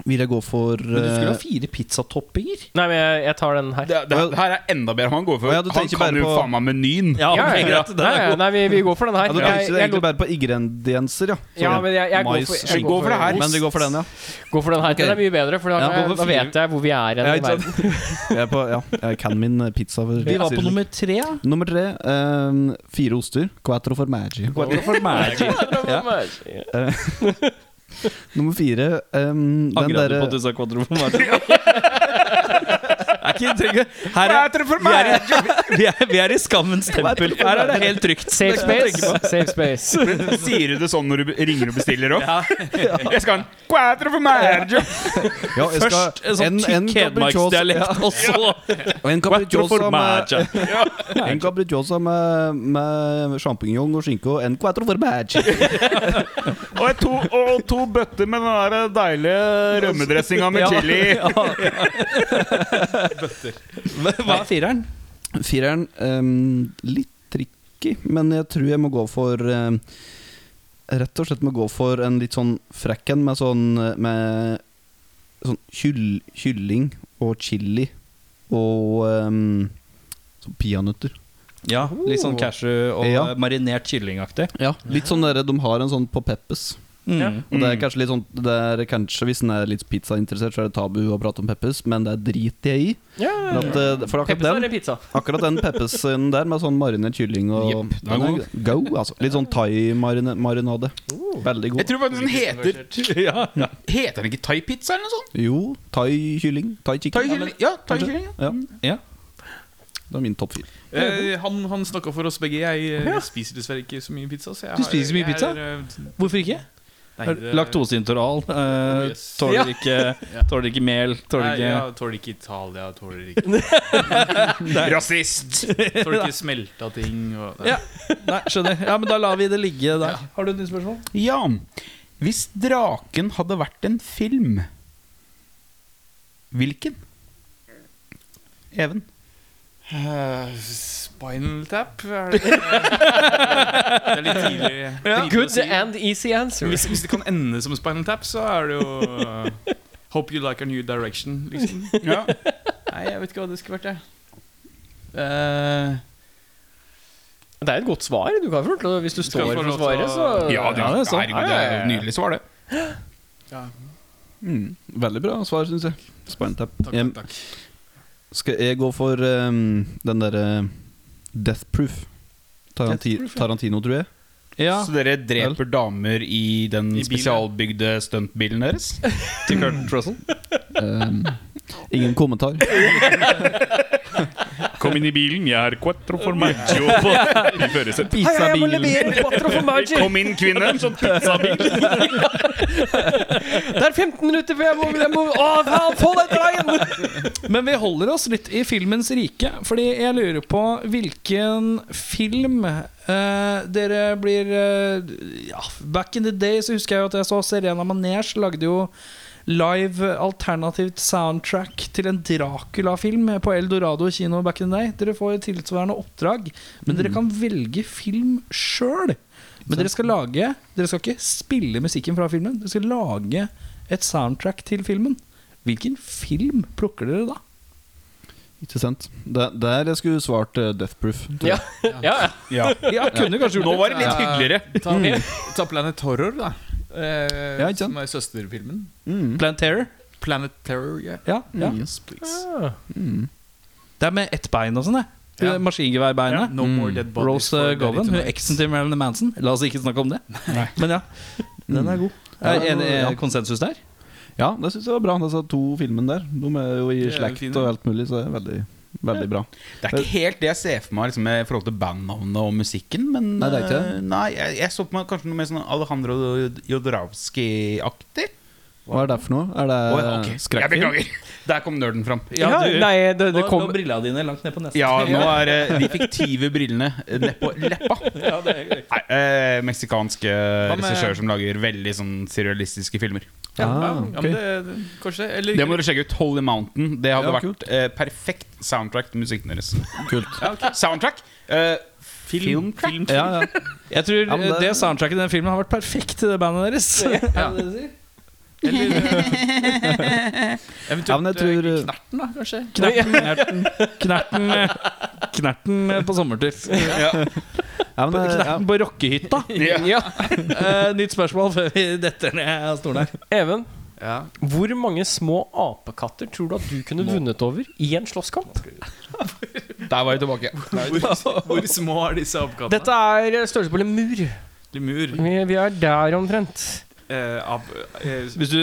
[SPEAKER 7] vil jeg gå for
[SPEAKER 2] Men du skulle
[SPEAKER 7] eh,
[SPEAKER 2] ha fire pizzatoppinger.
[SPEAKER 1] Nei, men jeg, jeg tar den her.
[SPEAKER 3] Det, det, det her er enda bedre. Han går for
[SPEAKER 7] Å, ja, du
[SPEAKER 3] Han
[SPEAKER 7] tenker
[SPEAKER 3] kan
[SPEAKER 7] bare
[SPEAKER 3] jo
[SPEAKER 7] på-
[SPEAKER 3] faen meg menyen.
[SPEAKER 2] Ja,
[SPEAKER 1] ja, ja. Nei, ja, nei vi, vi går for den her.
[SPEAKER 7] Ja, du
[SPEAKER 1] Jeg-
[SPEAKER 7] tenkte
[SPEAKER 1] jeg
[SPEAKER 7] egentlig
[SPEAKER 1] lot-
[SPEAKER 7] bare på ingredienser, ja.
[SPEAKER 1] ja, men jeg, jeg går
[SPEAKER 7] mais,
[SPEAKER 1] for, jeg
[SPEAKER 7] skinke.
[SPEAKER 1] går for,
[SPEAKER 3] det her.
[SPEAKER 7] Men vi går for den, ja.
[SPEAKER 1] Går for den her. Den er mye bedre, for da,
[SPEAKER 7] Ja,
[SPEAKER 1] kan jeg,
[SPEAKER 7] gå for
[SPEAKER 1] da
[SPEAKER 7] fire.
[SPEAKER 1] vet jeg hvor vi er igjen
[SPEAKER 7] Ja,
[SPEAKER 1] i
[SPEAKER 7] ikke sant?
[SPEAKER 1] verden.
[SPEAKER 7] Jeg, er på, ja. jeg kan min eh, pizza. for-
[SPEAKER 2] Vi var på
[SPEAKER 7] siden.
[SPEAKER 2] nummer tre. ja.
[SPEAKER 7] Nummer tre. eh, fire oster. Quattro formaggi. Nummer fire eh, Den
[SPEAKER 2] Angrer du
[SPEAKER 7] derre
[SPEAKER 2] på at du sa kvadroformat? Er ikke trygge. Her er, vi, er i, vi, er, vi er i skammens tempel. Her er det helt trygt.
[SPEAKER 1] Safe space. Safe space.
[SPEAKER 3] Sier du det sånn når du ringer og bestiller òg? Jeg skal ha en quattro for meg.
[SPEAKER 7] ja, jeg skal-
[SPEAKER 2] Først en sånn
[SPEAKER 7] en
[SPEAKER 2] tykk
[SPEAKER 7] capricciosa-
[SPEAKER 2] hedmarksdialekt, og så
[SPEAKER 7] ja, en capricciosa med,
[SPEAKER 2] quadroformaggio.
[SPEAKER 7] en capricciosa med, med sjampinjong og skinke og en quattro formaggi.
[SPEAKER 3] Og to, og to bøtter med den der deilige rømmedressinga med chili.
[SPEAKER 2] Hva er fireren?
[SPEAKER 7] Fireren eh, litt tricky, men jeg tror jeg må gå for eh, Rett og slett må gå for en litt sånn frekk en med sånn Med sånn kyll, kylling og chili og eh, sånn peanøtter.
[SPEAKER 2] Ja, Litt sånn cashew og
[SPEAKER 7] Ja.
[SPEAKER 2] marinert kyllingaktig.
[SPEAKER 7] Ja, litt sånn der de har en sånn på Peppes.
[SPEAKER 2] Mm.
[SPEAKER 7] Og det er kanskje litt sånn det er kanskje, Hvis en er litt pizzainteressert, så er det tabu å prate om Peppes, men det driter jeg i.
[SPEAKER 1] Ja,
[SPEAKER 7] For, at, eh, for akkurat
[SPEAKER 1] Peppersen
[SPEAKER 7] den
[SPEAKER 1] eller pizza?
[SPEAKER 7] Akkurat den peppesen der med sånn marinert kylling og
[SPEAKER 3] Jepp, den er
[SPEAKER 7] den er go, altså. Litt sånn thai-marinade. Veldig
[SPEAKER 3] Jeg
[SPEAKER 7] god.
[SPEAKER 3] tror faktisk den heter Heter den ikke thaipizza eller noe sånt?
[SPEAKER 7] Jo, thai-kylling. Thai chicken.
[SPEAKER 3] Thai-kylling. Ja, thai-kylling.
[SPEAKER 7] Ja.
[SPEAKER 2] Ja.
[SPEAKER 7] Det er min topp fire.
[SPEAKER 8] Eh, han han snakka for oss begge. Jeg, eh, spiser dessverre ikke så mye pizza. Så jeg
[SPEAKER 2] Du
[SPEAKER 8] har-
[SPEAKER 2] spiser mye
[SPEAKER 8] jeg
[SPEAKER 2] pizza?
[SPEAKER 8] er, eh,
[SPEAKER 2] Hvorfor ikke?
[SPEAKER 8] nei, det-
[SPEAKER 7] Laktoseintoleral. Eh,
[SPEAKER 8] Yes.
[SPEAKER 7] tåler, ikke, tåler ikke mel. Tåler
[SPEAKER 8] Nei,
[SPEAKER 7] ikke
[SPEAKER 8] jeg tåler ikke Italia. Tåler ikke,
[SPEAKER 3] Rasist!
[SPEAKER 8] tåler ikke smelta ting. Og, nei.
[SPEAKER 2] Ja. Nei, skjønner. Ja, men da lar vi det ligge der. Har du et nytt spørsmål?
[SPEAKER 3] Ja, hvis draken hadde vært en film Hvilken? Even?
[SPEAKER 8] Eh, Spinal Tap er det, det er litt tidlig. tidlig å
[SPEAKER 1] Good
[SPEAKER 8] si.
[SPEAKER 1] and easy answer.
[SPEAKER 8] hvis, hvis det kan ende som Spinal Tap, så er det jo eh, Hope you like a new direction, liksom.
[SPEAKER 3] Ja.
[SPEAKER 8] Nei, jeg vet ikke hva det skulle vært, jeg. Eh,
[SPEAKER 1] Det er et godt svar. Du kan få lov til å- Hvis du
[SPEAKER 8] Skal
[SPEAKER 1] står
[SPEAKER 8] jeg få
[SPEAKER 1] for
[SPEAKER 8] lov til
[SPEAKER 1] svaret,
[SPEAKER 8] å-
[SPEAKER 1] så
[SPEAKER 3] Ja, det,
[SPEAKER 7] det er sant.
[SPEAKER 3] herregud, det er jo et nydelig svar, det.
[SPEAKER 7] Mm, veldig bra svar, syns jeg. Spinetap.
[SPEAKER 8] takk,
[SPEAKER 7] Em,
[SPEAKER 8] takk, takk.
[SPEAKER 7] Skal jeg gå for ehm, den derre Death Proof? Taranti
[SPEAKER 2] Death Proof, ja.
[SPEAKER 7] Tarantino, tror jeg.
[SPEAKER 2] Ja.
[SPEAKER 3] Så dere dreper damer i den
[SPEAKER 8] I bilen.
[SPEAKER 3] spesialbygde stuntbilen deres?
[SPEAKER 7] Til Curtin Trussell. ingen kommentar.
[SPEAKER 8] Kom inn i bilen, jeg er quattro for meg.
[SPEAKER 1] Hei, hei, jeg må levere en quattro for Magic!
[SPEAKER 3] Kom inn, kvinne!
[SPEAKER 1] Det er 15 minutter før jeg må, jeg må Å, faen, få den dragen!
[SPEAKER 2] Men vi holder oss litt i filmens rike, fordi jeg lurer på hvilken film eh, dere blir eh, ja, Back in the day så husker jeg jo at jeg så Serena Manesh lagde jo live alternativt soundtrack til en Dracula-film på Eldorado kino back in the day. Dere får et tilsvarende oppdrag, men dere kan velge film sjøl. Men dere skal lage Dere skal ikke spille musikken fra filmen, dere skal lage et soundtrack til filmen. Hvilken film plukker dere da?
[SPEAKER 7] Ikke sant? Der, der jeg skulle svart eh, Death Proof. tror jeg.
[SPEAKER 1] Ja, ja, ja.
[SPEAKER 2] Ja, kunne kanskje
[SPEAKER 3] Nå var det litt hyggeligere.
[SPEAKER 8] Ta,
[SPEAKER 2] Mm.
[SPEAKER 8] ta Planet Horror, da. Eh,
[SPEAKER 7] Ja, ikke sant?
[SPEAKER 8] som er søsterfilmen.
[SPEAKER 7] Mm.
[SPEAKER 2] Plant Terror.
[SPEAKER 8] Planet Terror, yeah.
[SPEAKER 2] Ja, ja.
[SPEAKER 8] Yes, please.
[SPEAKER 2] Det er med ett bein og sånn, det.
[SPEAKER 8] Ja. Ja,
[SPEAKER 2] Maskingeværbeinet.
[SPEAKER 8] No more dead bodies
[SPEAKER 2] Rose
[SPEAKER 8] for
[SPEAKER 2] uh,
[SPEAKER 8] Daddy
[SPEAKER 2] Govan, hun
[SPEAKER 8] Tonight.
[SPEAKER 2] eksen til Marilyn Manson. La oss ikke snakke om det. Men ja, den er god. Er det en, er konsensus der?
[SPEAKER 7] Ja, det syns jeg var bra. Disse to filmene der. De er jo i
[SPEAKER 8] Det er
[SPEAKER 7] slekt
[SPEAKER 8] fine.
[SPEAKER 7] og alt mulig, så det er veldig, veldig bra.
[SPEAKER 3] Det er ikke helt det jeg ser for meg liksom, i forhold til bandnavnet og musikken. Men
[SPEAKER 7] Nei, det er ikke det.
[SPEAKER 3] eh, nei, jeg, jeg så på meg kanskje noe mer sånn Alejandro Jodorowsky-aktig.
[SPEAKER 7] Hva er det for noe? Er det
[SPEAKER 3] Å, ja, ok. Jeg
[SPEAKER 7] skrekkfilm?
[SPEAKER 3] beklager. Der kom nerden fram.
[SPEAKER 1] ja
[SPEAKER 2] du-
[SPEAKER 1] nei, det, det
[SPEAKER 2] Nå
[SPEAKER 1] kom
[SPEAKER 2] lå brilla dine langt ned på nesen.
[SPEAKER 3] Ja, nå er det de fiktive brillene nedpå leppa. Nei, eh, meksikanske
[SPEAKER 8] med-
[SPEAKER 3] regissør som lager veldig sånn serialistiske filmer.
[SPEAKER 8] Ja, ja,
[SPEAKER 7] Ah,
[SPEAKER 8] ja, men det, det, kanskje Eller
[SPEAKER 3] Det må du sjekke ut. Holy Mountain. Det hadde
[SPEAKER 7] Ja,
[SPEAKER 3] vært eh, perfekt soundtrack til musikken deres.
[SPEAKER 7] Kult.
[SPEAKER 8] ja, ok.
[SPEAKER 3] Soundtrack? Eh, film,
[SPEAKER 8] Filmtrack?
[SPEAKER 3] film.
[SPEAKER 7] Ja, ja.
[SPEAKER 2] Jeg tror
[SPEAKER 7] men
[SPEAKER 2] eh,
[SPEAKER 7] det-
[SPEAKER 2] det soundtracket i den filmen har vært perfekt til det bandet deres.
[SPEAKER 8] Ja. Eller eh,
[SPEAKER 7] Ja, men
[SPEAKER 8] eventuelt
[SPEAKER 7] jeg tror,
[SPEAKER 8] eh,
[SPEAKER 7] eh,
[SPEAKER 8] Knerten, da, kanskje?
[SPEAKER 2] Knerten, knerten, knerten, eh, knerten eh, på sommertur.
[SPEAKER 7] Ja, men, eh, ja.
[SPEAKER 2] Knerten på rockehytta.
[SPEAKER 1] Ja.
[SPEAKER 2] Eh, Nytt spørsmål før vi detter ned av stolen her.
[SPEAKER 1] Even,
[SPEAKER 8] Ja.
[SPEAKER 1] hvor mange små apekatter tror du at du kunne vunnet over i en slåsskamp?
[SPEAKER 3] Der var jeg tilbake.
[SPEAKER 8] Hvor, hvor små er disse apekattene?
[SPEAKER 1] Dette er størrelse på en mur.
[SPEAKER 8] Lemur.
[SPEAKER 1] Vi, vi er der omtrent.
[SPEAKER 8] Eh, ab, eh,
[SPEAKER 2] Hvis du,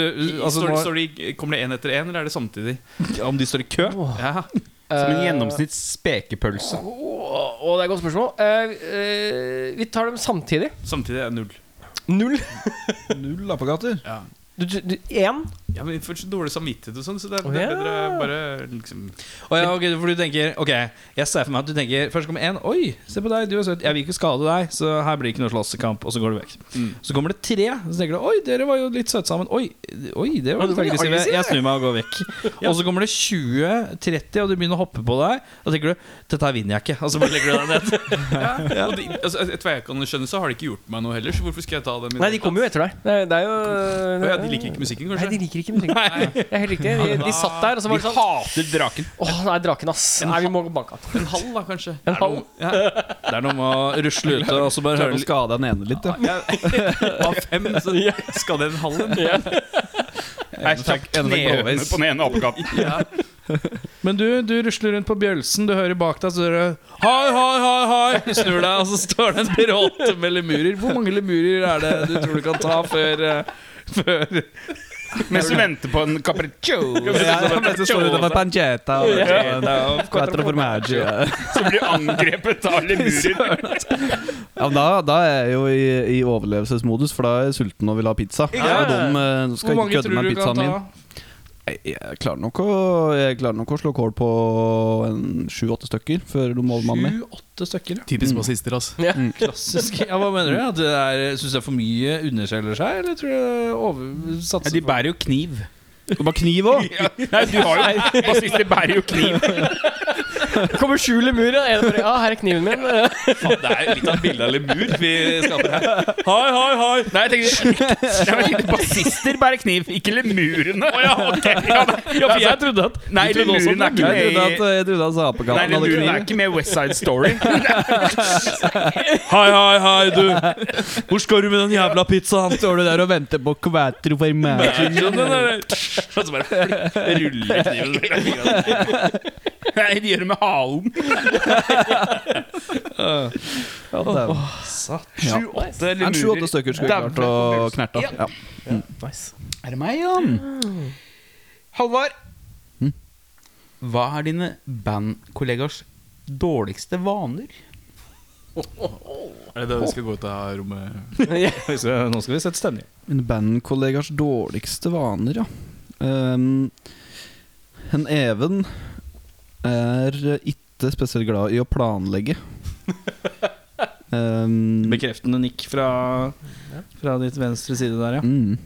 [SPEAKER 2] altså,
[SPEAKER 8] står,
[SPEAKER 2] nå,
[SPEAKER 8] står de, kommer det én etter én, eller er det samtidig?
[SPEAKER 2] om de står i kø
[SPEAKER 8] Ja.
[SPEAKER 3] Som en
[SPEAKER 1] Eh,
[SPEAKER 3] gjennomsnitts spekepølse.
[SPEAKER 1] Å, å, det er et godt spørsmål. Eh, eh, vi tar dem samtidig.
[SPEAKER 8] Samtidig er det null.
[SPEAKER 1] Null.
[SPEAKER 7] Null apekatter.
[SPEAKER 8] Ja.
[SPEAKER 1] Du- du- du- Én.
[SPEAKER 8] Ja, men Jeg får så dårlig samvittighet og sånn, så det er,
[SPEAKER 1] Å,
[SPEAKER 8] det
[SPEAKER 1] ja.
[SPEAKER 8] er bedre bare liksom
[SPEAKER 2] Å ja, ok, for du tenker Ok, jeg ser for meg at du tenker Først kommer en Oi, se på deg, du er søt Jeg vil ikke skade deg Så her blir det ikke noe slåssekamp Og så går du vekk
[SPEAKER 8] Mm.
[SPEAKER 2] Så kommer det tre Så tenker du Oi, dere var jo litt søte sammen Oi, oi det
[SPEAKER 1] Ja,
[SPEAKER 2] var litt
[SPEAKER 1] det var
[SPEAKER 2] aggressivt
[SPEAKER 1] aggressivt,
[SPEAKER 2] Jeg snur meg og går vekk Og så kommer det 20, 30 Og du begynner å hoppe på deg Og tenker du Dette her vinner jeg ikke Og så bare legger du deg ned
[SPEAKER 8] Og de, altså, et- Etter hva jeg kan skjønne, så har de ikke gjort meg noe heller, så hvorfor skal jeg ta
[SPEAKER 1] Nei,
[SPEAKER 8] dem? i
[SPEAKER 1] de
[SPEAKER 8] det hele
[SPEAKER 1] kommer jo etter deg. Det, er- det er jo
[SPEAKER 8] tatt? Å ja, De liker ikke musikken,
[SPEAKER 1] Nei,
[SPEAKER 8] kanskje?
[SPEAKER 1] de liker ikke musikken. Nei. Det er helt riktig. De, de satt der, og så var det
[SPEAKER 3] Vi
[SPEAKER 1] sånn
[SPEAKER 3] hater draken.
[SPEAKER 1] Åh, nei, draken, ass. Nei, vi må banke han.
[SPEAKER 8] En halv, da, kanskje?
[SPEAKER 1] En halv.
[SPEAKER 2] Det er noe med å rusle ut Og så bare
[SPEAKER 7] Klarer
[SPEAKER 2] høre
[SPEAKER 7] å skade den ene litt, ja.
[SPEAKER 8] Av fem, så skal det en halv en?
[SPEAKER 3] Hashtag knehøvene på den ene apekatten.
[SPEAKER 8] Ja.
[SPEAKER 2] Men du, du rusler rundt på Bjølsen, du hører bak deg, så hører du Hei, hei, hei, hei! Du Snur deg, og så står det en pirat med lemurer. Hvor mange lemurer er det du tror du kan ta før eh, Før,
[SPEAKER 3] Mens du venter på en capriccio,
[SPEAKER 7] Mens jeg står utenfor Pancetta og og Quattro Formaggio. Ja,
[SPEAKER 3] så blir du angrepet av lemurer.
[SPEAKER 7] men da, da er jeg jo i, i overlevelsesmodus, for da er jeg sulten og vil ha pizza. Og de eh, nå
[SPEAKER 8] Hvor
[SPEAKER 7] skal jeg
[SPEAKER 8] mange
[SPEAKER 7] ikke kødde
[SPEAKER 8] tror
[SPEAKER 7] med
[SPEAKER 8] du kan
[SPEAKER 7] pizzaen
[SPEAKER 8] ta?
[SPEAKER 7] min. Nei, Jeg klarer nok å, jeg klarer nok å slå kål på en sju-åtte stykker før de måler meg med.
[SPEAKER 2] Sju-åtte stykker, ja.
[SPEAKER 9] Typisk bassister, altså.
[SPEAKER 2] Klassisk. Ja, hva mener du? At det er, Syns det er for mye underskjeller seg, eller tror du det er over,
[SPEAKER 3] Ja,
[SPEAKER 2] satser
[SPEAKER 3] de bærer jo kniv.
[SPEAKER 7] Det var kniv òg!
[SPEAKER 3] Nei, du har jo Bassister bærer jo kniv.
[SPEAKER 1] Kommer sju lemurer, og en bare Ja, her er kniven min.
[SPEAKER 2] Det er litt av bildet av lemur vi skaper her.
[SPEAKER 3] Hei, hei, hei. Nei, jeg tenkte slekt. Nei, men jeg tenkte Bassister bærer kniv, ikke lemurene. Oh, ja, okay. ja, ja, for jeg trodde at Nei, lemurene er ikke
[SPEAKER 7] Jeg trodde
[SPEAKER 3] med i
[SPEAKER 7] at, jeg trodde at
[SPEAKER 3] Nei,
[SPEAKER 7] apekatten hadde
[SPEAKER 3] lemurene er
[SPEAKER 7] kniv.
[SPEAKER 3] ikke med i West Side Story.
[SPEAKER 2] Hei, hei, hei, du. Hvor skal du med den jævla pizzaen?
[SPEAKER 7] Står du der og venter på Quattro Formaggio?
[SPEAKER 3] Og så bare flipp, ruller kniven. Nei, de gjør det med halen.
[SPEAKER 7] Ja, det er-
[SPEAKER 3] Sju-åtte
[SPEAKER 7] En sju-åtte stykker skulle jeg klart å knerte. av. Ja.
[SPEAKER 3] Er det meg, Jan? Halvard. Hva er dine bandkollegers dårligste vaner?
[SPEAKER 8] Er det det vi skal gå ut av rommet?
[SPEAKER 2] Nå skal vi sette stemning.
[SPEAKER 7] Mine bandkollegers dårligste vaner, ja. Ehm, en Even er ikke spesielt glad i å planlegge.
[SPEAKER 8] Mm.
[SPEAKER 7] Ehm,
[SPEAKER 2] Bekreftende nikk fra, fra ditt venstre side der, ja.
[SPEAKER 7] mm.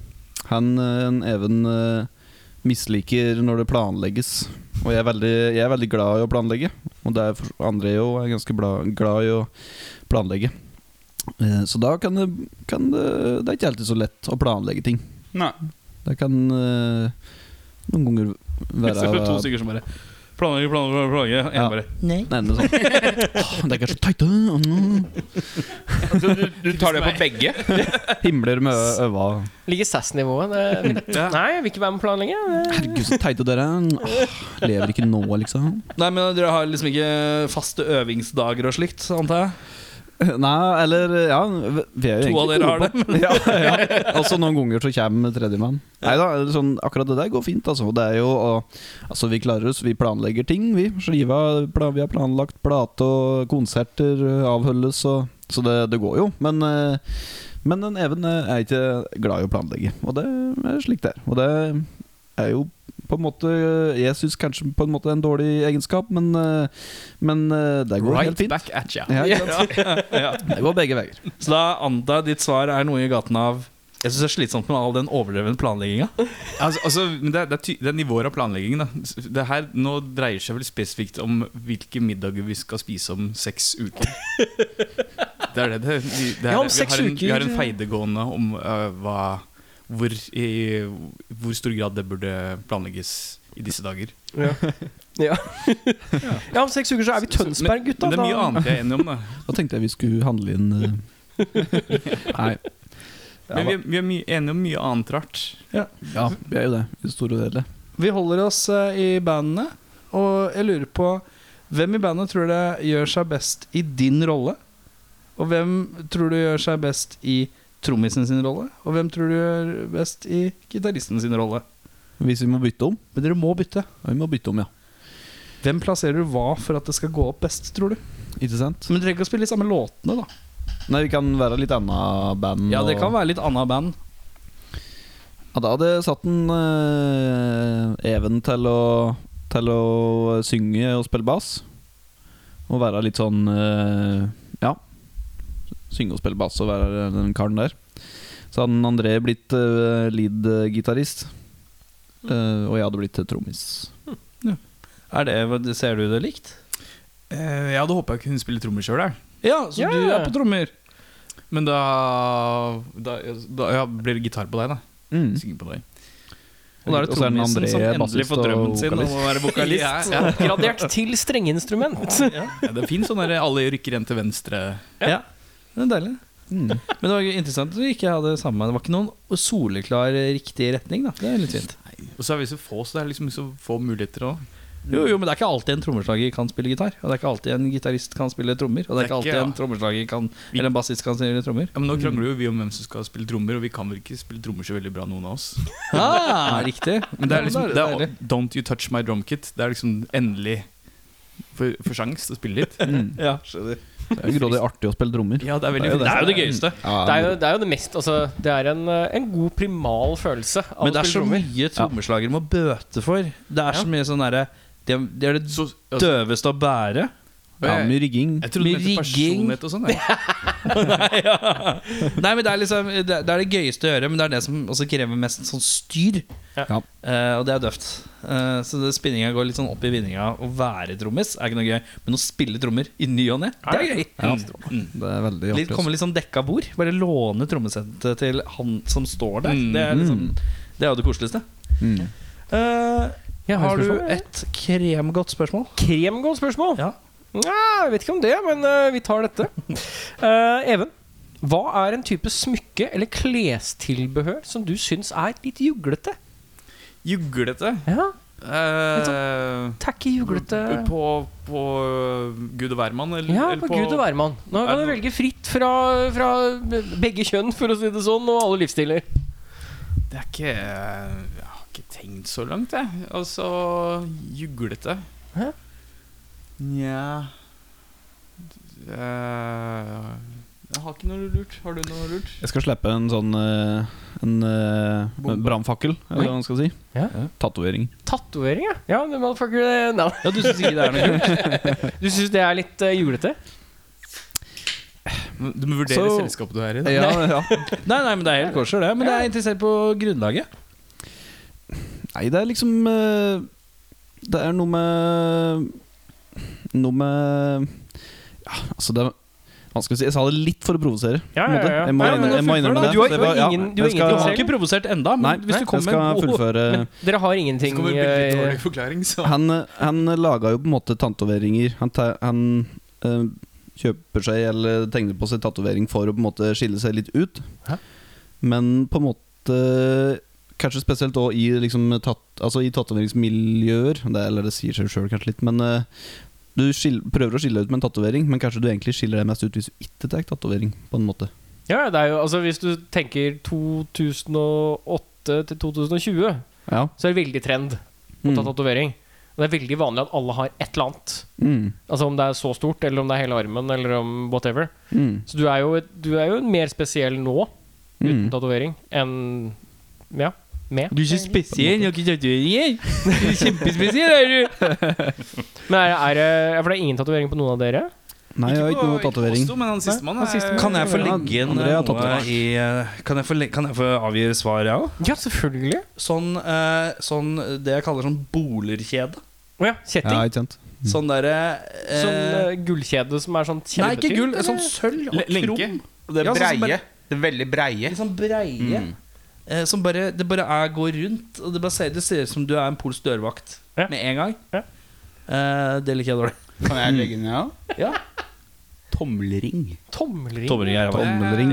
[SPEAKER 7] Han eh, en Even eh, misliker når det planlegges. Og jeg er, veldig, jeg er veldig glad i å planlegge. Og det er for, andre er jo er ganske bla, glad i å planlegge. Eh, så da kan det, kan det Det er ikke alltid så lett å planlegge ting.
[SPEAKER 3] Nei.
[SPEAKER 7] Det kan eh, noen ganger være
[SPEAKER 8] Så er det to stykker som bare Planlegge, planlegge, planlegge. En
[SPEAKER 7] Ja.
[SPEAKER 8] bare
[SPEAKER 5] Nei.
[SPEAKER 7] Nei, men sånn. Åh, det er ikke så teit. øh, mm.
[SPEAKER 3] Altså, du, du tar det på begge?
[SPEAKER 7] Himler med ø- øva.
[SPEAKER 1] Ligger SAS-nivået. det- Nei, jeg vil ikke være med på planlegging.
[SPEAKER 7] Herregud, så teite dere er. Åh, lever ikke nå, liksom.
[SPEAKER 2] Nei, men Dere har liksom ikke faste øvingsdager og slikt, antar jeg?
[SPEAKER 7] Nei, eller Ja, vi er jo
[SPEAKER 2] To av dere har det.
[SPEAKER 7] ja, ja. Altså Noen ganger så kommer tredjemann. Nei da, sånn, akkurat det der går fint. Altså. Det er jo, og, altså Vi klarer oss, vi planlegger ting, vi. Skiva, pla- vi har planlagt plate og konserter ø, avholdes, og, så det, det går jo. Men, ø, men en Even ø, er ikke glad i å planlegge, og det er slik det er. Og det er jo på en måte ø, Jeg syns kanskje på en måte det er en dårlig egenskap, men, ø, men ø, det går helt
[SPEAKER 8] Right
[SPEAKER 7] fint.
[SPEAKER 8] back at ya.
[SPEAKER 7] Ja, ikke sant? Det går begge veier.
[SPEAKER 2] Så da antar jeg ditt svar er noe i gaten av Jeg syns det er slitsomt med all den overdrevne planlegginga.
[SPEAKER 8] Altså, altså, men det, er- det, er ty det er nivåer av planleggingen. Da. Det her, nå dreier seg vel spesifikt om hvilke middager vi skal spise om seks uker. Det er det det, vi, det er,
[SPEAKER 1] Ja, om
[SPEAKER 8] det.
[SPEAKER 1] seks
[SPEAKER 8] vi, har en,
[SPEAKER 1] uker.
[SPEAKER 8] vi har en feidegående om øh, hva, hvor, i, hvor stor grad det burde planlegges i disse dager.
[SPEAKER 1] Ja, om seks uker så er vi i Tønsberg, gutta.
[SPEAKER 8] Men det er mye
[SPEAKER 1] da.
[SPEAKER 8] annet jeg er enig om. Da.
[SPEAKER 7] Da tenkte jeg vi skulle handle inn eh, Nei.
[SPEAKER 8] Men vi, er- vi er mye, enige om mye annet rart.
[SPEAKER 7] Ja, vi er jo det, i det store og hele.
[SPEAKER 2] Vi holder oss eh, i bandene, og jeg lurer på Hvem i bandet tror du gjør seg best i din rolle? Og hvem tror du gjør seg best i trommisen sin rolle? Og hvem tror du gjør best i gitaristen sin rolle?
[SPEAKER 7] Hvis vi må bytte om.
[SPEAKER 2] Men dere må bytte.
[SPEAKER 7] Ja, vi må bytte om, ja.
[SPEAKER 2] Hvem plasserer du hva for at det skal gå opp best, tror du?
[SPEAKER 7] Ikke sant?
[SPEAKER 2] Men du trenger ikke å spille de samme låtene, da.
[SPEAKER 7] Nei, vi kan være litt anna band.
[SPEAKER 2] Ja, det kan
[SPEAKER 7] og-
[SPEAKER 2] være litt annet band.
[SPEAKER 7] Ja, da hadde jeg satt en eh, Even til å, til å synge og spille bass. Og være litt sånn eh, Ja. Synge og spille bass og være den karen der. Så hadde en André blitt eh, lead-gitarist. Eh, og jeg hadde blitt eh, trommis.
[SPEAKER 2] Mm. Er det, ser du det likt?
[SPEAKER 8] Eh, jeg hadde håpa jeg kunne spille trommer sjøl, jeg.
[SPEAKER 2] Ja, så
[SPEAKER 1] Ja.
[SPEAKER 2] du er på trommer.
[SPEAKER 8] Men da, da, da ja, blir det gitar på deg, da.
[SPEAKER 7] Mm.
[SPEAKER 8] Synger på deg.
[SPEAKER 7] Og da er det trommisen som endelig får drømmen sin om
[SPEAKER 8] å være vokalist. Ja, ja.
[SPEAKER 1] Oppgradert til strengeinstrument.
[SPEAKER 8] Ja, det er fint sånn der alle rykker igjen til venstre.
[SPEAKER 2] Ja. Det er deilig. Men det var jo interessant at du ikke hadde samme Det var ikke noen soleklar eh, riktig retning, da. Det er litt fint.
[SPEAKER 8] Og så er vi så få, så det er liksom så få muligheter òg.
[SPEAKER 2] Jo, jo, men det er ikke alltid en trommeslager kan spille gitar. Og det er ikke alltid en gitarist kan spille trommer. Og det er ikke alltid
[SPEAKER 8] ja.
[SPEAKER 2] en trommeslager kan Eller en bassist kan spille trommer.
[SPEAKER 8] Ja, men nå krangler jo vi om hvem som skal spille trommer, og vi kan vel ikke spille trommer så veldig bra, noen av oss.
[SPEAKER 2] Ah, riktig.
[SPEAKER 8] Men det er
[SPEAKER 2] Ja,
[SPEAKER 8] liksom
[SPEAKER 2] men
[SPEAKER 8] det
[SPEAKER 2] da
[SPEAKER 8] er, Don't You Touch My Drum Kit. Det er liksom endelig for, for sjans til å spille litt.
[SPEAKER 2] Ja, skjønner.
[SPEAKER 7] Mm. Det er jo grådig artig å spille trommer.
[SPEAKER 8] Ja, det er veldig
[SPEAKER 7] Det
[SPEAKER 1] Det
[SPEAKER 7] er jo
[SPEAKER 1] er jo det
[SPEAKER 8] fristende.
[SPEAKER 1] gøyeste. Det er jo det, er jo det mest Altså, det er en, eh, en god primal følelse av
[SPEAKER 2] Men det
[SPEAKER 1] å spille
[SPEAKER 2] er så
[SPEAKER 1] trommer.
[SPEAKER 2] mye trommeslagere må bøte for. Det er så mye sånn derre de, de er det
[SPEAKER 8] Så, altså,
[SPEAKER 2] døveste å bære.
[SPEAKER 7] Ja,
[SPEAKER 8] jeg,
[SPEAKER 7] mye rigging.
[SPEAKER 8] jeg trodde
[SPEAKER 2] Mye
[SPEAKER 8] det het
[SPEAKER 2] rigging.
[SPEAKER 8] personlighet og sånn. jeg.
[SPEAKER 2] Nei, men det er liksom Det det er det gøyeste å gjøre, men det er det som også krever mest sånn styr.
[SPEAKER 7] Ja.
[SPEAKER 2] Eh, og det er døvt. Eh, så det spinninga går litt sånn opp i vinninga. Å være trommis er ikke noe gøy, men å spille trommer i ny og ne, det er gøy. Mm.
[SPEAKER 7] Det er veldig
[SPEAKER 2] Litt,
[SPEAKER 7] artig.
[SPEAKER 2] komme
[SPEAKER 7] også.
[SPEAKER 2] litt sånn dekka bord. Bare låne trommesettet til han som står der. Det, er liksom, det er jo det koseligste.
[SPEAKER 7] Mm.
[SPEAKER 2] Eh,
[SPEAKER 1] Jeg har
[SPEAKER 2] har
[SPEAKER 1] et
[SPEAKER 2] du
[SPEAKER 1] spørsmål.
[SPEAKER 2] et kremgodt spørsmål?
[SPEAKER 1] Kremgodt spørsmål.
[SPEAKER 2] Ja.
[SPEAKER 1] Nja, jeg vet ikke om det, men eh, vi tar dette. Eh, Even, hva er en type smykke eller klestilbehør som du syns er litt juglete?
[SPEAKER 8] Juglete.
[SPEAKER 1] Ja,
[SPEAKER 8] Eh,
[SPEAKER 1] tacky juglete.
[SPEAKER 8] På, på eh, Gud og hvermann? Eller,
[SPEAKER 1] eh. Ja,
[SPEAKER 8] eller
[SPEAKER 1] på Gud og hvermann. Nå kan du velge fritt fra, fra begge kjønn, for å si det sånn, og alle livsstiler.
[SPEAKER 8] Det er ikke Jeg har ikke tenkt så langt, jeg. Altså juglete.
[SPEAKER 1] Hæ?
[SPEAKER 8] Nja Eh, Jeg har ikke noe lurt. Har du noe lurt?
[SPEAKER 7] Jeg skal slippe en sånn eh, En, eh,
[SPEAKER 8] Bombe.
[SPEAKER 7] brannfakkel, eller hva man skal si.
[SPEAKER 1] Ja.
[SPEAKER 7] Tatovering.
[SPEAKER 1] Tatovering, ja. ja the motherfucker, eh, no.
[SPEAKER 2] Ja, Du syns ikke det er noe kult?
[SPEAKER 1] Du syns det er litt eh, juglete?
[SPEAKER 8] Du må vurdere
[SPEAKER 7] Så-
[SPEAKER 8] selskapet du er i. Da.
[SPEAKER 7] Ja, ja.
[SPEAKER 2] nei, nei, men det er helt kosher, det. Men jeg er interessert på grunnlaget.
[SPEAKER 7] Nei, det er liksom eh, Det er noe med Noe med Ja, altså det er vanskelig å si. Jeg sa det litt for å provosere.
[SPEAKER 1] Ja,
[SPEAKER 7] på en
[SPEAKER 1] ja,
[SPEAKER 7] måte.
[SPEAKER 1] ja.
[SPEAKER 7] Jeg må,
[SPEAKER 1] Nei, men
[SPEAKER 7] innrømme-
[SPEAKER 1] nå
[SPEAKER 7] jeg må
[SPEAKER 1] fullfør
[SPEAKER 7] innrømme
[SPEAKER 1] da.
[SPEAKER 7] det.
[SPEAKER 1] Du har-
[SPEAKER 7] så jeg
[SPEAKER 1] du har
[SPEAKER 7] bare- ja,
[SPEAKER 1] ingen- du har
[SPEAKER 2] Du
[SPEAKER 7] jeg skal-
[SPEAKER 1] ingenting å
[SPEAKER 2] har
[SPEAKER 1] si.
[SPEAKER 2] ikke provosert enda men
[SPEAKER 7] Nei,
[SPEAKER 2] hvis du
[SPEAKER 7] jeg
[SPEAKER 2] kommer med
[SPEAKER 7] skal
[SPEAKER 2] en god
[SPEAKER 7] fullføre
[SPEAKER 1] Men dere har
[SPEAKER 8] Så
[SPEAKER 1] ingenting
[SPEAKER 8] kommer det bli litt
[SPEAKER 1] eh,
[SPEAKER 8] dårlig forklaring, så
[SPEAKER 7] Han, han laga jo på en måte tatoveringer. Han, ta, han eh, kjøper seg eller tegner på seg tatovering for å på en måte skille seg litt ut.
[SPEAKER 1] Hæ?
[SPEAKER 7] Men på en måte Kanskje spesielt også i, liksom, tat, altså i tatoveringsmiljøer. Det, eller det sier seg sjøl kanskje litt, men eh, du skil, prøver å skille deg ut med en tatovering, men kanskje du egentlig skiller deg mest ut hvis du ikke tar tatovering. På en måte
[SPEAKER 1] Ja, det er jo, altså Hvis du tenker 2008 til 2020,
[SPEAKER 7] Ja.
[SPEAKER 1] så er det veldig trend å ta
[SPEAKER 7] Mm.
[SPEAKER 1] tatovering. Og det er veldig vanlig at alle har et eller annet.
[SPEAKER 7] Mm.
[SPEAKER 1] Altså Om det er så stort, eller om det er hele armen, eller om whatever.
[SPEAKER 7] Mm.
[SPEAKER 1] Så du er jo, et, du er jo mer spesiell nå uten
[SPEAKER 7] Mm.
[SPEAKER 1] tatovering enn ja, med.
[SPEAKER 2] Du er ikke spesiell, du har ikke tatoveringer. Du er Kjempespesiell er du.
[SPEAKER 1] Men er, er det, ja, for det er ingen tatovering på noen av dere?
[SPEAKER 7] Nei, jeg har ikke
[SPEAKER 8] på-
[SPEAKER 7] noe tatovering.
[SPEAKER 8] oss to, Men han sistemann er
[SPEAKER 2] Kan jeg få legge inn
[SPEAKER 7] Andrea har
[SPEAKER 2] noe
[SPEAKER 7] tatovering.
[SPEAKER 2] i eh, Kan jeg få, le- kan jeg få avgi svar, jeg òg?
[SPEAKER 1] Ja, selvfølgelig.
[SPEAKER 2] Sånn, eh, sånn det jeg kaller sånn bolerkjede.
[SPEAKER 1] Å ja, kjetting.
[SPEAKER 7] Ja, ikke sant.
[SPEAKER 2] Sånn derre eh,
[SPEAKER 1] Sånn eh, gullkjede som er sånn
[SPEAKER 2] Nei, ikke
[SPEAKER 1] kjempetynt,
[SPEAKER 2] gull.
[SPEAKER 1] eller?
[SPEAKER 2] Sånn sølv og
[SPEAKER 8] Le- lenke.
[SPEAKER 2] krom.
[SPEAKER 3] Det
[SPEAKER 2] Ja,
[SPEAKER 3] er
[SPEAKER 2] sånn som
[SPEAKER 3] breie.
[SPEAKER 2] bare-
[SPEAKER 3] Det er veldig breie.
[SPEAKER 2] Litt sånn breie.
[SPEAKER 3] Mm.
[SPEAKER 2] Eh, som bare, det bare er går rundt. Og det, bare ser, det ser ut som du er en polsk dørvakt
[SPEAKER 1] Ja.
[SPEAKER 2] med en gang.
[SPEAKER 1] Ja.
[SPEAKER 2] Eh, det liker jeg dårlig.
[SPEAKER 3] Kan jeg legge den ned?
[SPEAKER 2] Ja.
[SPEAKER 3] Tommelring.
[SPEAKER 1] Tommelring.
[SPEAKER 7] Tommelring,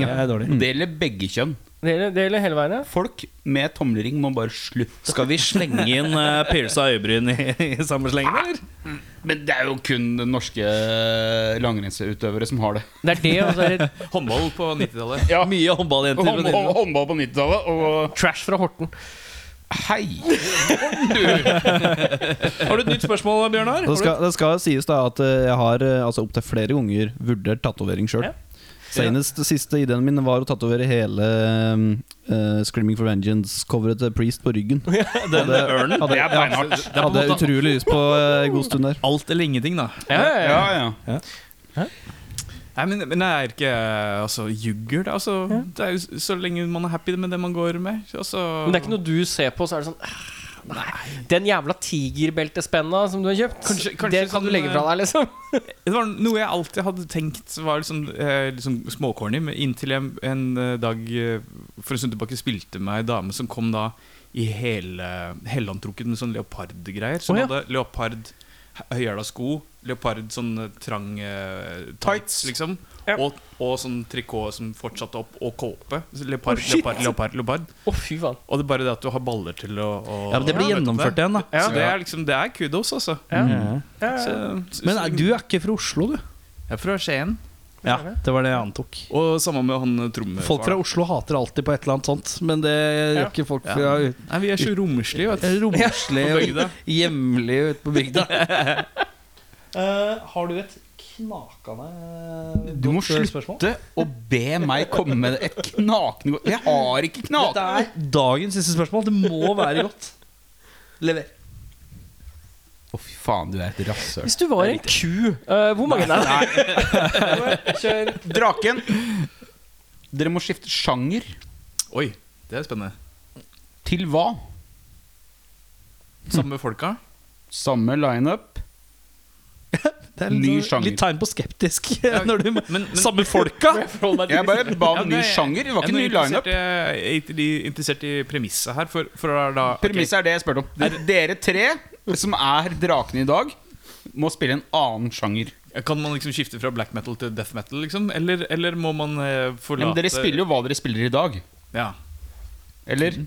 [SPEAKER 7] ja.
[SPEAKER 2] Det er dårlig.
[SPEAKER 3] Det gjelder begge kjønn.
[SPEAKER 1] Det gjelder- det gjelder hele veien, ja.
[SPEAKER 3] Folk med tommelring må bare slutte.
[SPEAKER 2] Skal vi slenge inn uh, pierca øyebryn i, i samme slenge, eller?
[SPEAKER 3] Men det er jo kun norske langrennsutøvere som har det.
[SPEAKER 1] Det er det, og så er det
[SPEAKER 8] håndball på 90-tallet.
[SPEAKER 2] Ja. Mye håndballjenter. på
[SPEAKER 3] Håndball,
[SPEAKER 2] nivå.
[SPEAKER 3] håndball på 90-tallet og
[SPEAKER 1] trash fra Horten.
[SPEAKER 3] Hei!
[SPEAKER 2] Har du et nytt spørsmål, Bjørnar?
[SPEAKER 7] Det
[SPEAKER 2] Har du-
[SPEAKER 7] skal, det skal sies da at eh, jeg har eh, altså, opptil flere ganger vurdert tatovering sjøl.
[SPEAKER 1] Ja.
[SPEAKER 7] Senest siste ideen min var å tatovere hele eh, 'Screaming for Vengeance'-coveret til Priest på ryggen.
[SPEAKER 2] Den ørnen?
[SPEAKER 7] Hadde, ja, hadde jeg utrolig lyst på eh, en god stund der.
[SPEAKER 8] Alt eller ingenting, da.
[SPEAKER 1] Ja, ja, ja.
[SPEAKER 3] Ja, ja.
[SPEAKER 8] Nei, men, men det er ikke Altså, jugger det. Altså, det er jo s- så lenge man er happy med det man går med. Altså,
[SPEAKER 1] Men det er ikke noe du ser på, så er det sånn «Ah, Nei. Den jævla tigerbeltespenna som du har kjøpt,
[SPEAKER 8] Kanskje- kanskje
[SPEAKER 1] det kan
[SPEAKER 8] sånn,
[SPEAKER 1] du legge fra deg, liksom.
[SPEAKER 8] Det var noe jeg alltid hadde tenkt var liksom, eh, liksom småcorny, men inntil jeg en eh, dag eh, for en stund tilbake spilte med ei dame som kom da i hele hellandtrukket med sånn leopardgreier. Som
[SPEAKER 1] Å, ja.
[SPEAKER 8] hadde leopard høyhæla sko, leopard, sånn eh, trang eh, tights,
[SPEAKER 1] Tights.
[SPEAKER 8] liksom.
[SPEAKER 1] Ja.
[SPEAKER 8] Og, og sånn trikot som fortsatte opp, og kåpe. Så Leopard, leopard, leopard, leopard.
[SPEAKER 1] Å, fy faen.
[SPEAKER 8] Og det er bare det at du har baller til å, å
[SPEAKER 2] Ja, men det blir
[SPEAKER 8] vet du
[SPEAKER 2] gjennomført
[SPEAKER 8] det.
[SPEAKER 2] igjen, da.
[SPEAKER 8] Ja, det er liksom Det er kudos, altså.
[SPEAKER 1] Mm.
[SPEAKER 8] Så,
[SPEAKER 2] Men eh, du er ikke fra Oslo, du?
[SPEAKER 8] Jeg er fra Skien.
[SPEAKER 2] Ja, det var det jeg antok.
[SPEAKER 8] Og samme med han eh, trommefaren.
[SPEAKER 2] Folk fra Oslo hater alltid på et eller annet sånt, men det gjør ikke folk fra
[SPEAKER 8] Nei, vi er så romslige, vet du.
[SPEAKER 2] romslige
[SPEAKER 8] På
[SPEAKER 2] og
[SPEAKER 8] bygda.
[SPEAKER 2] hjemlige ute på bygda. Eh, har du et knakende eh,
[SPEAKER 3] Du må slutte å be meg komme med et knakende Jeg har ikke
[SPEAKER 2] Dette
[SPEAKER 3] knak...
[SPEAKER 2] er dagens siste spørsmål. Det må være godt. Lever.
[SPEAKER 3] Å, fy faen, du er et rasshøl.
[SPEAKER 1] Hvis du var en ku, eh, hvor mange er det?
[SPEAKER 3] Kjør Draken. Dere må skifte sjanger.
[SPEAKER 8] Oi, det er spennende.
[SPEAKER 3] Til hva?
[SPEAKER 8] Samme med folka.
[SPEAKER 3] Samme lineup.
[SPEAKER 2] Det er
[SPEAKER 3] Ny
[SPEAKER 2] litt,
[SPEAKER 3] sjanger.
[SPEAKER 2] litt tegn på skeptisk.
[SPEAKER 8] Ja,
[SPEAKER 2] Når du,
[SPEAKER 8] men- men-
[SPEAKER 2] samme folka!
[SPEAKER 3] Jeg bare ba om
[SPEAKER 8] Ja,
[SPEAKER 3] ny
[SPEAKER 8] nei,
[SPEAKER 3] sjanger. Det var
[SPEAKER 8] jeg
[SPEAKER 3] ikke
[SPEAKER 8] er
[SPEAKER 3] ny lineup.
[SPEAKER 8] interessert i- Jeg er ikke interessert i premisset her, for, for da er da ok,
[SPEAKER 3] Premisset er det jeg spurte om. Dere tre som er drakene i dag, må spille en annen sjanger.
[SPEAKER 8] Kan man liksom skifte fra black metal til death metal, liksom? Eller, eller må man eh, forlate
[SPEAKER 3] Men dere spiller jo hva dere spiller i dag.
[SPEAKER 8] Ja.
[SPEAKER 3] Eller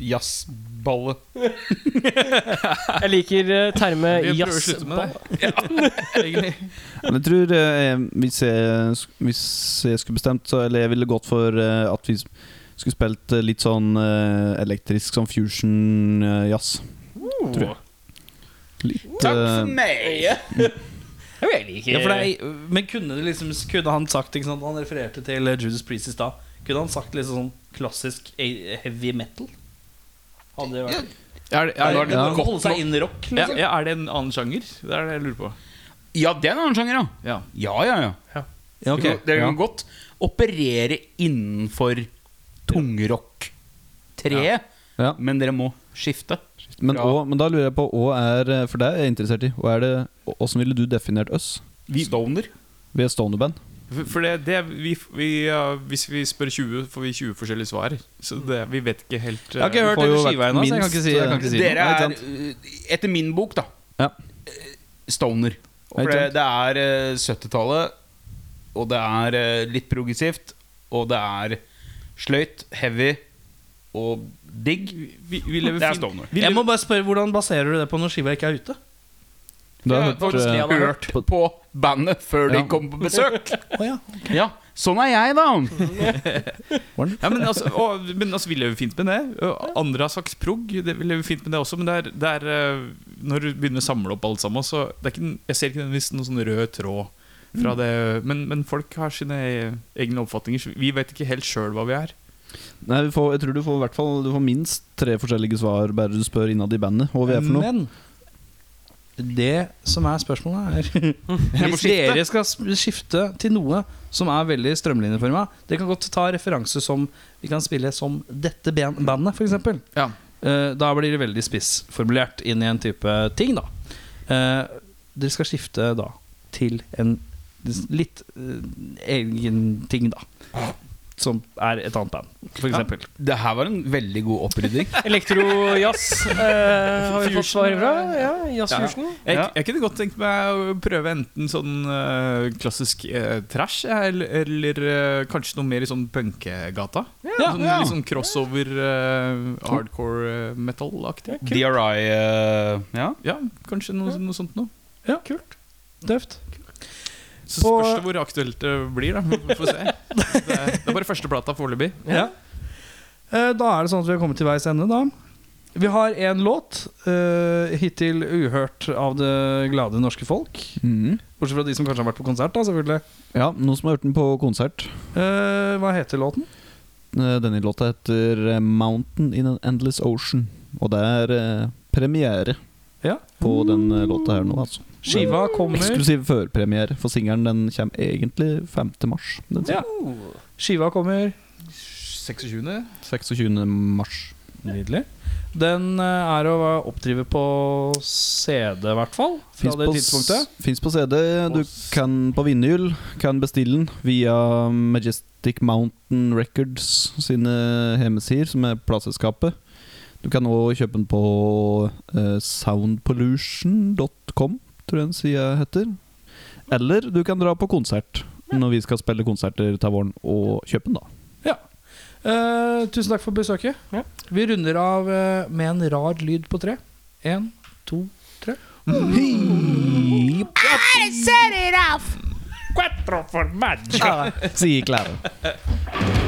[SPEAKER 3] jazzballe.
[SPEAKER 1] Jeg liker eh, termet
[SPEAKER 8] Vi prøver å
[SPEAKER 1] jazz.
[SPEAKER 8] slutte med det.
[SPEAKER 7] Men jeg tror eh, hvis, jeg, hvis jeg skulle bestemt, så Eller jeg ville gått for eh, at vi skulle spilt eh, litt sånn eh, elektrisk sånn fusion-jazz. Tror jeg. Litt
[SPEAKER 3] Takk
[SPEAKER 7] eh,
[SPEAKER 3] for meg!
[SPEAKER 1] Ja, men jeg liker
[SPEAKER 2] Ja, for det er, men kunne, det liksom, kunne han sagt ikke sant, Han refererte til eh, Judas Priest i stad. Kunne han sagt liksom sånn klassisk eh, heavy metal? Hadde det vært
[SPEAKER 8] Er, er, er,
[SPEAKER 2] ja.
[SPEAKER 8] det-
[SPEAKER 2] Holde seg inn rock?
[SPEAKER 8] ja,
[SPEAKER 2] Liksom.
[SPEAKER 8] ja, er det en annen sjanger? Det er det jeg lurer på.
[SPEAKER 3] Ja, det er en annen sjanger, ja.
[SPEAKER 8] Ja.
[SPEAKER 3] Ja, ja, ja.
[SPEAKER 2] Ja, ok.
[SPEAKER 3] Dere kan- Dere kan godt operere innenfor tungrock-treet,
[SPEAKER 7] Ja.
[SPEAKER 3] men dere må skifte.
[SPEAKER 7] men,
[SPEAKER 3] Ja.
[SPEAKER 7] og, men da lurer jeg på hva er eh, For det er jeg interessert i. Hva er det, hvordan ville du definert oss?
[SPEAKER 3] Stoner.
[SPEAKER 7] Vi er Stoner-band.
[SPEAKER 8] For- For det, det vi, vi, ja, Hvis vi spør 20, får vi 20 forskjellige svar. Så det, vi vet ikke helt
[SPEAKER 2] Mm. Jeg har ikke
[SPEAKER 8] eh,
[SPEAKER 2] hørt
[SPEAKER 7] får jo
[SPEAKER 2] hele
[SPEAKER 7] vært
[SPEAKER 2] skiva ennå, så jeg kan
[SPEAKER 7] minst-
[SPEAKER 2] ikke si, jeg kan ikke si
[SPEAKER 3] Dere
[SPEAKER 2] noe. Nei,
[SPEAKER 3] er,
[SPEAKER 2] ikke sant?
[SPEAKER 3] eh, etter min bok, da,
[SPEAKER 7] Ja.
[SPEAKER 3] eh, stoner. For
[SPEAKER 7] Ikke
[SPEAKER 3] det,
[SPEAKER 7] sant?
[SPEAKER 3] det er eh, 70-tallet, og det er eh, litt progressivt, og det er sløyt, heavy og digg.
[SPEAKER 8] vi, vi lever
[SPEAKER 3] Det er
[SPEAKER 8] fint.
[SPEAKER 3] stoner.
[SPEAKER 8] Vi
[SPEAKER 2] Jeg
[SPEAKER 8] lever,
[SPEAKER 2] må bare spørre, Hvordan baserer du det på når skiva ikke er ute?
[SPEAKER 7] Du har
[SPEAKER 3] Jeg
[SPEAKER 7] hørt,
[SPEAKER 3] har faktisk
[SPEAKER 7] eh,
[SPEAKER 3] hørt på bandet før de kom på besøk.
[SPEAKER 2] ja.
[SPEAKER 3] Ja, sånn er jeg, da.
[SPEAKER 8] ja, men, altså, og, men altså, vi lever fint med det. Og Andre har sagt prog. Det, vi lever fint med det også, men det er, det er eh, når du begynner å samle opp alt sammen, så det er ikke, en- Jeg ser ikke nødvendigvis noen sånn rød tråd.
[SPEAKER 2] Mm.
[SPEAKER 8] Fra det, men, men folk har sine e-, egne oppfatninger. Så vi vet ikke helt sjøl hva vi er.
[SPEAKER 7] Nei, vi får, jeg tror du får, i hvert fall, du får minst tre forskjellige svar bare du spør innad i bandet hva vi er for noe.
[SPEAKER 2] Men det som er spørsmålet, er Hvis
[SPEAKER 3] skifte.
[SPEAKER 2] dere skal s- skifte til noe som er veldig strømlinjeforma Dere kan godt ta referanse som Vi kan spille som dette ben- bandet, f.eks.
[SPEAKER 8] Ja.
[SPEAKER 2] Da blir det veldig spissformulert inn i en type ting, da. Eh, Dere skal skifte da til en litt eh, egen ting, da. Som er et annet band, f.eks. eksempel
[SPEAKER 3] Det her var en veldig god opprydding.
[SPEAKER 1] Elektrojazz eh, har vi fått svar fra. Ja, jazzfusion.
[SPEAKER 8] Jeg,
[SPEAKER 3] Ja.
[SPEAKER 8] jeg kunne godt tenkt meg å prøve enten sånn eh, klassisk eh, trash, jeg, eller, eller eh, kanskje noe mer i sånn punkegata. sånn,
[SPEAKER 3] ja.
[SPEAKER 8] Litt sånn crossover eh, hardcore eh, metal-aktig.
[SPEAKER 3] DRI eh, Ja.
[SPEAKER 8] Ja, kanskje noe, noe sånt noe.
[SPEAKER 2] Ja. Kult. Tøft.
[SPEAKER 8] Så
[SPEAKER 2] På-
[SPEAKER 8] spørs det hvor aktuelt det blir, da. Vi får se. Det, er- det er bare første plata foreløpig.
[SPEAKER 2] Eh, Da er det sånn at vi har kommet til veis ende, da. Vi har én låt, eh, hittil uhørt av det glade norske folk.
[SPEAKER 7] Mhm.
[SPEAKER 2] Bortsett fra de som kanskje har vært på konsert, da, selvfølgelig.
[SPEAKER 7] Ja, noen som har hørt den på konsert.
[SPEAKER 2] Eh, hva heter låten?
[SPEAKER 7] Eh, Denne låta heter eh, 'Mountain in an Endless Ocean'. Og det er eh, premiere
[SPEAKER 2] Ja.
[SPEAKER 7] på den eh, låta her nå, altså.
[SPEAKER 2] Skiva kommer,
[SPEAKER 7] Eksklusiv førpremiere, for singelen den kommer egentlig 5. mars. Den
[SPEAKER 2] Ja. Skiva kommer
[SPEAKER 8] 26.
[SPEAKER 7] 26. mars.
[SPEAKER 2] Nydelig. Den eh, er å oppdrive på CD, i hvert fall. Fra
[SPEAKER 7] Fins
[SPEAKER 2] det
[SPEAKER 7] på, s-
[SPEAKER 2] tidspunktet.
[SPEAKER 7] finnes på CD. Du kan på vinyl kan bestille den via Majestic Mountain Records sine hjemmesider, som er plateselskapet. Du kan òg kjøpe den på eh, soundpollution.com, tror jeg den sida heter. Eller du kan dra på konsert når vi skal spille konserter til våren, og kjøpe den, da.
[SPEAKER 2] Eh, tusen takk for besøket.
[SPEAKER 1] Ja.
[SPEAKER 2] Vi runder av eh, med en rar lyd på tre. En, to, tre.
[SPEAKER 5] I set it off!
[SPEAKER 1] Quattro formaggio.
[SPEAKER 7] Sier Klæven.
[SPEAKER 2] Hei!